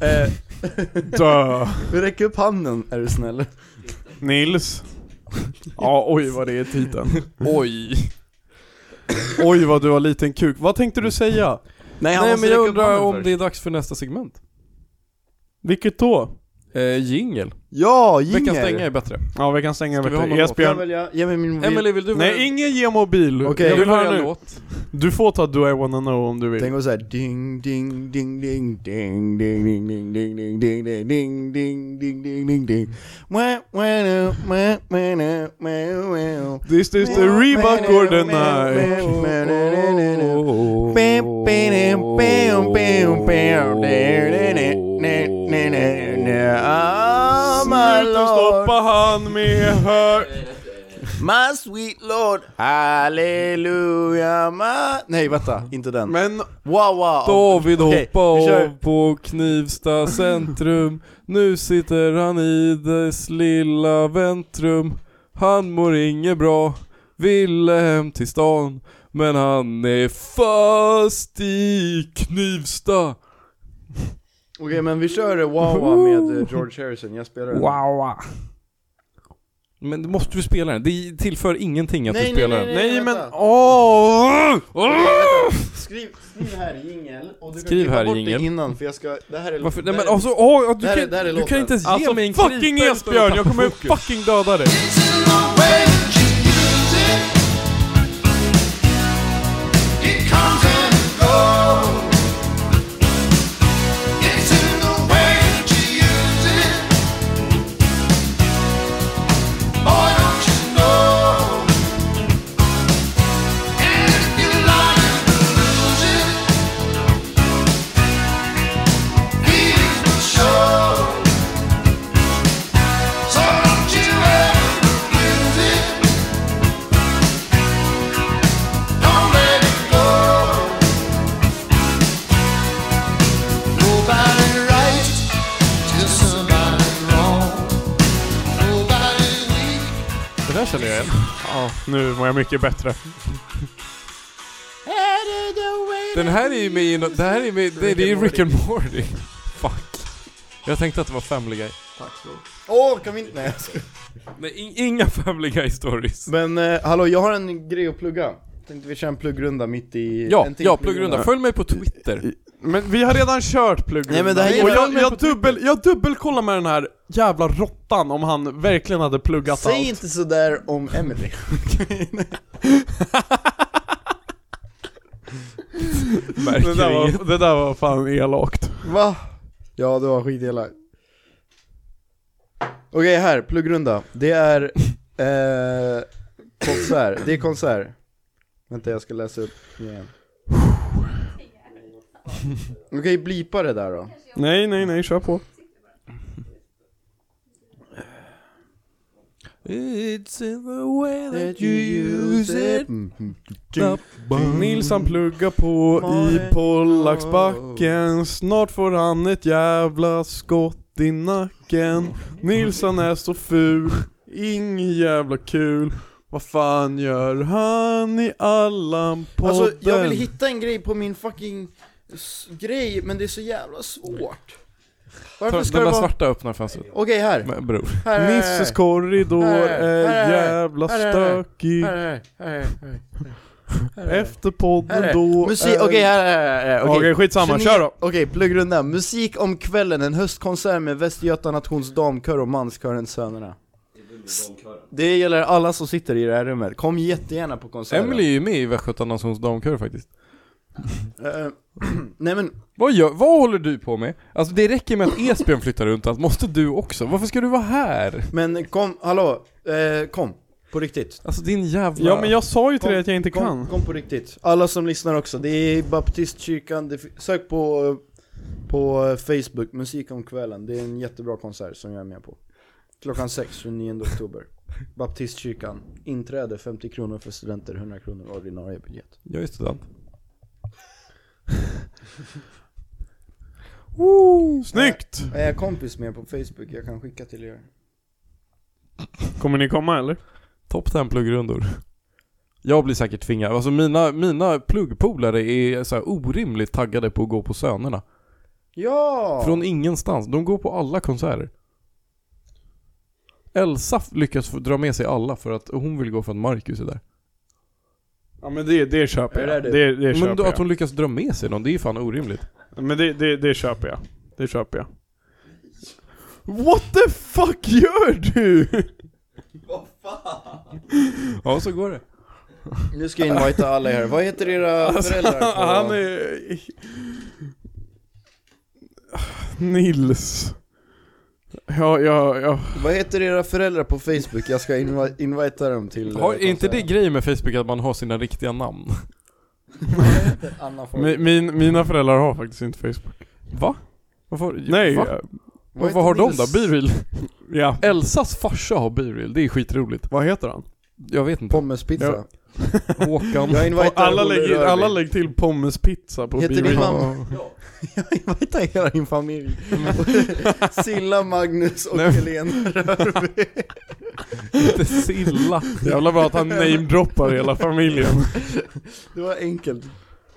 [SPEAKER 1] eh,
[SPEAKER 2] Dö.
[SPEAKER 1] Räck upp handen är du snäll
[SPEAKER 2] Nils. Ja oj vad det är titeln.
[SPEAKER 3] Oj.
[SPEAKER 2] Oj vad du har liten kuk. Vad tänkte du säga?
[SPEAKER 1] han
[SPEAKER 3] Nej
[SPEAKER 1] måste
[SPEAKER 3] men jag
[SPEAKER 1] räcka upp
[SPEAKER 3] undrar
[SPEAKER 1] handen
[SPEAKER 3] om
[SPEAKER 1] först.
[SPEAKER 3] det är dags för nästa segment.
[SPEAKER 2] Vilket då?
[SPEAKER 3] Eh, jingel.
[SPEAKER 1] Ja,
[SPEAKER 3] Veckans stänga är
[SPEAKER 1] Jinger!
[SPEAKER 3] bättre.
[SPEAKER 2] Ja vi kan stänga
[SPEAKER 3] Ska vi ha någon
[SPEAKER 2] bättre.
[SPEAKER 3] låt?
[SPEAKER 1] Kan
[SPEAKER 2] Esbjörn.
[SPEAKER 1] väl jag, ge mig min mobil
[SPEAKER 3] Emelie vill du
[SPEAKER 2] Nej ingen ge mobil.
[SPEAKER 1] Okej.
[SPEAKER 3] jag
[SPEAKER 2] jag
[SPEAKER 3] vill
[SPEAKER 2] vill
[SPEAKER 3] höra en
[SPEAKER 2] höra nu.
[SPEAKER 3] låt.
[SPEAKER 2] Du får ta Do I wanna know om du vill.
[SPEAKER 1] Den går såhär ding ding ding ding ding ding ding ding ding ding ding ding ding ding ding ding ding ding Wah, wah, nu, wah, wah, nu, wah, wah.
[SPEAKER 2] This is the Reebok Gordon I.
[SPEAKER 1] Ah, my
[SPEAKER 2] Sluta
[SPEAKER 1] lord,
[SPEAKER 2] stoppa han med hör...
[SPEAKER 1] my sweet lord, halleluja, my... Nej vänta, inte den.
[SPEAKER 2] Men
[SPEAKER 1] Wow, wow.
[SPEAKER 3] David
[SPEAKER 1] Okej,
[SPEAKER 3] hoppa
[SPEAKER 1] vi kör.
[SPEAKER 3] av på Knivsta centrum. Nu sitter han i dess lilla väntrum. Han mår inget bra, ville hem till stan. Men han är fast i Knivsta.
[SPEAKER 1] Okej men vi kör eh, Wow Wow med eh, George Harrison, jag spelar den.
[SPEAKER 3] Wow. Men måste du spela den? Det tillför ingenting att
[SPEAKER 7] Nej,
[SPEAKER 3] du spelar
[SPEAKER 7] nej,
[SPEAKER 3] den.
[SPEAKER 7] nej,
[SPEAKER 2] Nej men
[SPEAKER 7] vänta.
[SPEAKER 2] åh!
[SPEAKER 7] Skriv, skriv här jingel och du kan
[SPEAKER 3] Skriv
[SPEAKER 7] klippa
[SPEAKER 3] här
[SPEAKER 7] bort
[SPEAKER 3] jingel.
[SPEAKER 7] det innan för jag ska, det här är
[SPEAKER 3] Varför?
[SPEAKER 7] det
[SPEAKER 3] Nej
[SPEAKER 7] här
[SPEAKER 3] men
[SPEAKER 7] är-
[SPEAKER 3] alltså, åh, ja, du,
[SPEAKER 7] där är-
[SPEAKER 3] kan,
[SPEAKER 7] där är
[SPEAKER 3] du kan
[SPEAKER 7] låten.
[SPEAKER 3] inte ens
[SPEAKER 2] Alltså
[SPEAKER 3] ge mig en
[SPEAKER 2] fucking
[SPEAKER 3] krypeld utan att
[SPEAKER 2] Esbjörn, jag
[SPEAKER 3] tappa
[SPEAKER 2] kommer
[SPEAKER 3] fokus.
[SPEAKER 2] fucking döda dig!
[SPEAKER 8] So don't you ever lose it. Don't let it go. Nobody right till somebody wrong. Nobody weak
[SPEAKER 3] Det där känner jag igen.
[SPEAKER 2] Ja, nu mår jag mycket bättre.
[SPEAKER 3] Den här är ju med i no- det här är med, det, det är Rick and Morty. Fuck. Jag tänkte att det var Family Guy.
[SPEAKER 1] Åh, kan vi inte... Nej jag skojar.
[SPEAKER 3] Nej, in, inga Family Guy stories.
[SPEAKER 1] Men eh, hallå, jag har en grej att plugga. Tänkte vi köra en pluggrunda mitt i...
[SPEAKER 3] Ja,
[SPEAKER 1] en till
[SPEAKER 3] ja, pluggrunda. Följ mig på Twitter.
[SPEAKER 2] Men vi har redan kört plugg
[SPEAKER 1] Nej, men det här
[SPEAKER 2] Och
[SPEAKER 1] gillar
[SPEAKER 2] jag, jag, dubbel, jag dubbelkollar med den här jävla råttan om han verkligen hade pluggat
[SPEAKER 1] Säg
[SPEAKER 2] allt
[SPEAKER 1] inte sådär om Emily.
[SPEAKER 2] det där, var, det där var fan elakt
[SPEAKER 1] Va? Ja, det var skitelakt. Okej, här, pluggrunda. Det är eh, konsert. Det är konsert. Vänta, jag ska läsa upp igen. Du kan ju blipa det där då.
[SPEAKER 2] Nej nej nej, kör på
[SPEAKER 3] It's in the way
[SPEAKER 1] Mm,
[SPEAKER 2] Nilsson pluggar på i Pollacksbacken Snart får han ett jävla skott i nacken Nilsson är så ful, inget jävla kul Vad fan gör han i Allan-podden?
[SPEAKER 1] Alltså, jag vill hitta en grej på min fucking s- grej, men det är så jävla svårt. Varför ska det
[SPEAKER 3] Den där
[SPEAKER 1] vara...
[SPEAKER 3] svarta öppnar fönstret.
[SPEAKER 1] Okej, här.
[SPEAKER 3] Men bror.
[SPEAKER 1] Här, här,
[SPEAKER 2] Nisses korridor
[SPEAKER 1] Här,
[SPEAKER 2] är
[SPEAKER 1] här,
[SPEAKER 2] jävla
[SPEAKER 1] här, här, här.
[SPEAKER 2] stökig
[SPEAKER 1] här, här, här, här, här, här.
[SPEAKER 2] Efter
[SPEAKER 1] Här
[SPEAKER 2] podden
[SPEAKER 1] är
[SPEAKER 2] då
[SPEAKER 1] Musik,
[SPEAKER 2] är-
[SPEAKER 1] okej här, här, här, här,
[SPEAKER 2] eh, Okej skitsamma, kör då!
[SPEAKER 1] Okej, pluggrunda. Musik om kvällen, en höstkonsert med Västgöta Nations damkör och manskören Sönerna. Det gäller alla som sitter i det här rummet, kom jättegärna på konserten.
[SPEAKER 3] Emily är ju med i Västgöta Nations damkör faktiskt.
[SPEAKER 1] Eh, nej men,
[SPEAKER 3] Vad, gör, vad håller du på med? Alltså det räcker med att Esbjörn flyttar runt allt, måste du också? Varför ska du vara här?
[SPEAKER 1] men kom, hallå, eh, kom. På riktigt.
[SPEAKER 3] Alltså din jävla...
[SPEAKER 2] Ja men jag sa ju till
[SPEAKER 1] Kom,
[SPEAKER 2] dig att jag inte
[SPEAKER 1] kom,
[SPEAKER 2] kan
[SPEAKER 1] Kom på riktigt. Alla som lyssnar också, det är baptistkyrkan, det, fi- sök på, eh, på eh, Facebook, musik om kvällen. Det är en jättebra konsert som jag är med på. Klockan 6, 29 oktober. Baptistkyrkan, inträde 50 kronor för studenter, 100 kronor ordinarie biljett.
[SPEAKER 3] Jag är student.
[SPEAKER 2] Snyggt!
[SPEAKER 1] Är jag kompis med på Facebook? Jag kan skicka till er.
[SPEAKER 2] Kommer ni komma eller?
[SPEAKER 3] Topp 10 pluggrundor. Jag blir säkert tvingad. Alltså mina, mina pluggpolare är så här orimligt taggade på att gå på Sönerna.
[SPEAKER 1] Ja!
[SPEAKER 3] Från ingenstans. De går på alla konserter. Elsa f- lyckas få dra med sig alla för att hon vill gå för att Marcus är där.
[SPEAKER 2] Ja men det, det köper
[SPEAKER 1] Är
[SPEAKER 2] jag,
[SPEAKER 1] det
[SPEAKER 2] det,
[SPEAKER 1] det?
[SPEAKER 2] det, det köper
[SPEAKER 3] Men då,
[SPEAKER 2] jag
[SPEAKER 3] att hon lyckas dra med sig någon, det är fan orimligt.
[SPEAKER 2] Men det, det, det köper jag. Det köper jag. What the fuck gör du?
[SPEAKER 3] Ja, så går det.
[SPEAKER 1] Nu ska jag invita alla er. Vad heter era föräldrar? På?
[SPEAKER 2] Alltså, Han är... Nils. Ja, ja, ja.
[SPEAKER 1] Vad heter era föräldrar på Facebook? Jag ska invi- invita dem till... eh,
[SPEAKER 3] Har, är inte det
[SPEAKER 1] konserten.
[SPEAKER 3] grejen med Facebook att man har sina riktiga namn?
[SPEAKER 1] Anna får...
[SPEAKER 2] Min, min, mina föräldrar har faktiskt inte Facebook.
[SPEAKER 3] Va? Varför?
[SPEAKER 2] Nej,
[SPEAKER 3] Va?
[SPEAKER 2] eh,
[SPEAKER 3] Vad,
[SPEAKER 1] heter
[SPEAKER 3] vad har de
[SPEAKER 1] din
[SPEAKER 3] då? Biril?
[SPEAKER 2] ja.
[SPEAKER 3] Elsas farsa har Biril, det är skitroligt.
[SPEAKER 2] Vad heter han?
[SPEAKER 3] Jag vet inte.
[SPEAKER 1] Pommes-pizza.
[SPEAKER 3] Håkan.
[SPEAKER 1] Jag invitar
[SPEAKER 2] Alla
[SPEAKER 1] Olle
[SPEAKER 2] lägger,
[SPEAKER 1] Rörby.
[SPEAKER 2] alla lägger till pommespizza på
[SPEAKER 1] Heter din
[SPEAKER 2] bio.
[SPEAKER 1] mamma? Jag invitar hela din familj. Silla, Magnus och
[SPEAKER 3] Nej.
[SPEAKER 1] Helena Rörby.
[SPEAKER 3] Inte Silla.
[SPEAKER 2] Jävla bra att han namedroppar hela familjen.
[SPEAKER 1] Det var enkelt.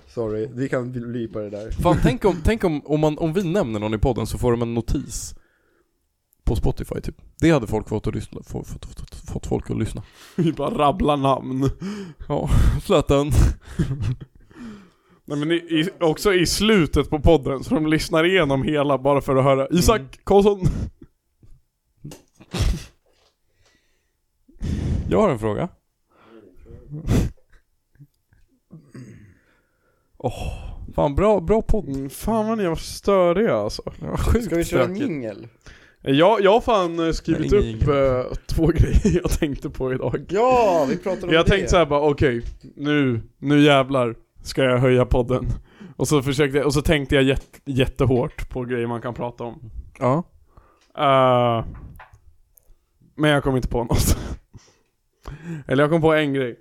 [SPEAKER 1] Sorry, vi kan blipa det där.
[SPEAKER 3] Fan tänk om, tänk om, om, man, om vi nämner någon i podden så får de en notis. På Spotify typ. Det hade folk fått, att lyssna, få- fått, fått, fått, fått folk att lyssna.
[SPEAKER 2] Vi bara rabblar namn.
[SPEAKER 3] Ja, flöten.
[SPEAKER 2] Nej men i, i, också i slutet på podden, så de lyssnar igenom hela bara för att höra Isak Karlsson.
[SPEAKER 3] Jag har en fråga. Åh, fan bra, bra podd.
[SPEAKER 2] Mm, fan vad ni var störiga alltså.
[SPEAKER 3] Sjukt
[SPEAKER 1] Ska vi köra en
[SPEAKER 3] stökigt.
[SPEAKER 1] jingel?
[SPEAKER 2] Jag, jag har fan eh, skrivit
[SPEAKER 3] Nej,
[SPEAKER 2] upp
[SPEAKER 3] ingen.
[SPEAKER 2] eh, två grejer jag tänkte på idag.
[SPEAKER 1] Ja, vi pratade om
[SPEAKER 2] Jag
[SPEAKER 1] det.
[SPEAKER 2] tänkte såhär bara, okej, nu, nu jävlar ska jag höja podden. Och så försökte jag, och så tänkte jag jätt, jättehårt på grejer man kan prata om.
[SPEAKER 3] Ja.
[SPEAKER 2] Eh, men jag kom inte på något. Eller jag kom på en grej.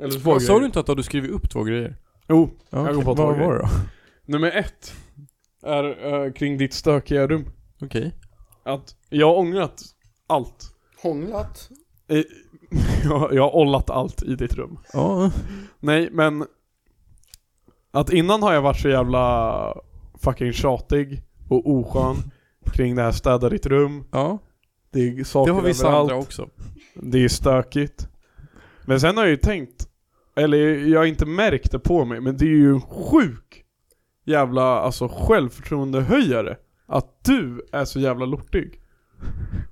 [SPEAKER 2] Eller två
[SPEAKER 3] Vad,
[SPEAKER 2] grejer.
[SPEAKER 3] sa du inte att du hade skrivit upp två grejer?
[SPEAKER 2] Jo,
[SPEAKER 3] Ja,
[SPEAKER 2] jag
[SPEAKER 3] okej.
[SPEAKER 2] kom på två
[SPEAKER 3] Vad
[SPEAKER 2] grejer.
[SPEAKER 3] var det då?
[SPEAKER 2] Nummer ett är eh, kring ditt stökiga rum.
[SPEAKER 3] Okej.
[SPEAKER 2] Att jag har ångrat allt.
[SPEAKER 1] Hånglat?
[SPEAKER 2] Eh, jag, jag har ollat allt i ditt rum.
[SPEAKER 3] Ja.
[SPEAKER 2] Nej, men att innan har jag varit så jävla fucking tjatig och oskön kring det här städa ditt rum.
[SPEAKER 3] Ja.
[SPEAKER 2] Det är
[SPEAKER 3] Det
[SPEAKER 2] saker
[SPEAKER 3] har vissa
[SPEAKER 2] överallt.
[SPEAKER 3] andra också.
[SPEAKER 2] Det är stökigt. Men sen har jag ju tänkt, eller jag har inte märkt det på mig, men det är ju en sjuk jävla alltså självförtroendehöjare att du är så jävla lortig.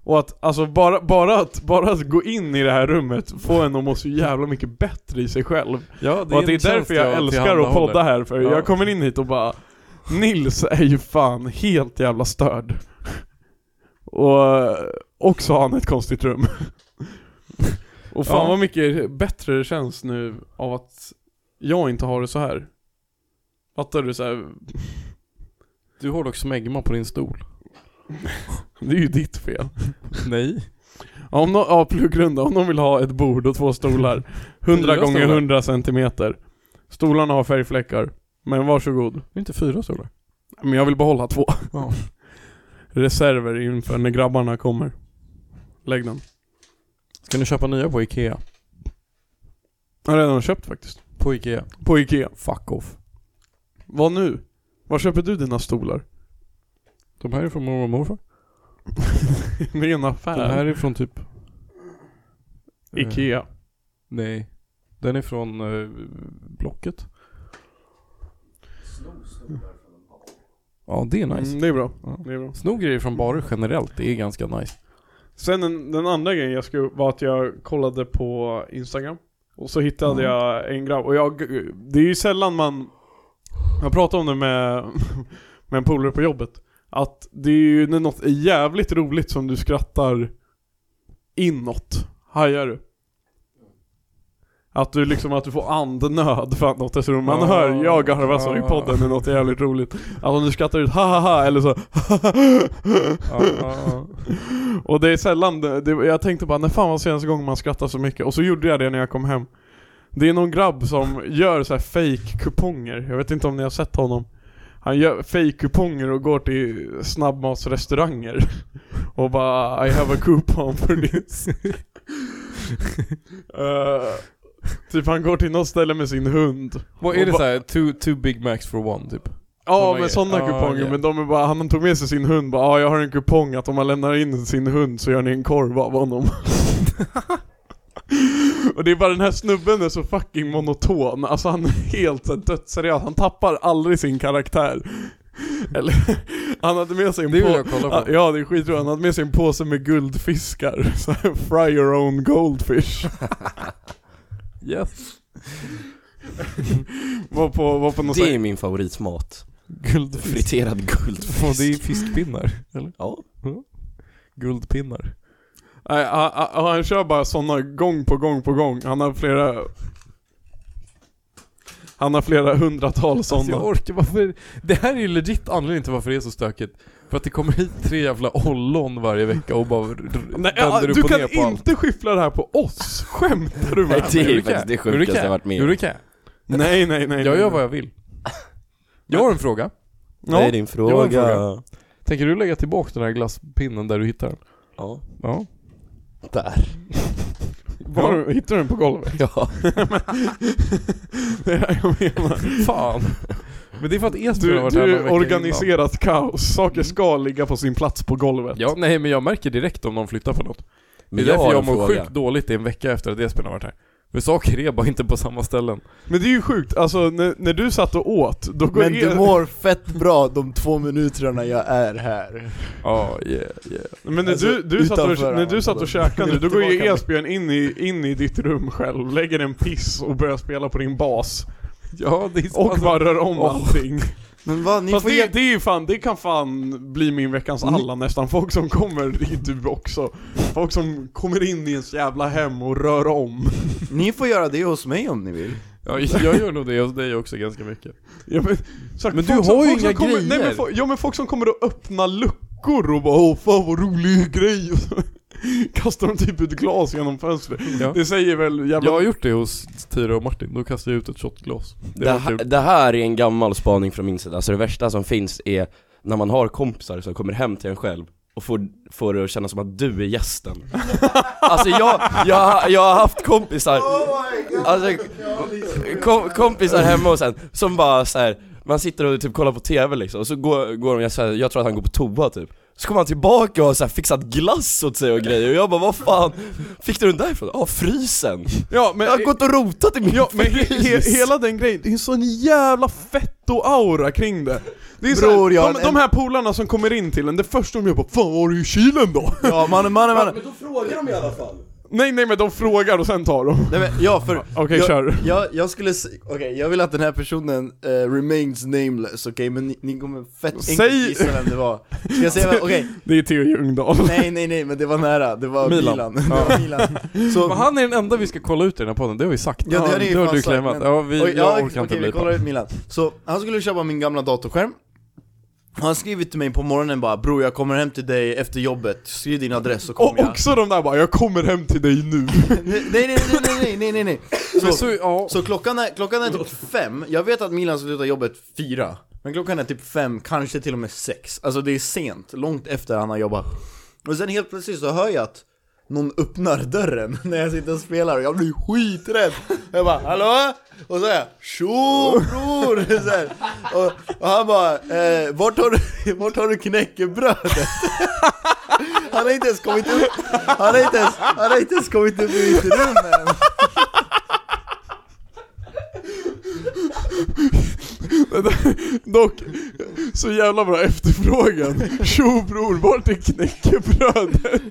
[SPEAKER 2] Och att, alltså bara, bara att, bara att gå in i det här rummet får en att må så jävla mycket bättre i sig själv.
[SPEAKER 3] Ja,
[SPEAKER 2] och att det är därför jag älskar att podda här, för
[SPEAKER 3] Ja.
[SPEAKER 2] jag kommer in hit och bara Nils är ju fan helt jävla störd. Och eh, också har han ett konstigt rum. Och fan
[SPEAKER 3] Ja.
[SPEAKER 2] vad mycket bättre det känns nu av att jag inte har det så här. Fattar du? Så här,
[SPEAKER 3] Du har dock smägma på din stol.
[SPEAKER 2] det är ju ditt fel.
[SPEAKER 3] Nej.
[SPEAKER 2] Ja, Om no- ja, pluggrunda, om någon vill ha ett bord och två stolar. 100
[SPEAKER 3] Fyra
[SPEAKER 2] gånger
[SPEAKER 3] stolar.
[SPEAKER 2] 100 centimeter. Stolarna har färgfläckar. Men varsågod.
[SPEAKER 3] Det är inte fyra stolar.
[SPEAKER 2] Men jag vill behålla två.
[SPEAKER 3] Ja.
[SPEAKER 2] Reserver inför när grabbarna kommer. Lägg den.
[SPEAKER 3] Ska ni köpa nya på Ikea?
[SPEAKER 2] Jag har redan köpt faktiskt.
[SPEAKER 3] På Ikea.
[SPEAKER 2] På Ikea.
[SPEAKER 3] Fuck off.
[SPEAKER 2] Vad nu? Var köper du dina stolar?
[SPEAKER 3] De här är från mormor och morfar.
[SPEAKER 2] Det är en
[SPEAKER 3] Den här
[SPEAKER 2] affär.
[SPEAKER 3] är från typ... Eh,
[SPEAKER 2] Ikea.
[SPEAKER 3] nej. Den är från eh, Blocket. Ja, det är nice.
[SPEAKER 2] Mm, det är bra.
[SPEAKER 3] Ja.
[SPEAKER 2] Det är bra.
[SPEAKER 3] Sno grejer från barer generellt, det är ganska nice.
[SPEAKER 2] Sen den, den andra grejen jag skulle var att jag kollade på Instagram Och så hittade jag en grabb, och jag, det är ju sällan man Jag pratade om det med, med en polare på jobbet Att det är ju när något är jävligt roligt som du skrattar inåt, hajar du? Att du liksom att du får andnöd för att något är så roligt. Man
[SPEAKER 3] Ja.
[SPEAKER 2] hör jag garva så i
[SPEAKER 3] Ja.
[SPEAKER 2] podden när något är jävligt roligt. Att om Alltså, du skrattar ut ha ha ha eller så
[SPEAKER 3] Ja, ja, ja.
[SPEAKER 2] och det är sällan, det, det, jag tänkte bara när fan var senaste gången man skrattade så mycket? Och så gjorde jag det när jag kom hem Det är någon grabb som gör så här fake kuponger jag vet inte om ni har sett honom Han gör fake kuponger och går till snabbmatsrestauranger Och bara I have a coupon for this Eh, Typ han går till något ställe med sin hund
[SPEAKER 3] Vad är det såhär, two, two Big Macs for one typ?
[SPEAKER 2] Ja
[SPEAKER 3] Såna
[SPEAKER 2] men
[SPEAKER 3] grejer.
[SPEAKER 2] sådana
[SPEAKER 3] Ja,
[SPEAKER 2] kuponger,
[SPEAKER 3] okej.
[SPEAKER 2] men de är bara, han tog med sig sin hund bara, ja jag har en kupong att om man lämnar in sin hund så gör ni en korv av honom Och det är bara den här snubben är så fucking monoton, alltså han är helt så här dödsseriös, han tappar aldrig sin karaktär Eller, han hade med sig en
[SPEAKER 3] Det vill
[SPEAKER 2] på-
[SPEAKER 3] jag kolla på.
[SPEAKER 2] Ja det är skitroligt, han hade med sig en påse med guldfiskar, så här, fry your own goldfish
[SPEAKER 3] Yes.
[SPEAKER 2] Var på, var på någon sån
[SPEAKER 9] Det
[SPEAKER 2] här-
[SPEAKER 9] är min favoritsmat.
[SPEAKER 3] Guldfisk.
[SPEAKER 9] Friterad
[SPEAKER 3] Och det är
[SPEAKER 9] guldfisk.
[SPEAKER 3] fiskpinnar, eller?
[SPEAKER 9] Ja.
[SPEAKER 3] Guldpinnar.
[SPEAKER 2] Nej, han, han, han kör bara sådana gång på gång på gång. Han har flera... Han har flera hundratal
[SPEAKER 3] Alltså
[SPEAKER 2] sådana.
[SPEAKER 3] jag orkar, varför? Det här är ju legit anledningen till varför det är så stökigt. För att det kommer hit tre jävla ollon varje vecka och bara r- r-
[SPEAKER 2] Nej, ja,
[SPEAKER 3] vänder upp
[SPEAKER 2] du
[SPEAKER 3] och
[SPEAKER 2] kan
[SPEAKER 3] ner på allt.
[SPEAKER 2] inte skyffla det här på oss! Skämtar du med mig?
[SPEAKER 9] Nej, det är
[SPEAKER 3] Ulrika.
[SPEAKER 9] faktiskt det
[SPEAKER 3] Ulrika.
[SPEAKER 9] sjukaste jag varit med
[SPEAKER 3] Jo det
[SPEAKER 9] om.
[SPEAKER 3] kan jag.
[SPEAKER 2] Nej, nej, nej.
[SPEAKER 3] Jag gör vad jag vill. Jag har en fråga.
[SPEAKER 9] Vad är
[SPEAKER 2] Ja.
[SPEAKER 9] din
[SPEAKER 3] Jag har en
[SPEAKER 9] fråga?
[SPEAKER 3] Tänker du lägga tillbaka den här glasspinnen där du hittade den?
[SPEAKER 9] Ja,
[SPEAKER 3] Ja.
[SPEAKER 9] där.
[SPEAKER 2] Var, Hittar du den på golvet?
[SPEAKER 9] Ja.
[SPEAKER 2] Det är det jag menar.
[SPEAKER 3] Fan. Men det är för att Esbjörn har
[SPEAKER 2] Du,
[SPEAKER 3] varit
[SPEAKER 2] du
[SPEAKER 3] här någon
[SPEAKER 2] är
[SPEAKER 3] vecka innan. Mm.
[SPEAKER 2] organiserat kaos. Saker ska ligga på sin plats på golvet.
[SPEAKER 3] Ja, nej men jag märker direkt om någon flyttar på något.
[SPEAKER 9] Men
[SPEAKER 3] det är
[SPEAKER 9] jag
[SPEAKER 3] därför
[SPEAKER 9] har
[SPEAKER 3] jag
[SPEAKER 9] en
[SPEAKER 3] mår
[SPEAKER 9] fråga.
[SPEAKER 3] sjukt dåligt i en vecka efter att Esbjörn har varit här. För saker är bara inte på samma ställen.
[SPEAKER 2] Men det är ju sjukt, alltså när, när du satt och åt, då går
[SPEAKER 7] Men du
[SPEAKER 2] er-
[SPEAKER 7] mår fett bra de två minuterna jag är här.
[SPEAKER 3] Ja, yeah, yeah.
[SPEAKER 2] Men när,
[SPEAKER 7] Alltså,
[SPEAKER 2] du, du satt och,
[SPEAKER 7] utanför
[SPEAKER 2] när du satt och käkade, då går ju
[SPEAKER 7] Tillbaka.
[SPEAKER 2] Esbjörn in i, in i ditt rum själv, lägger en piss och börjar spela på din bas.
[SPEAKER 3] Ja, det är
[SPEAKER 2] Och bara rör om allting.
[SPEAKER 7] Men vad, ni
[SPEAKER 2] Fast
[SPEAKER 7] får
[SPEAKER 2] det,
[SPEAKER 7] ge...
[SPEAKER 2] det är ju fan, det kan fan bli min veckans alla nästan. Folk som kommer, det är du också. Folk som kommer in i ens jävla hem och rör om.
[SPEAKER 7] Ni får göra det hos mig om ni vill.
[SPEAKER 3] Ja, jag gör nog det hos dig också ganska mycket.
[SPEAKER 2] Ja, men sagt,
[SPEAKER 3] Men du
[SPEAKER 2] folk
[SPEAKER 3] har ju
[SPEAKER 2] folk
[SPEAKER 3] inga
[SPEAKER 2] kommer, Nej, men,
[SPEAKER 3] grejer.
[SPEAKER 2] folk, ja men folk som kommer och öppnar luckor och bara åh fan vad rolig grej. Och så Kastar de typ ut glas genom fönstret.
[SPEAKER 3] Ja.
[SPEAKER 2] Det säger väl jävla
[SPEAKER 3] Jag har gjort det hos Tyra och Martin, då kastade jag ut ett shotglas. Det,
[SPEAKER 9] Det,
[SPEAKER 3] var
[SPEAKER 9] här-
[SPEAKER 3] kul.
[SPEAKER 9] det här är en gammal spaning från min sida, alltså det värsta som finns är när man har kompisar som kommer hem till en själv och får, får det att kännas som att du är gästen Alltså jag, jag, jag har haft kompisar, alltså kom, kompisar hemma och sen, som bara så här. man sitter och typ kollar på TV liksom, och så går, går de, jag, så här, jag tror att han går på toa typ Så kom han tillbaka och har så här fixat glass åt sig och grejer och jag bara vad fan Fick du den därifrån? Ja, frysen!
[SPEAKER 2] Ja men,
[SPEAKER 9] Jag har gått och rotat i min
[SPEAKER 2] ja, men he, he,
[SPEAKER 9] frys!
[SPEAKER 2] hela den grejen, det är en sån jävla fetto-aura kring det. Det är så
[SPEAKER 1] Bror, jag har
[SPEAKER 2] här, de,
[SPEAKER 1] en-
[SPEAKER 2] de här polarna som kommer in till en, det första de gör bara 'Fan vad har du i kylen då?'
[SPEAKER 1] Ja, mannen, mannen, mannen.
[SPEAKER 6] Men då frågar de i alla fall.
[SPEAKER 2] Nej nej men de frågar och sen tar de.
[SPEAKER 1] Nej, men, ja, för
[SPEAKER 2] Okej,
[SPEAKER 1] jag,
[SPEAKER 2] kör.
[SPEAKER 1] Jag, jag skulle, s- okej, jag vill att den här personen eh, remains nameless, okej, men ni, ni kommer fett enkelt
[SPEAKER 2] Säg-
[SPEAKER 1] gissa vem det var Ska jag säga vem, okej,
[SPEAKER 2] Det är Theo Ljungdahl.
[SPEAKER 1] nej nej nej, men det var nära, det var Milan,
[SPEAKER 3] Milan.
[SPEAKER 1] Det var Milan. Så,
[SPEAKER 3] Men han är den enda vi ska kolla ut i den här podden, det har vi sagt.
[SPEAKER 1] Ja, det har ni ju
[SPEAKER 3] det har
[SPEAKER 1] fan
[SPEAKER 3] du
[SPEAKER 1] sagt,
[SPEAKER 3] claimat.
[SPEAKER 1] men-
[SPEAKER 3] Ja, vi,
[SPEAKER 1] Oj,
[SPEAKER 3] jag
[SPEAKER 1] ja,
[SPEAKER 3] orkar
[SPEAKER 1] okej,
[SPEAKER 3] inte
[SPEAKER 1] vi
[SPEAKER 3] bli
[SPEAKER 1] kollar
[SPEAKER 3] på.
[SPEAKER 1] ut Milan. Så han skulle köpa min gamla datorskärm han skrev till mig på morgonen bara 'Bror jag kommer hem till dig efter jobbet, skriv din adress så kommer
[SPEAKER 2] Och
[SPEAKER 1] jag'
[SPEAKER 2] också de där bara 'Jag kommer hem till dig nu'
[SPEAKER 1] Nej nej nej nej nej nej nej
[SPEAKER 3] Men
[SPEAKER 1] Så,
[SPEAKER 3] så, ja,
[SPEAKER 1] Så klockan är, klockan är typ fem, jag vet att Milan slutar jobbet fyra Men klockan är typ fem, kanske till och med sex Alltså det är sent, långt efter han har jobbat Och sen helt plötsligt så hör jag att någon öppnar dörren när jag sitter och spelar och jag blir skiträdd Jag bara 'Hallå?' Och så är jag 'Tjo bror!' Så här. Och, och han bara eh, vart, har du, 'Vart har du knäckebrödet?' Han har inte ens kommit upp, han har inte ens, han har inte ens kommit upp i mitt rum än
[SPEAKER 2] Dock, så jävla bra efterfrågan. Tjo bror, vart är knäckebrödet?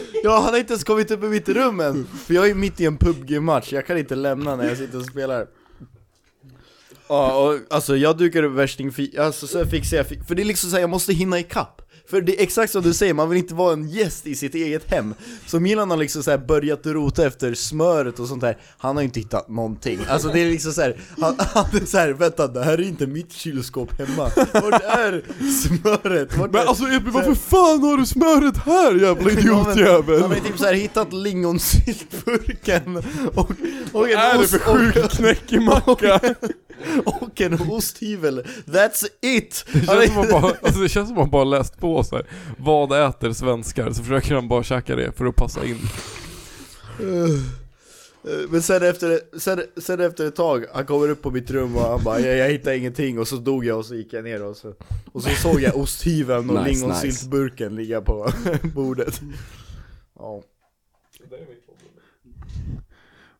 [SPEAKER 1] Ja, han har inte ens kommit upp i mitt rum än, för jag är mitt i en PubG-match, jag kan inte lämna när jag sitter och spelar Ja, och alltså jag dukar upp värsting, fi- alltså så fixar jag, fi- för det är liksom såhär, jag måste hinna ikapp För det är exakt som du säger, man vill inte vara en gäst i sitt eget hem Så Milan har liksom så här börjat rota efter smöret och sånt där, han har ju inte hittat någonting Alltså det är liksom såhär, han, han är såhär, vänta det här är inte mitt kylskåp hemma, vart är smöret? Vart
[SPEAKER 2] Men
[SPEAKER 1] är...
[SPEAKER 2] alltså Ebbe, varför fan har du smöret här jävla
[SPEAKER 1] Han
[SPEAKER 2] idiotjävel?
[SPEAKER 1] har typ såhär hittat lingonsyltburken och, och,
[SPEAKER 2] Vad är
[SPEAKER 1] en
[SPEAKER 2] det
[SPEAKER 1] ost,
[SPEAKER 2] för sjuk knäckemacka?
[SPEAKER 1] och, och en osthyvel, that's it!
[SPEAKER 3] det, känns som man bara, alltså, det känns som man bara har läst på så här. Vad äter svenskar? Så försöker han bara käka det för att passa in.
[SPEAKER 1] Eh, Men sen efter, sen, sen efter ett tag, han kommer upp på mitt rum och han bara jag, jag hittar ingenting och så dog jag och så gick jag ner och så, och så såg jag osthyveln och
[SPEAKER 9] Nice,
[SPEAKER 1] lingonsyltburken ligga på bordet Ja,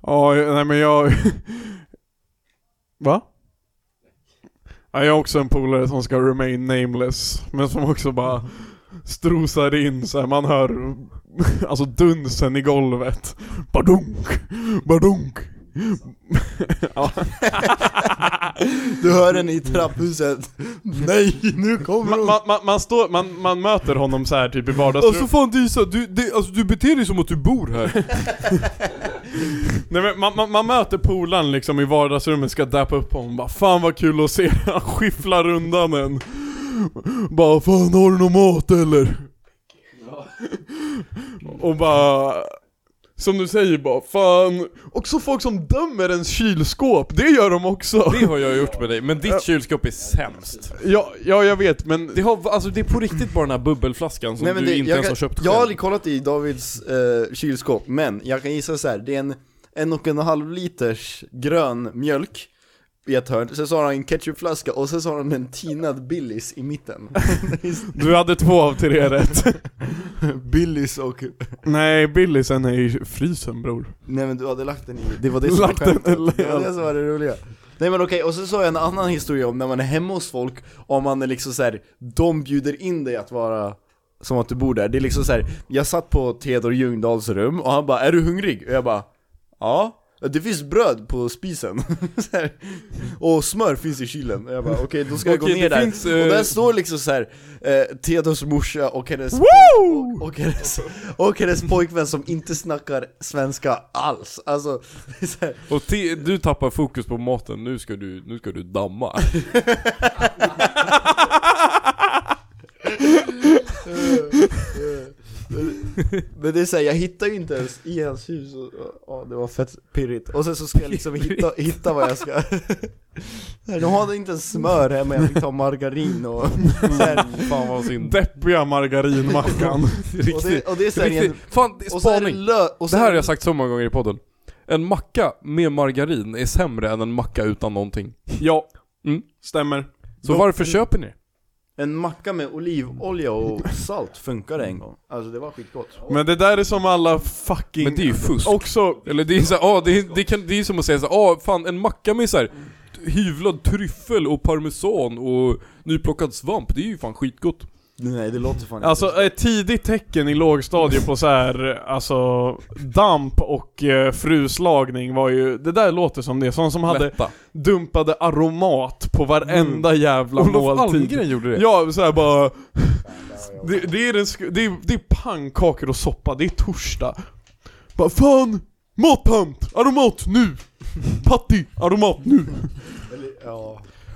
[SPEAKER 2] Ja, jag- nej men jag... Va? Ja, jag har också en polare som ska remain nameless, men som också bara strosar in så här, man hör alltså dunsen i golvet. Badunk, badunk.
[SPEAKER 1] Du hör den i trapphuset, nej nu kommer
[SPEAKER 2] Man,
[SPEAKER 1] hon!
[SPEAKER 2] man, man, man, står, man, man möter honom så här typ i vardagsrummet.
[SPEAKER 3] fan det är så, du, det, alltså, du beter dig som att du bor här.
[SPEAKER 2] Nej, men man, man, man möter polaren liksom i vardagsrummet, ska dappa upp honom, bara 'Fan vad kul att se' Han skifflar undan en Bara 'Fan har du någon mat eller?' Och bara Som du säger bara 'Fan' Också folk som dömer ens kylskåp, det gör de också
[SPEAKER 3] Det har jag gjort med dig, men ditt kylskåp är sämst.
[SPEAKER 2] Ja, ja jag vet men
[SPEAKER 3] Det, har, alltså, det är på riktigt bara den här bubbelflaskan som du
[SPEAKER 1] det-
[SPEAKER 3] inte
[SPEAKER 1] jag
[SPEAKER 3] ens
[SPEAKER 1] kan-
[SPEAKER 3] har köpt
[SPEAKER 1] Jag har
[SPEAKER 3] själv.
[SPEAKER 1] aldrig kollat i Davids eh, kylskåp, men jag kan gissa så här. det är en en och en halv liters grön mjölk i ett hörn, sen så har han en ketchupflaska och sen så har han en tinad Billys i mitten
[SPEAKER 2] du hade två av tre rätt
[SPEAKER 1] Billys och...
[SPEAKER 2] Nej, Billisen är i frysen bror
[SPEAKER 1] Nej men du hade lagt den i, det var det som
[SPEAKER 2] Lagt
[SPEAKER 1] var skämtet,
[SPEAKER 2] den, eller-
[SPEAKER 1] det var det som var det roliga Nej men okej, och sen så har jag en annan historia om när man är hemma hos folk, om man är liksom så här, de bjuder in dig att vara som att du bor där, det är liksom så här, jag satt på Theodor Ljungdahls rum och han bara 'Är du hungrig?' och jag bara 'Ja' Det finns bröd på spisen, så här. och smör finns i kylen, och jag bara okej då ska jag gå
[SPEAKER 3] Okej,
[SPEAKER 1] ner
[SPEAKER 3] det
[SPEAKER 1] där
[SPEAKER 3] finns,
[SPEAKER 1] Och
[SPEAKER 3] eh,
[SPEAKER 1] där står liksom så här eh, Theodors morsa och hennes och, och, hennes, och hennes pojkvän som inte snackar svenska alls. Alltså, det är så här,
[SPEAKER 3] Och te, du tappar fokus på maten, nu ska du, nu ska du damma.
[SPEAKER 1] men det är så här, jag hittar ju inte ens i hans hus. Och, och, ja, det var fett pirrigt. Och sen så ska jag liksom hitta, hitta vad jag ska... Nej, De hade inte ens smör hemma, jag fick ta margarin och...
[SPEAKER 3] Mm.
[SPEAKER 1] Så här,
[SPEAKER 3] Fan vad synd.
[SPEAKER 2] Deppiga margarinmackan
[SPEAKER 1] och, det, och det är så här,
[SPEAKER 3] Riktigt.
[SPEAKER 1] igen-
[SPEAKER 3] Fan, det är
[SPEAKER 1] och så är det
[SPEAKER 3] spaning.
[SPEAKER 1] lö... Och
[SPEAKER 3] Det
[SPEAKER 1] sen,
[SPEAKER 3] här har jag sagt så många gånger i podden. En macka med margarin är sämre än en macka utan någonting.
[SPEAKER 2] Ja,
[SPEAKER 3] Mm.
[SPEAKER 2] stämmer
[SPEAKER 3] Så varför köper ni?
[SPEAKER 1] En macka med olivolja och salt funkade en gång. Alltså det var skitgott.
[SPEAKER 2] Men det där är som alla fucking...
[SPEAKER 3] Men det är ju fusk.
[SPEAKER 2] Också...
[SPEAKER 3] Eller det är så här, ah, det, är- det, kan, det är som att säga så här, ah, fan en macka med så här hyvlad tryffel och parmesan och nyplockad svamp, det är ju fan skitgott.
[SPEAKER 1] Nej det låter fan
[SPEAKER 2] Alltså ett tidigt tecken i lågstadiet på så här, alltså damp och eh, fruslagning var ju, det där låter som det, sån som hade
[SPEAKER 3] Läppa.
[SPEAKER 2] dumpade aromat på varenda jävla
[SPEAKER 3] Mm. Olof
[SPEAKER 2] måltid.
[SPEAKER 3] Almgren gjorde det.
[SPEAKER 2] Ja, så här bara... Det, det, är den, sk- det, är, det är pannkakor och soppa, det är torsdag. Bara fan! Matpant! Aromat nu! Patti! Aromat nu!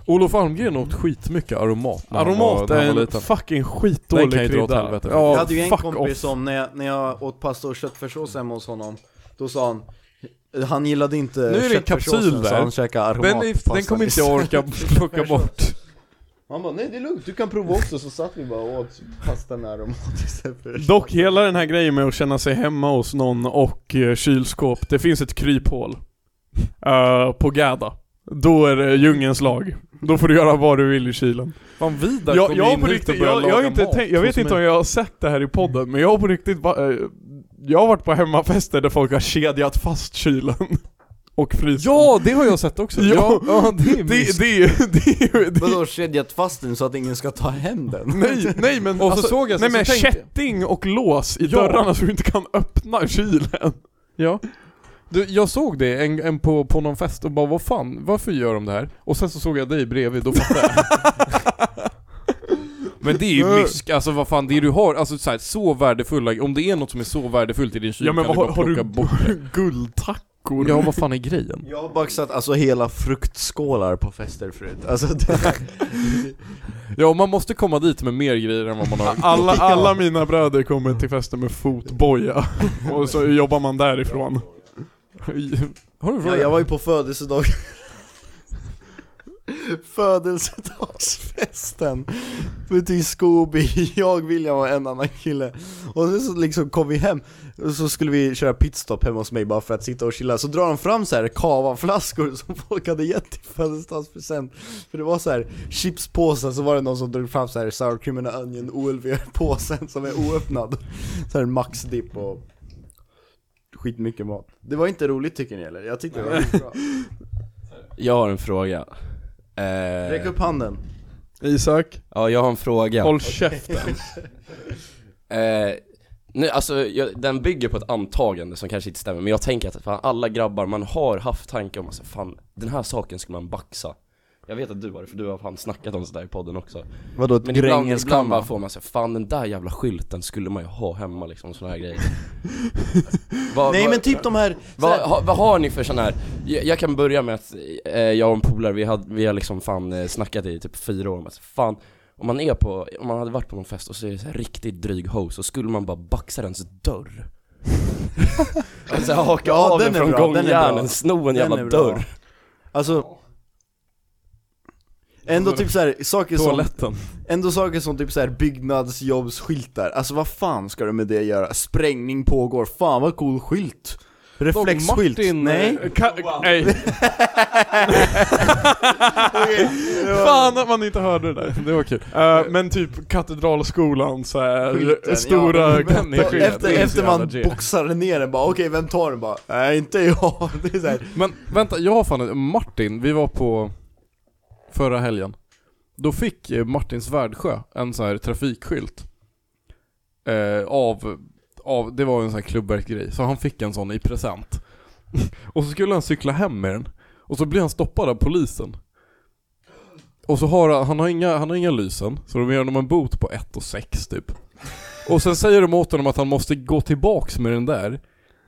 [SPEAKER 3] Olof Almgren åt skitmycket aromat när han var-
[SPEAKER 2] Aromat
[SPEAKER 3] när han
[SPEAKER 2] är
[SPEAKER 3] var
[SPEAKER 2] en
[SPEAKER 3] liten.
[SPEAKER 2] fucking
[SPEAKER 3] Den kan
[SPEAKER 2] skitdålig
[SPEAKER 3] ju dra åt
[SPEAKER 2] krydda.
[SPEAKER 3] helvete.
[SPEAKER 1] Jag
[SPEAKER 2] Ja,
[SPEAKER 1] hade ju en
[SPEAKER 2] fuck
[SPEAKER 1] kompis
[SPEAKER 2] off.
[SPEAKER 1] som, när jag, när jag åt pasta och köttfärssås hemma hos honom, då sa han han gillade inte
[SPEAKER 3] Nu är det en
[SPEAKER 1] köttfärssåsen,
[SPEAKER 3] kapsyl
[SPEAKER 1] så
[SPEAKER 3] där.
[SPEAKER 1] han käkade
[SPEAKER 3] Den, är-
[SPEAKER 1] aromatpasta
[SPEAKER 3] den kommer inte jag orka plocka bort.
[SPEAKER 1] Han bara, nej det är lugnt, du kan prova också, så satt vi bara och åt pasta med aromat istället för
[SPEAKER 2] Dock hela den här grejen med att känna sig hemma hos någon och eh, kylskåp, det finns ett kryphål. Eh, på Gädda. Då är det djungelns lag. Då får du göra vad du vill i kylen.
[SPEAKER 3] Fan Vidar
[SPEAKER 2] Jag,
[SPEAKER 3] kom
[SPEAKER 2] jag, har
[SPEAKER 3] in
[SPEAKER 2] på
[SPEAKER 3] hit och
[SPEAKER 2] riktigt,
[SPEAKER 3] började
[SPEAKER 2] jag, jag, har
[SPEAKER 3] laga
[SPEAKER 2] inte
[SPEAKER 3] mat
[SPEAKER 2] tänkt, jag vet
[SPEAKER 3] hos
[SPEAKER 2] inte
[SPEAKER 3] mig.
[SPEAKER 2] om jag har sett det här i podden, men jag har på riktigt va- eh, Jag har varit på hemmafester där folk har kedjat fast kylen. Och frysen.
[SPEAKER 3] Ja, det har jag sett också.
[SPEAKER 2] Ja.
[SPEAKER 3] ja, ja det är
[SPEAKER 2] Det,
[SPEAKER 3] mysigt.
[SPEAKER 2] det, är ju- det, är ju- det,
[SPEAKER 1] Vadå kedjat fast den så att ingen ska ta hem den?
[SPEAKER 2] Nej, nej men
[SPEAKER 3] Typ.
[SPEAKER 2] alltså,
[SPEAKER 3] Och så såg jag-
[SPEAKER 2] nej,
[SPEAKER 3] så
[SPEAKER 2] men
[SPEAKER 3] tänkte jag-
[SPEAKER 2] kätting och lås i
[SPEAKER 3] Ja.
[SPEAKER 2] dörrarna så du inte kan öppna kylen.
[SPEAKER 3] Ja. Du, jag såg det en, en på, på någon fest och bara vad fan, varför gör de det här? Och sen så såg jag dig bredvid, då fattade jag. Men det är ju mysk, alltså vad fan, det du har, alltså så, här, så värdefulla, om det är något som är så värdefullt i din kyl
[SPEAKER 2] Ja men
[SPEAKER 3] kan
[SPEAKER 2] vad,
[SPEAKER 3] du
[SPEAKER 2] har,
[SPEAKER 3] bara
[SPEAKER 2] har
[SPEAKER 3] plocka
[SPEAKER 2] du
[SPEAKER 3] bort det.
[SPEAKER 2] guldtackor?
[SPEAKER 3] Ja vad fan är grejen?
[SPEAKER 1] Jag har baxat alltså hela fruktskålar på fester förut, alltså det,
[SPEAKER 3] Ja man måste komma dit med mer grejer än vad man har.
[SPEAKER 2] Alla, alla mina bröder kommer till festen med fotboja och så jobbar man därifrån.
[SPEAKER 3] Har du
[SPEAKER 1] ja,
[SPEAKER 3] frågat?
[SPEAKER 1] jag var ju på födelsedag Födelsedagsfesten Ute i Scooby, jag, William och en annan kille Och sen så liksom kom vi hem och så skulle vi köra pitstop hemma hos mig bara för att sitta och chilla Så drar de fram så här kavaflaskor som folk hade gett i födelsedagspresent För det var så här chipspåsar, så var det någon som drog fram så här sour cream and onion OLV-påsen som är oöppnad Så här maxdipp och skitmycket mat Det var inte roligt tycker ni eller? Jag tyckte det var bra
[SPEAKER 9] Jag har en fråga. Eh,
[SPEAKER 1] Räck upp handen
[SPEAKER 2] Isak,
[SPEAKER 9] Ja, jag har en fråga.
[SPEAKER 2] håll käften.
[SPEAKER 9] Eh, nu, alltså, jag, den bygger på ett antagande som kanske inte stämmer, men jag tänker att fan, alla grabbar, man har haft tankar om att alltså, fan, den här saken skulle man baxa. Jag vet att du har det, för du har fan snackat om sådär i podden också.
[SPEAKER 1] Vadå ett
[SPEAKER 9] Men ibland, ibland bara
[SPEAKER 1] grängelskamma?
[SPEAKER 9] får man säga, fan den där jävla skylten skulle man ju ha hemma liksom, såna här grejer. Vad-
[SPEAKER 1] Nej
[SPEAKER 9] vad-
[SPEAKER 1] men typ de här,
[SPEAKER 9] Vad,
[SPEAKER 1] så här
[SPEAKER 9] ha, vad har ni för sån här, jag, jag kan börja med att eh, jag och en polare, vi, hade- vi har liksom fan eh, snackat i typ fyra år om att fan, om man är på, om man hade varit på någon fest och så är det så här riktigt dryg host så skulle man bara baxa dens dörr. alltså haka
[SPEAKER 1] Ja,
[SPEAKER 9] av
[SPEAKER 1] den
[SPEAKER 9] den
[SPEAKER 1] är
[SPEAKER 9] från
[SPEAKER 1] bra, den är bra.
[SPEAKER 9] gångjärnen, sno en
[SPEAKER 1] Den
[SPEAKER 9] jävla
[SPEAKER 1] är bra.
[SPEAKER 9] dörr.
[SPEAKER 1] alltså Ändå typ såhär, saker som,
[SPEAKER 3] Toaletten.
[SPEAKER 1] ändå saker som typ såhär byggnadsjobbsskyltar, alltså vad fan ska du med det göra? Sprängning pågår, fan vad cool skylt! Reflexskylt,
[SPEAKER 3] Martin, eh,
[SPEAKER 1] nej?
[SPEAKER 2] eh, Ka- nej. Fan att man inte hörde det där.
[SPEAKER 3] Det var kul.
[SPEAKER 2] Eh, men typ Katedralskolan så här,
[SPEAKER 1] Skylten, ja,
[SPEAKER 2] stora
[SPEAKER 1] men-
[SPEAKER 2] katter-
[SPEAKER 3] eh, det är så
[SPEAKER 1] Efter, efter
[SPEAKER 3] jävla
[SPEAKER 1] man
[SPEAKER 3] G.
[SPEAKER 1] boxar ner den bara, okej vem tar den? Bara, nej inte jag! Det är såhär,
[SPEAKER 3] Men vänta, jag har fan en- Martin, vi var på förra helgen. Då fick eh, Martin Svärdsjö en sån här trafikskylt. Eh, av, av, det var en sån här klubbverksgrej, så han fick en sån i present. och så skulle han cykla hem med den. Och så blir han stoppad av polisen. Och så har han, han har inga, han har inga lysen, så de ger honom en bot på 1 och 6 typ. Och sen säger de åt honom att han måste gå tillbaks med den där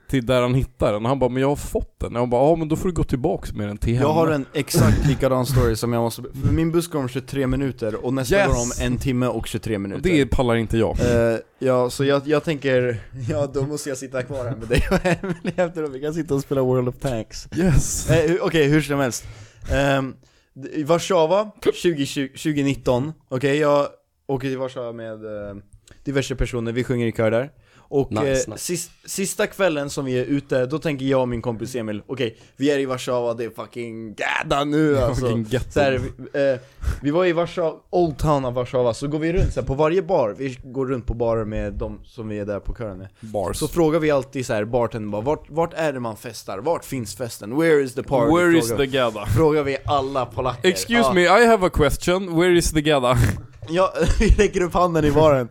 [SPEAKER 3] till där han hittar den. Han bara 'Men jag har fått den' Han bara 'Ja men då får du gå tillbaks med den till henne'
[SPEAKER 1] jag har en exakt likadan story som jag måste, för min buss går om 23 minuter och nästa
[SPEAKER 3] Yes!
[SPEAKER 1] går om en timme och 23 minuter
[SPEAKER 3] Det pallar inte jag.
[SPEAKER 1] Eh, ja, så jag, jag tänker, ja då måste jag sitta kvar här med dig och Emelie efter att vi kan sitta och spela World of Tanks
[SPEAKER 3] Yes!
[SPEAKER 1] Eh, hu- Okej, hur som helst Ehm, d- I Warszawa 2020, 2019, okej jag åker till Warszawa med eh, diverse personer, vi sjunger i kör där Och
[SPEAKER 9] Nice,
[SPEAKER 1] eh,
[SPEAKER 9] nice.
[SPEAKER 1] Sist, sista kvällen som vi är ute, då tänker jag och min kompis Emil Okej, vi är i Warszawa, det är fucking gädda nu alltså
[SPEAKER 3] Fucking ghetto.
[SPEAKER 1] så här, vi, eh, vi var i Warszawa, Old Town av Warszawa, så går vi runt så här, på varje bar, vi går runt på barer med de som vi är där på kören med
[SPEAKER 3] Bars.
[SPEAKER 1] Så frågar vi alltid så här, bartendern bara, vart, vart är det man festar? Vart finns festen? Where is the party?
[SPEAKER 4] Where is
[SPEAKER 1] frågar,
[SPEAKER 4] the gada?
[SPEAKER 1] frågar vi alla polacker
[SPEAKER 4] Excuse
[SPEAKER 1] Ja.
[SPEAKER 4] me, I have a question. Where is the gada?
[SPEAKER 1] Ja, vi räcker upp handen i baren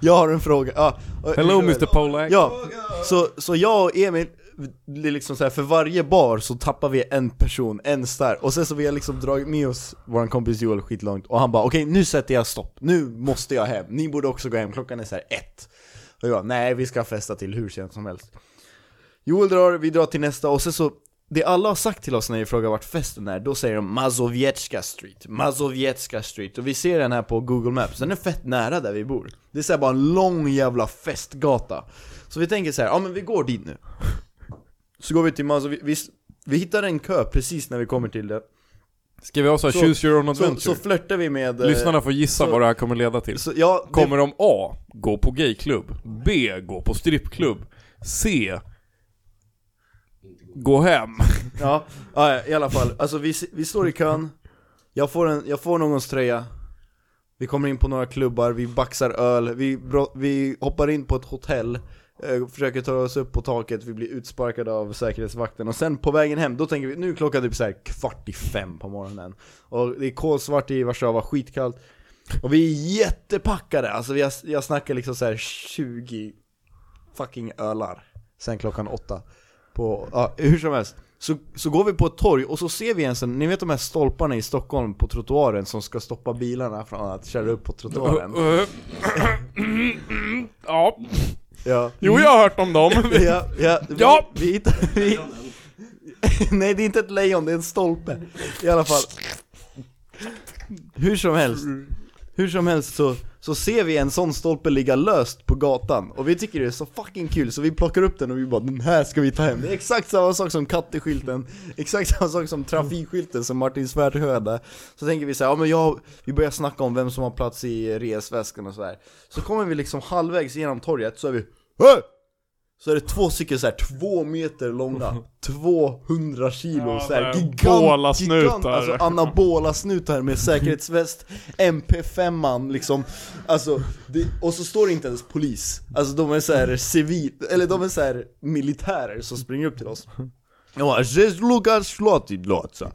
[SPEAKER 1] Jag har en fråga, ja,
[SPEAKER 3] Hello Mr Polak.
[SPEAKER 1] Ja, så, så jag och Emil, det är liksom så här, för varje bar så tappar vi en person, en star Och sen så vi har liksom dragit med oss vår kompis Joel skitlångt Och han bara okej nu sätter jag stopp, nu måste jag hem, ni borde också gå hem, klockan är så här ett Och jag bara, nej vi ska festa till hur sent som helst Joel drar, vi drar till nästa och sen så det alla har sagt till oss när vi frågar vart festen är, då säger de Mazowiecka Street, Mazowiecka Street Och vi ser den här på Google Maps, den är fett nära där vi bor Det är så här bara en lång jävla festgata Så vi tänker så här, ja men vi går dit nu Så går vi till Mazowiecka, vi, vi hittar en kö precis när vi kommer till det
[SPEAKER 3] Ska vi ha så här
[SPEAKER 1] Så-
[SPEAKER 3] choose your own
[SPEAKER 1] Så, så
[SPEAKER 3] adventure?
[SPEAKER 1] flörtar vi med... eh,
[SPEAKER 3] Lyssnarna får gissa
[SPEAKER 1] så-
[SPEAKER 3] vad det här kommer leda till.
[SPEAKER 1] så, ja, det,
[SPEAKER 3] Kommer de A. Gå på gayklubb. B. Gå på strippklubb. C.
[SPEAKER 4] Gå hem.
[SPEAKER 1] Ja, ja ja, i alla fall. Alltså vi, vi står i kön, jag får, en, jag får någons tröja, vi kommer in på några klubbar, vi baxar öl, vi, bro- vi hoppar in på ett hotell, eh, försöker ta oss upp på taket, vi blir utsparkade av säkerhetsvakten och sen på vägen hem, då tänker vi nu är klockan typ så här kvart i fem på morgonen och det är kolsvart i Warszawa, skitkallt och vi är jättepackade, alltså jag, jag snackar liksom så här 20 fucking ölar sen klockan åtta. På, ja, hur som helst. Så, så går vi på ett torg och så ser vi ens en, ni vet de här stolparna i Stockholm på trottoaren som ska stoppa bilarna från att köra upp på trottoaren?
[SPEAKER 4] Ja.
[SPEAKER 1] Ja,
[SPEAKER 2] Jo, jag har hört om dem.
[SPEAKER 1] ja, ja, vi,
[SPEAKER 4] Ja.
[SPEAKER 1] vi hittar... Vi, nej det är inte ett lejon, det är en stolpe. I alla fall. Hur som helst. Hur som helst så, så ser vi en sån stolpe ligga löst på gatan och vi tycker det är så fucking kul så vi plockar upp den och vi bara den här ska vi ta hem Det är exakt samma sak som katteskylten, exakt samma sak som trafikskylten som Martin Svärd hörde Så tänker vi så här, ja men jag, vi börjar snacka om vem som har plats i resväskan och sådär Så kommer vi liksom halvvägs genom torget så är vi Hö! Så är det två stycken så här två meter långa, 200 kilo
[SPEAKER 2] Ja,
[SPEAKER 1] så här
[SPEAKER 2] men
[SPEAKER 1] gigant,
[SPEAKER 2] bolasnutar.
[SPEAKER 1] gigant alltså anabola-snutar med säkerhetsväst, MP5an liksom Alltså, det, och så står det inte ens polis Alltså de är så här civil, eller de är så här militärer som springer upp till oss Jag bara 'Zez Lukas Slotidlotsa'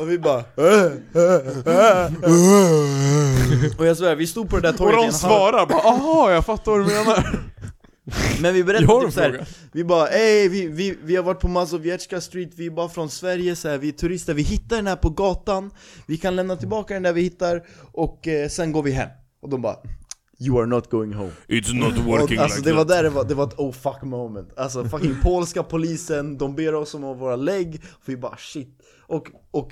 [SPEAKER 1] Och vi bara "Eh, eh, eh, eh." Och jag svär, vi stod på det där
[SPEAKER 2] Och
[SPEAKER 1] torget i
[SPEAKER 2] de
[SPEAKER 1] en halv-
[SPEAKER 2] svarar bara aha, jag fattar vad du menar.
[SPEAKER 1] men vi
[SPEAKER 3] Jag har
[SPEAKER 1] berättade typ
[SPEAKER 3] en fråga.
[SPEAKER 1] såhär, vi bara ey, vi, vi, vi har varit på Mazowiecka Street, vi är bara från Sverige så här, vi är turister, vi hittar den här på gatan, vi kan lämna tillbaka den där vi hittar och eh, sen går vi hem. Och de bara You are not going home.
[SPEAKER 4] It's not working
[SPEAKER 1] Och, alltså
[SPEAKER 4] like
[SPEAKER 1] det
[SPEAKER 4] that.
[SPEAKER 1] var där det var, det var ett oh fuck moment. Alltså fucking polska polisen, de ber oss om våra lägg, och vi bara shit. Och, och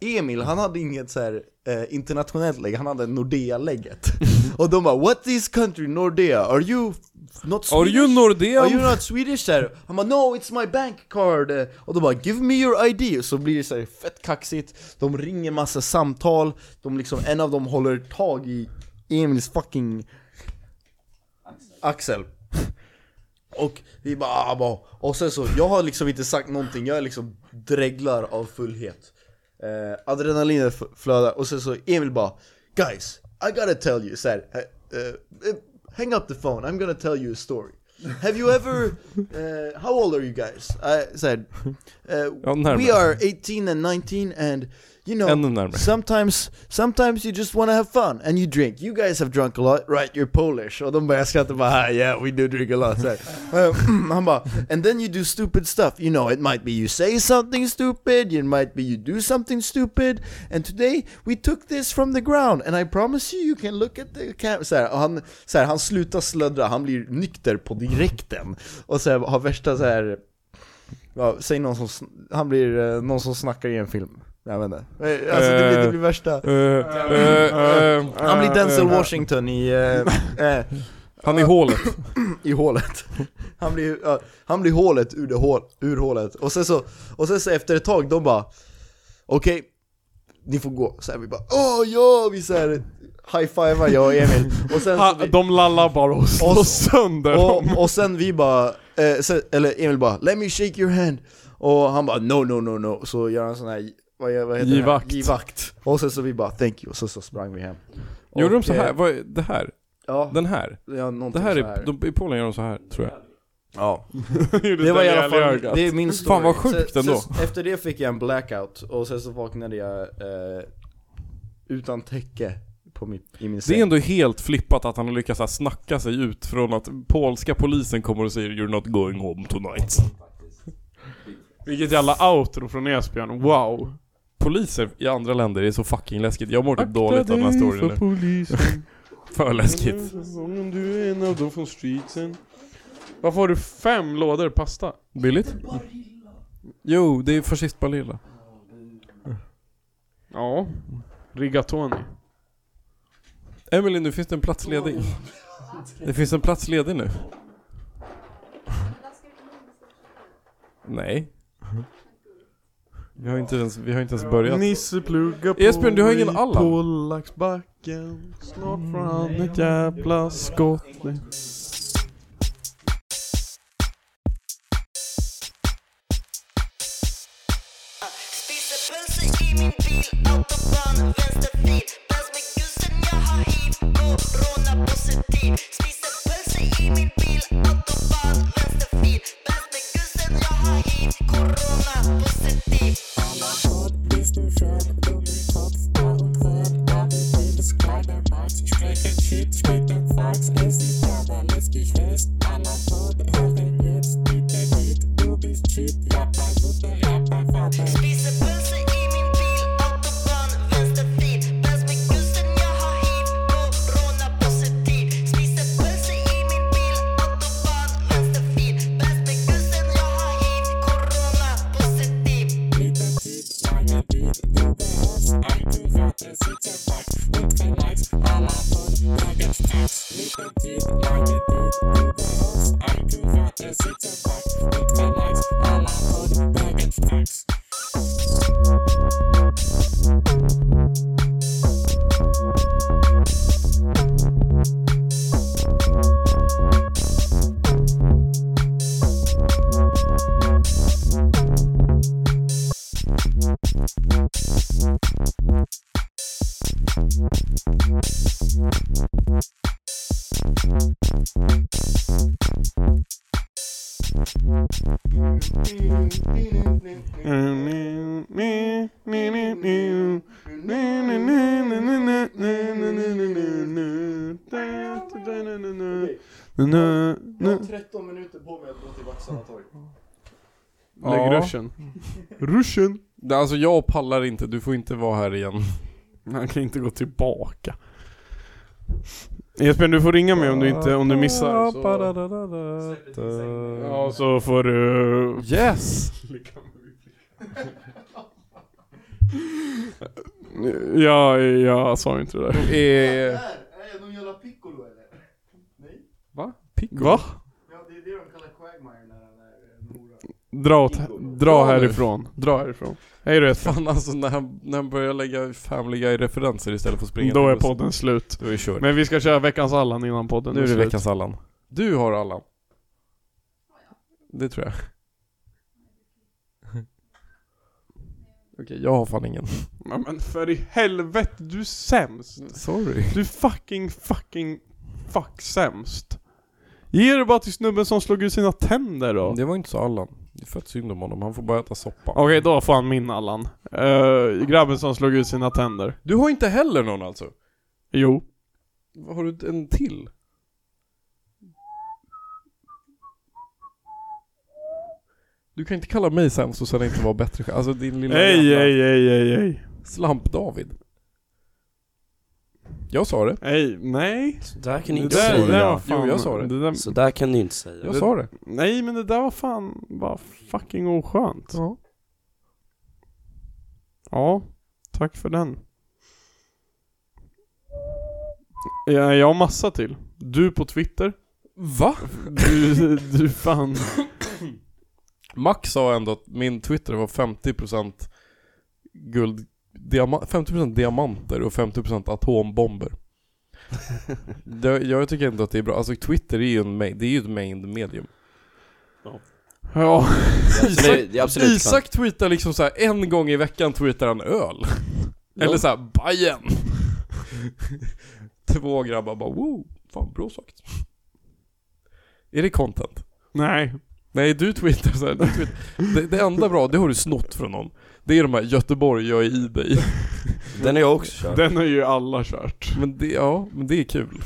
[SPEAKER 1] Emil, han hade inget så här eh, internationellt lägg, han hade Nordea-lägget. och de bara 'What is country Nordea? Are you f- not
[SPEAKER 3] Are
[SPEAKER 1] Swedish?"
[SPEAKER 3] you Nordea?
[SPEAKER 1] Are you not Swedish? Där. Han bara 'No, it's my bank card' Och de bara 'Give me your ID' Och så blir det så här fett kaxigt, de ringer massa samtal, de liksom, en av dem håller tag i Emils fucking axel Och vi bara, ah, bara och sen så, jag har liksom inte sagt någonting, jag är liksom dreglar av fullhet eh, Adrenalinet f- flödar, och sen så Emil bara Guys, I gotta tell you, så här, eh, eh, hang up the phone, I'm gonna tell you a story Have you ever, eh, how old are you guys? Eh, I said,
[SPEAKER 3] Ja,
[SPEAKER 1] uh,
[SPEAKER 3] närmare.
[SPEAKER 1] we are 18 and 19 and you know
[SPEAKER 3] Ännu närmare.
[SPEAKER 1] Sometimes, sometimes you just want to have fun and you drink. You guys have drunk a lot, right? You're Polish. Oh, Och de börjar skratta bara ah, yeah, we do drink a lot. Så här. Eh, Han bara, and then you do stupid stuff. You know, it might be you say something stupid, it might be you do something stupid. And today we took this from the ground and I promise you you can look at the camera. Så här, och han, så här, han slutar slöddra, han blir nykter på direkten. Och så här, har värsta så här Ja, säg någon som, sn- han blir eh, någon som snackar i en film. Jag vet inte. Eh, Alltså det blir, det blir värsta.
[SPEAKER 3] Eh, eh, eh,
[SPEAKER 1] Han blir Denzel Washington i, eh, eh,
[SPEAKER 3] han är hålet.
[SPEAKER 1] i hålet. Han blir, ja, han blir hålet ur, det hål, ur hålet. Och sen så, och sen så efter ett tag, de bara Okej, ni får gå. Så här, vi bara åh ja, vi så här high-fivar jag och Emil. Och sen så
[SPEAKER 2] Ha,
[SPEAKER 1] vi,
[SPEAKER 2] de lallar bara och slår
[SPEAKER 1] Och-
[SPEAKER 2] sönder dem.
[SPEAKER 1] och, och sen vi bara, eh, sen, eller Emil bara 'Let me shake your hand' Och han bara 'No, no, no, no' Så gör han sån här, vad, vad heter
[SPEAKER 2] Givakt.
[SPEAKER 1] det? här? Givakt. Och sen så vi bara 'Thank you' och så, så sprang vi hem.
[SPEAKER 3] Gjorde de
[SPEAKER 1] Och,
[SPEAKER 3] så här?
[SPEAKER 1] eh,
[SPEAKER 3] Vad är det här?
[SPEAKER 1] Ja,
[SPEAKER 3] Den här?
[SPEAKER 1] ja
[SPEAKER 3] Det
[SPEAKER 1] någonting
[SPEAKER 3] här
[SPEAKER 1] så
[SPEAKER 3] är, de, i Polen gör de så här, tror jag.
[SPEAKER 1] Ja.
[SPEAKER 2] Gjorde
[SPEAKER 1] Det var i alla
[SPEAKER 2] den jävla
[SPEAKER 1] fall,
[SPEAKER 2] ögat.
[SPEAKER 1] det är min story.
[SPEAKER 3] Fan, vad sjukt
[SPEAKER 1] sen,
[SPEAKER 3] ändå.
[SPEAKER 1] Sen, efter det fick jag en blackout och sen så vaknade jag eh, utan täcke på mitt, i min
[SPEAKER 3] Det
[SPEAKER 1] säng.
[SPEAKER 3] är ändå helt flippat att han har lyckats så här snacka sig ut från att polska polisen kommer och säger 'You're not going home tonight'
[SPEAKER 2] Vilket jävla outro från Esbjörn, wow.
[SPEAKER 3] Poliser i andra länder är så fucking läskigt. Jag mår typ dåligt av den här storyn nu.
[SPEAKER 2] polisen.
[SPEAKER 3] För
[SPEAKER 2] Mm.
[SPEAKER 3] läskigt.
[SPEAKER 2] Om du är en av dem från streetsen. Varför har du fem lådor pasta?
[SPEAKER 3] Billigt? Jo, det är fascistbalilla.
[SPEAKER 2] Ja. Rigatoni.
[SPEAKER 3] Emily, nu finns det en plats ledig. Det finns en plats ledig nu. Nej. Vi har inte ens, vi har inte ens börjat.
[SPEAKER 2] Nisse pluggar på
[SPEAKER 3] Esbjörn, du har ingen
[SPEAKER 2] i
[SPEAKER 3] Allan.
[SPEAKER 2] Polacksbacken. Snart får han ett jävla skott.
[SPEAKER 8] Spiser pölse i min bil, autobahn, vänsterfil Dans med gussen, jag har hiv, corona positiv Spiser pölse i min bil, autobahn, vänsterfil Dans med gussen, jag har hiv, corona positiv Spiser pölse i min bil, autobahn, vänsterfil Dans med gussen, jag har hiv, corona positiv Spiser pölse i min bil, autobahn, vänsterfil Dans med gussen, jag har hiv, corona positiv
[SPEAKER 7] Jag har 13 minuter på mig att gå till Vaksana torg.
[SPEAKER 2] Lägg
[SPEAKER 3] Ja.
[SPEAKER 2] ruschen. Ruschen.
[SPEAKER 3] Det- Alltså jag pallar inte, du får inte vara här igen.
[SPEAKER 2] Han kan inte gå tillbaka. Esbjörn, du får ringa mig om du inte, om du missar. Så. Ja, så får du...
[SPEAKER 3] Yes!
[SPEAKER 2] Ja, jag sa ju inte det där.
[SPEAKER 3] Eh,
[SPEAKER 7] Är det någon jävla piccolo eller?
[SPEAKER 3] va? Piccolo?
[SPEAKER 2] Va?
[SPEAKER 7] Ja, det är det de kallar Quagmire när han är eh, en hora.
[SPEAKER 2] Dra, åt, dra härifrån. Dra härifrån. Hej då Esbjörn.
[SPEAKER 3] Fan alltså när han, när han börjar lägga Family Guy-referenser istället för att springa
[SPEAKER 2] Då
[SPEAKER 3] till
[SPEAKER 2] är
[SPEAKER 3] bussen.
[SPEAKER 2] podden slut.
[SPEAKER 3] Då är vi körd.
[SPEAKER 2] Men vi ska köra veckans Allan innan podden
[SPEAKER 3] Nu är det
[SPEAKER 2] slut.
[SPEAKER 3] veckans Allan. Du har Allan. Det tror jag. Okej, jag har fan ingen.
[SPEAKER 2] Ja, men för i helvete, du är sämst.
[SPEAKER 3] Sorry.
[SPEAKER 2] Du är fucking, fucking, fuck sämst. Ge det bara till snubben som slog ut sina tänder då.
[SPEAKER 3] Det var inte så Allan. Det är fett synd om honom, han får bara äta soppa.
[SPEAKER 2] Okej, då får han min Allan. Eh, grabben som slog ut sina tänder.
[SPEAKER 3] Du har inte heller någon alltså?
[SPEAKER 2] Jo.
[SPEAKER 3] Har du en till? Du kan inte kalla mig sämst och sen inte vara bättre själv. Alltså din lilla
[SPEAKER 2] Ej,
[SPEAKER 3] jävla
[SPEAKER 2] ej, ej, ej, ej.
[SPEAKER 3] Slamp-David. Jag sa det.
[SPEAKER 2] Ej, nej.
[SPEAKER 9] Sådär kan ni
[SPEAKER 2] Det
[SPEAKER 9] inte
[SPEAKER 2] där, det där var
[SPEAKER 9] säga.
[SPEAKER 2] fan...
[SPEAKER 3] Jo, jag sa det.
[SPEAKER 2] där,
[SPEAKER 9] Sådär kan ni inte säga.
[SPEAKER 3] Jag sa det.
[SPEAKER 2] nej, men det där var fan bara fucking oskönt.
[SPEAKER 3] Ja.
[SPEAKER 2] Ja, tack för den. Ja, jag har massa till. Du på Twitter.
[SPEAKER 3] Va?
[SPEAKER 2] Du, du fan.
[SPEAKER 3] Max sa ändå att min Twitter var 50% guld diama- 50% diamanter och 50% atombomber. det, jag tycker ändå att det är bra. Alltså Twitter är ju, en ma- det är ju ett main medium.
[SPEAKER 2] Ja,
[SPEAKER 9] Absolut, det är absolut
[SPEAKER 3] Isak tweetar liksom så här en gång i veckan tweetar han öl. Eller så här Bajen. Två grabbar bara wow, fan bra sagt. Är det content?
[SPEAKER 2] nej.
[SPEAKER 3] Nej du tweetar så här, du tweetar. Det, det enda bra, det har du snott från någon. Det är de här Göteborg, jag är i dig.
[SPEAKER 9] Den är jag också kört.
[SPEAKER 2] Den har ju alla kört.
[SPEAKER 3] Men det, ja, men det är kul.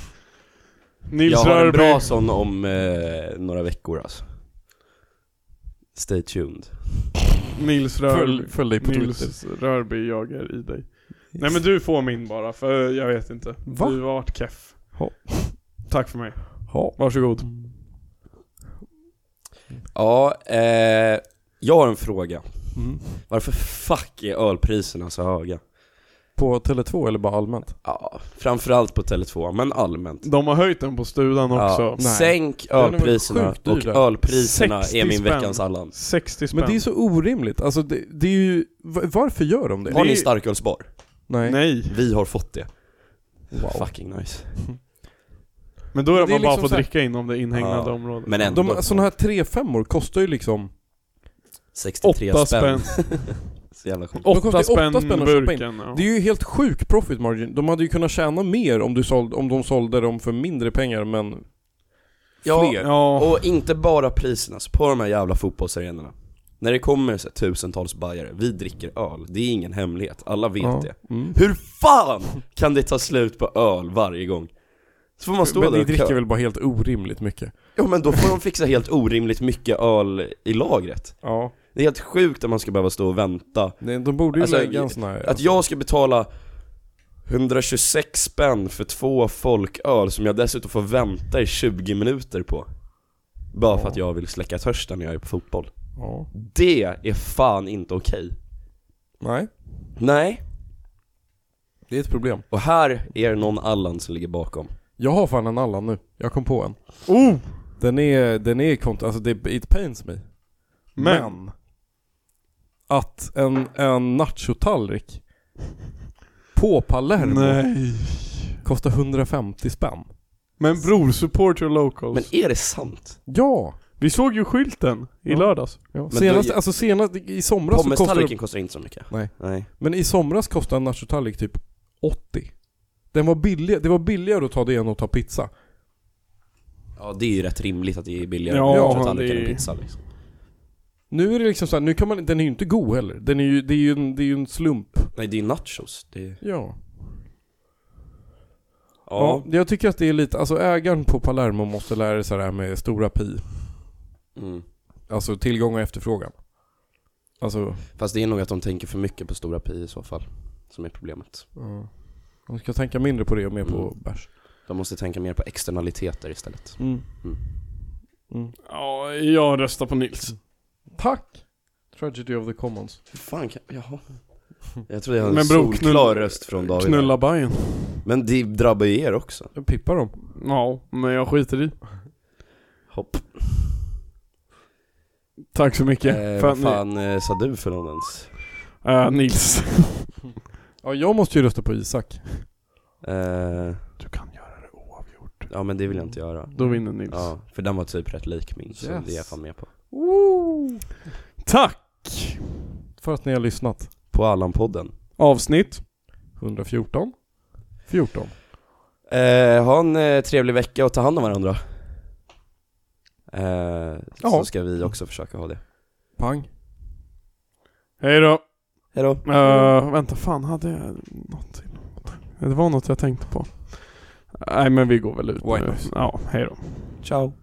[SPEAKER 2] Nils
[SPEAKER 9] jag har en
[SPEAKER 2] Rörby.
[SPEAKER 9] bra sån om eh, några veckor alltså. Stay tuned.
[SPEAKER 2] Nils Rörby.
[SPEAKER 3] Följ, följ dig på Twitter.
[SPEAKER 2] Nils Rörby jagar i dig. Nej men du får min bara, för jag vet inte.
[SPEAKER 3] Va?
[SPEAKER 2] Du har varit keff.
[SPEAKER 3] Ja.
[SPEAKER 2] Tack för mig.
[SPEAKER 3] Ja.
[SPEAKER 2] Varsågod.
[SPEAKER 9] Ja, eh, jag har en fråga.
[SPEAKER 3] Mm.
[SPEAKER 9] Varför fuck är ölpriserna så höga?
[SPEAKER 3] På Tele2 eller bara allmänt?
[SPEAKER 9] Ja, framförallt på Tele2, men allmänt.
[SPEAKER 2] De har höjt den på studan också.
[SPEAKER 9] Ja,
[SPEAKER 3] Nej.
[SPEAKER 9] sänk
[SPEAKER 3] är väl
[SPEAKER 9] ölpriserna,
[SPEAKER 3] sjukt dyr
[SPEAKER 9] och
[SPEAKER 3] där.
[SPEAKER 9] ölpriserna är
[SPEAKER 2] 60
[SPEAKER 9] min
[SPEAKER 2] spänn.
[SPEAKER 9] veckans Allan.
[SPEAKER 2] 60 spänn.
[SPEAKER 3] Men det är så orimligt. Alltså det, det är ju, va- varför gör de det?
[SPEAKER 9] Har
[SPEAKER 2] Det
[SPEAKER 9] ni
[SPEAKER 2] är-
[SPEAKER 9] en starkölsbar?
[SPEAKER 3] Nej.
[SPEAKER 2] Nej.
[SPEAKER 9] Vi har fått det.
[SPEAKER 3] Wow.
[SPEAKER 9] Fucking nice.
[SPEAKER 2] Men då är det
[SPEAKER 3] Men det är
[SPEAKER 2] man bara
[SPEAKER 3] liksom
[SPEAKER 2] får
[SPEAKER 3] så här-
[SPEAKER 2] dricka inom det inhägnade
[SPEAKER 9] Ja.
[SPEAKER 2] området.
[SPEAKER 9] Men ändå.
[SPEAKER 3] De, sådana här 3-5 kostar ju liksom
[SPEAKER 9] 63
[SPEAKER 2] 8
[SPEAKER 9] spänn.
[SPEAKER 2] spänn.
[SPEAKER 9] Så jävla sjukt.
[SPEAKER 3] De
[SPEAKER 2] 8
[SPEAKER 3] kostar ju
[SPEAKER 2] spänn,
[SPEAKER 3] åtta spänn att köpa in.
[SPEAKER 2] burken. Ja.
[SPEAKER 3] Det är ju helt sjuk profit margin. De hade ju kunnat tjäna mer om, du såld, om de sålde dem för mindre pengar men
[SPEAKER 9] Ja,
[SPEAKER 3] fler.
[SPEAKER 2] Ja,
[SPEAKER 9] Och inte bara priserna, så på de här jävla fotbollsarenorna. När det kommer så här, tusentals bajare, vi dricker öl, det är ingen hemlighet, alla vet
[SPEAKER 3] Ja.
[SPEAKER 9] det.
[SPEAKER 3] Mm.
[SPEAKER 9] Hur fan kan det ta slut på öl varje gång? Så får man stå
[SPEAKER 3] Men
[SPEAKER 9] där
[SPEAKER 3] ni
[SPEAKER 9] och kö-
[SPEAKER 3] dricker väl bara helt orimligt mycket?
[SPEAKER 9] Ja men då får de fixa helt orimligt mycket öl i lagret.
[SPEAKER 3] Ja.
[SPEAKER 9] Det är helt sjukt att man ska behöva stå och vänta.
[SPEAKER 3] Nej, de borde ju
[SPEAKER 9] Alltså,
[SPEAKER 3] lägga en sån här...
[SPEAKER 9] Att jag ska betala 126 spänn för två folköl som jag dessutom får vänta i 20 minuter på. Bara för att jag vill släcka törsten när jag är på fotboll.
[SPEAKER 3] Ja.
[SPEAKER 9] Det är fan inte okej.
[SPEAKER 3] Nej,
[SPEAKER 9] Nej,
[SPEAKER 3] det är ett problem.
[SPEAKER 9] och här är det någon Allan som ligger bakom.
[SPEAKER 3] Jag har fan en Allan nu. Jag kom på en. Oh! Den är, den är kont- alltså det, it pains me.
[SPEAKER 2] men.
[SPEAKER 3] Att en, en nachotallrik på Palermo
[SPEAKER 2] Nej.
[SPEAKER 3] kostar 150 spänn.
[SPEAKER 2] Men bror, support your locals.
[SPEAKER 9] Men är det sant?
[SPEAKER 3] Ja!
[SPEAKER 2] Vi såg ju skylten i
[SPEAKER 3] Ja.
[SPEAKER 2] lördags.
[SPEAKER 3] ja.
[SPEAKER 9] då-
[SPEAKER 3] Senast, alltså senast, i somras så kostade
[SPEAKER 9] Pommes-tallriken kostar inte så mycket.
[SPEAKER 3] alltså, Nej.
[SPEAKER 9] Nej.
[SPEAKER 3] Men i somras kostade en nachotallrik typ 80. Den var billig, det var billigare att ta det än att ta pizza.
[SPEAKER 9] Ja det är ju rätt rimligt att det är billigare
[SPEAKER 2] Ja,
[SPEAKER 9] ja, med
[SPEAKER 2] det
[SPEAKER 9] tallrikar
[SPEAKER 2] är-
[SPEAKER 9] än pizza liksom.
[SPEAKER 3] Nu är det liksom så här, nu kan man, den är ju inte god heller. Den är ju, det är ju en, det är ju en slump.
[SPEAKER 9] Nej det är nachos, det är...
[SPEAKER 3] Ja.
[SPEAKER 9] Ja.
[SPEAKER 3] Ja, jag tycker att det är lite, alltså ägaren på Palermo måste lära sig det här med stora pi.
[SPEAKER 9] Mm.
[SPEAKER 3] Alltså tillgång och efterfrågan. Alltså,
[SPEAKER 9] Fast det är nog att de tänker för mycket på stora pi i så fall. Som är problemet.
[SPEAKER 3] ja. man ska tänka mindre på det och mer på
[SPEAKER 9] Mm.
[SPEAKER 3] bärs.
[SPEAKER 9] De måste tänka mer på externaliteter istället.
[SPEAKER 2] Ja, jag röstar på Nils.
[SPEAKER 3] Tack! Tragedy of the commons.
[SPEAKER 9] Hur fan kan... Jaha. Jag trodde jag hade
[SPEAKER 2] Men
[SPEAKER 9] en
[SPEAKER 2] bro,
[SPEAKER 9] solklar
[SPEAKER 2] knull-
[SPEAKER 9] röst från David.
[SPEAKER 2] Knulla Bajen.
[SPEAKER 9] Men det drabbar ju er också.
[SPEAKER 3] Jag pippar dem.
[SPEAKER 2] Ja, men jag skiter i.
[SPEAKER 9] Hopp.
[SPEAKER 2] Tack så mycket.
[SPEAKER 9] eh,
[SPEAKER 2] för att
[SPEAKER 9] vad
[SPEAKER 2] ni-
[SPEAKER 9] fan eh, sa du för någon ens?
[SPEAKER 2] Eh, Nils.
[SPEAKER 3] Ja, jag måste ju rösta på Isak.
[SPEAKER 9] Eh,
[SPEAKER 2] Du kan göra det oavgjort. Mm.
[SPEAKER 9] ja men det vill jag inte göra.
[SPEAKER 2] Då vinner Nils.
[SPEAKER 9] Ja, för den var typ rätt lik min, så det är jag fan med på.
[SPEAKER 2] Tack!
[SPEAKER 3] För att ni har lyssnat.
[SPEAKER 9] På Allan-podden.
[SPEAKER 2] Avsnitt.
[SPEAKER 3] 114. 14.
[SPEAKER 9] Eh, ha en eh, trevlig vecka och ta hand om varandra. Eh,
[SPEAKER 3] Ja.
[SPEAKER 9] Så ska vi också försöka ha det.
[SPEAKER 3] Pang.
[SPEAKER 2] Hej då.
[SPEAKER 9] Hejdå.
[SPEAKER 2] Eh, vänta, fan hade jag något till? Det var något jag tänkte på. Nej men vi går väl ut
[SPEAKER 3] White
[SPEAKER 2] nu.
[SPEAKER 3] noise.
[SPEAKER 2] Ja, hej då.
[SPEAKER 9] Ciao.